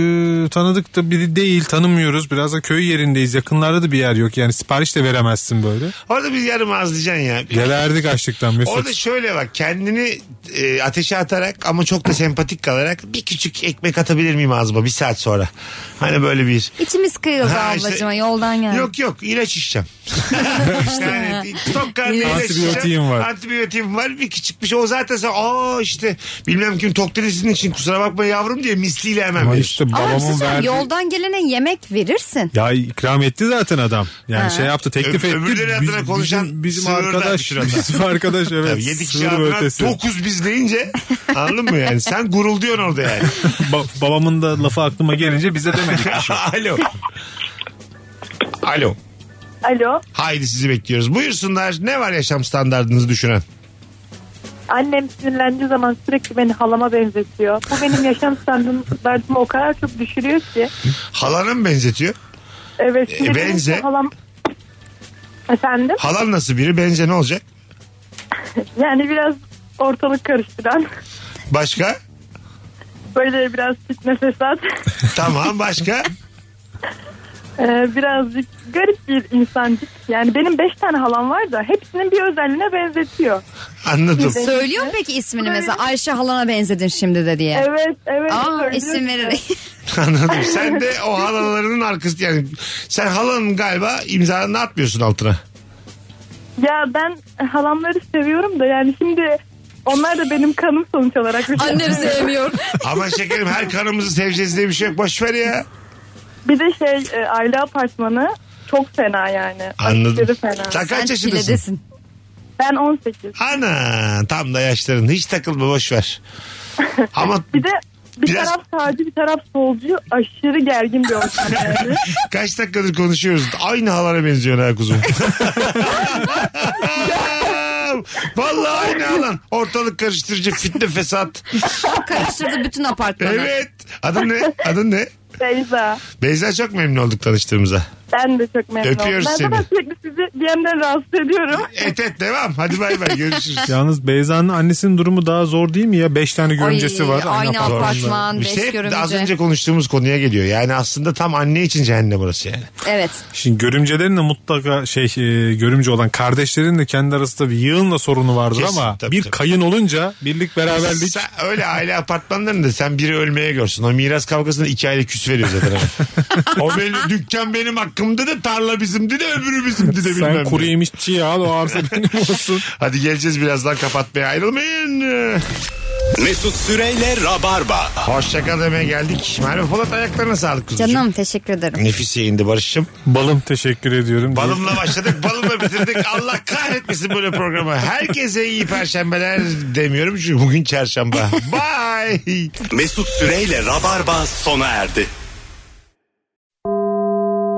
Speaker 5: tanıdık da biri değil tanımıyoruz. Biraz da köy yerindeyiz yakınlarda da bir yer yok yani sipariş de veremezsin böyle.
Speaker 3: Orada bir yarım ağızlayacaksın ya. Bir-
Speaker 5: Gelerdik açlıktan Mesut.
Speaker 3: Orada şöyle bak kendini e, ateşe atarak ama çok da sempatik kalarak bir küçük ekmek atabilir miyim ağzıma bir saat sonra? Hani böyle bir...
Speaker 4: İçimiz kıyıldı
Speaker 3: Ha, işte-
Speaker 4: ablacığıma yoldan geldi.
Speaker 3: Yok yok ilaç içeceğim. işte hani tok karnı ilaç
Speaker 5: Antibiyotiğim
Speaker 3: içeceğim.
Speaker 5: var.
Speaker 3: Antibiyotiğim var. Bir küçük bir şey. O zaten sen aa işte bilmem kim tok dedi sizin için kusura bakma yavrum diye misliyle hemen
Speaker 5: Ama
Speaker 3: verir.
Speaker 5: işte
Speaker 4: Ama bir şey
Speaker 5: babamın
Speaker 4: söyleyeyim,
Speaker 5: verdiği...
Speaker 4: yoldan gelene yemek verirsin.
Speaker 5: Ya ikram etti zaten adam. Yani şey yaptı teklif
Speaker 3: Ö-
Speaker 5: etti.
Speaker 3: öbürleri adına konuşan
Speaker 5: bizim, bizim
Speaker 3: sınırdan
Speaker 5: arkadaş.
Speaker 3: düşüren adam.
Speaker 5: Bizim arkadaş evet.
Speaker 3: Tabii yedi kişi
Speaker 5: sınır
Speaker 3: adına
Speaker 5: ötesi.
Speaker 3: dokuz biz deyince anladın mı yani? Sen gurulduyorsun orada yani.
Speaker 5: Ba- babamın da lafı aklıma gelince bize demedik.
Speaker 3: Alo. Alo.
Speaker 8: Alo.
Speaker 3: Haydi sizi bekliyoruz. Buyursunlar. Ne var yaşam standartınızı düşünen?
Speaker 8: Annem sinirlendiği zaman sürekli beni halama benzetiyor. Bu benim yaşam standartımı o kadar çok düşürüyor ki.
Speaker 3: Halana mı benzetiyor?
Speaker 8: Evet.
Speaker 3: E,
Speaker 8: şimdi benim
Speaker 3: benze.
Speaker 8: işte Halam... Efendim?
Speaker 3: Halan nasıl biri? Benze ne olacak?
Speaker 8: Yani biraz ortalık karıştıran.
Speaker 3: Başka?
Speaker 8: Böyle biraz fitne fesat.
Speaker 3: Tamam başka?
Speaker 8: Ee, birazcık garip bir insancık. Yani benim beş tane halam var da hepsinin bir özelliğine benzetiyor.
Speaker 3: Anladım.
Speaker 4: Söylüyor mu peki ismini
Speaker 8: Böyle-
Speaker 4: mesela Ayşe halana benzedin şimdi de diye.
Speaker 8: Evet evet.
Speaker 4: Aa
Speaker 8: Öyle.
Speaker 4: isim vererek.
Speaker 3: Anladım. Sen de o halalarının arkası yani sen halanın galiba imzanı atmıyorsun altına.
Speaker 8: Ya ben halamları seviyorum da yani şimdi onlar da benim kanım sonuç olarak.
Speaker 4: Annem sevmiyor.
Speaker 3: Ama şekerim her kanımızı seveceğiz diye bir şey yok. Boş ver ya.
Speaker 8: Bir de şey e, aile apartmanı çok fena yani.
Speaker 3: Anladım.
Speaker 8: Aşırı fena.
Speaker 3: Sen
Speaker 4: Sen
Speaker 3: kaç yaşındasın?
Speaker 4: çiledesin.
Speaker 8: Ben 18.
Speaker 3: Ana tam da yaşların. Hiç takılma boş ver. Ama
Speaker 8: Bir de bir
Speaker 3: Biraz-
Speaker 8: taraf sağcı bir taraf solcu aşırı gergin bir ortam yani.
Speaker 3: kaç dakikadır konuşuyoruz. Aynı halana benziyorsun ha kuzum. Vallahi aynı halan. Ortalık karıştırıcı fitne fesat.
Speaker 4: Karıştırdı bütün apartmanı.
Speaker 3: Evet. Adın ne? Adın ne?
Speaker 8: Beyza.
Speaker 3: Beyza çok memnun olduk tanıştığımıza.
Speaker 8: Ben de çok memnun oldum.
Speaker 3: Öpüyoruz
Speaker 8: Ben
Speaker 3: seni.
Speaker 8: zaten sürekli sizi DM'den rahatsız ediyorum.
Speaker 3: Et et devam. Hadi bay bay görüşürüz.
Speaker 5: Yalnız Beyza'nın annesinin durumu daha zor değil mi ya? Beş tane görümcesi
Speaker 4: Ay,
Speaker 5: var.
Speaker 4: Aynı apartman,
Speaker 3: Bir
Speaker 4: beş
Speaker 3: şey hep
Speaker 4: görümce.
Speaker 3: az önce konuştuğumuz konuya geliyor. Yani aslında tam anne için cehennem burası yani.
Speaker 4: Evet.
Speaker 5: Şimdi görümcelerin de mutlaka şey e, görümce olan kardeşlerin de kendi arasında bir yığınla sorunu vardır
Speaker 3: Kesin,
Speaker 5: ama
Speaker 3: tabii,
Speaker 5: bir
Speaker 3: tabii.
Speaker 5: kayın olunca birlik beraberlik
Speaker 3: Sen öyle aile apartmanlarında sen biri ölmeye görsün. O miras kavgasını iki aile küs veriyor zaten. o benim, dükkan benim hakkımda da tarla bizimdi de öbürü bizimdi de bilmem.
Speaker 5: sen
Speaker 3: ne.
Speaker 5: kuru yemişçiyi al o arsa benim olsun.
Speaker 3: Hadi geleceğiz birazdan kapatmaya ayrılmayın.
Speaker 2: Mesut Süreyle Rabarba.
Speaker 3: Hoşçakal demeye geldik. Merve Polat ayaklarına sağlık kuzucuğum.
Speaker 4: Canım teşekkür ederim.
Speaker 3: Nefis yayındı Barış'ım.
Speaker 5: Balım teşekkür ediyorum.
Speaker 3: Balımla başladık, balımla bitirdik. Allah kahretmesin böyle programı. Herkese iyi perşembeler demiyorum çünkü bugün çarşamba. Bye.
Speaker 2: Mesut Süreyle Rabarba sona erdi.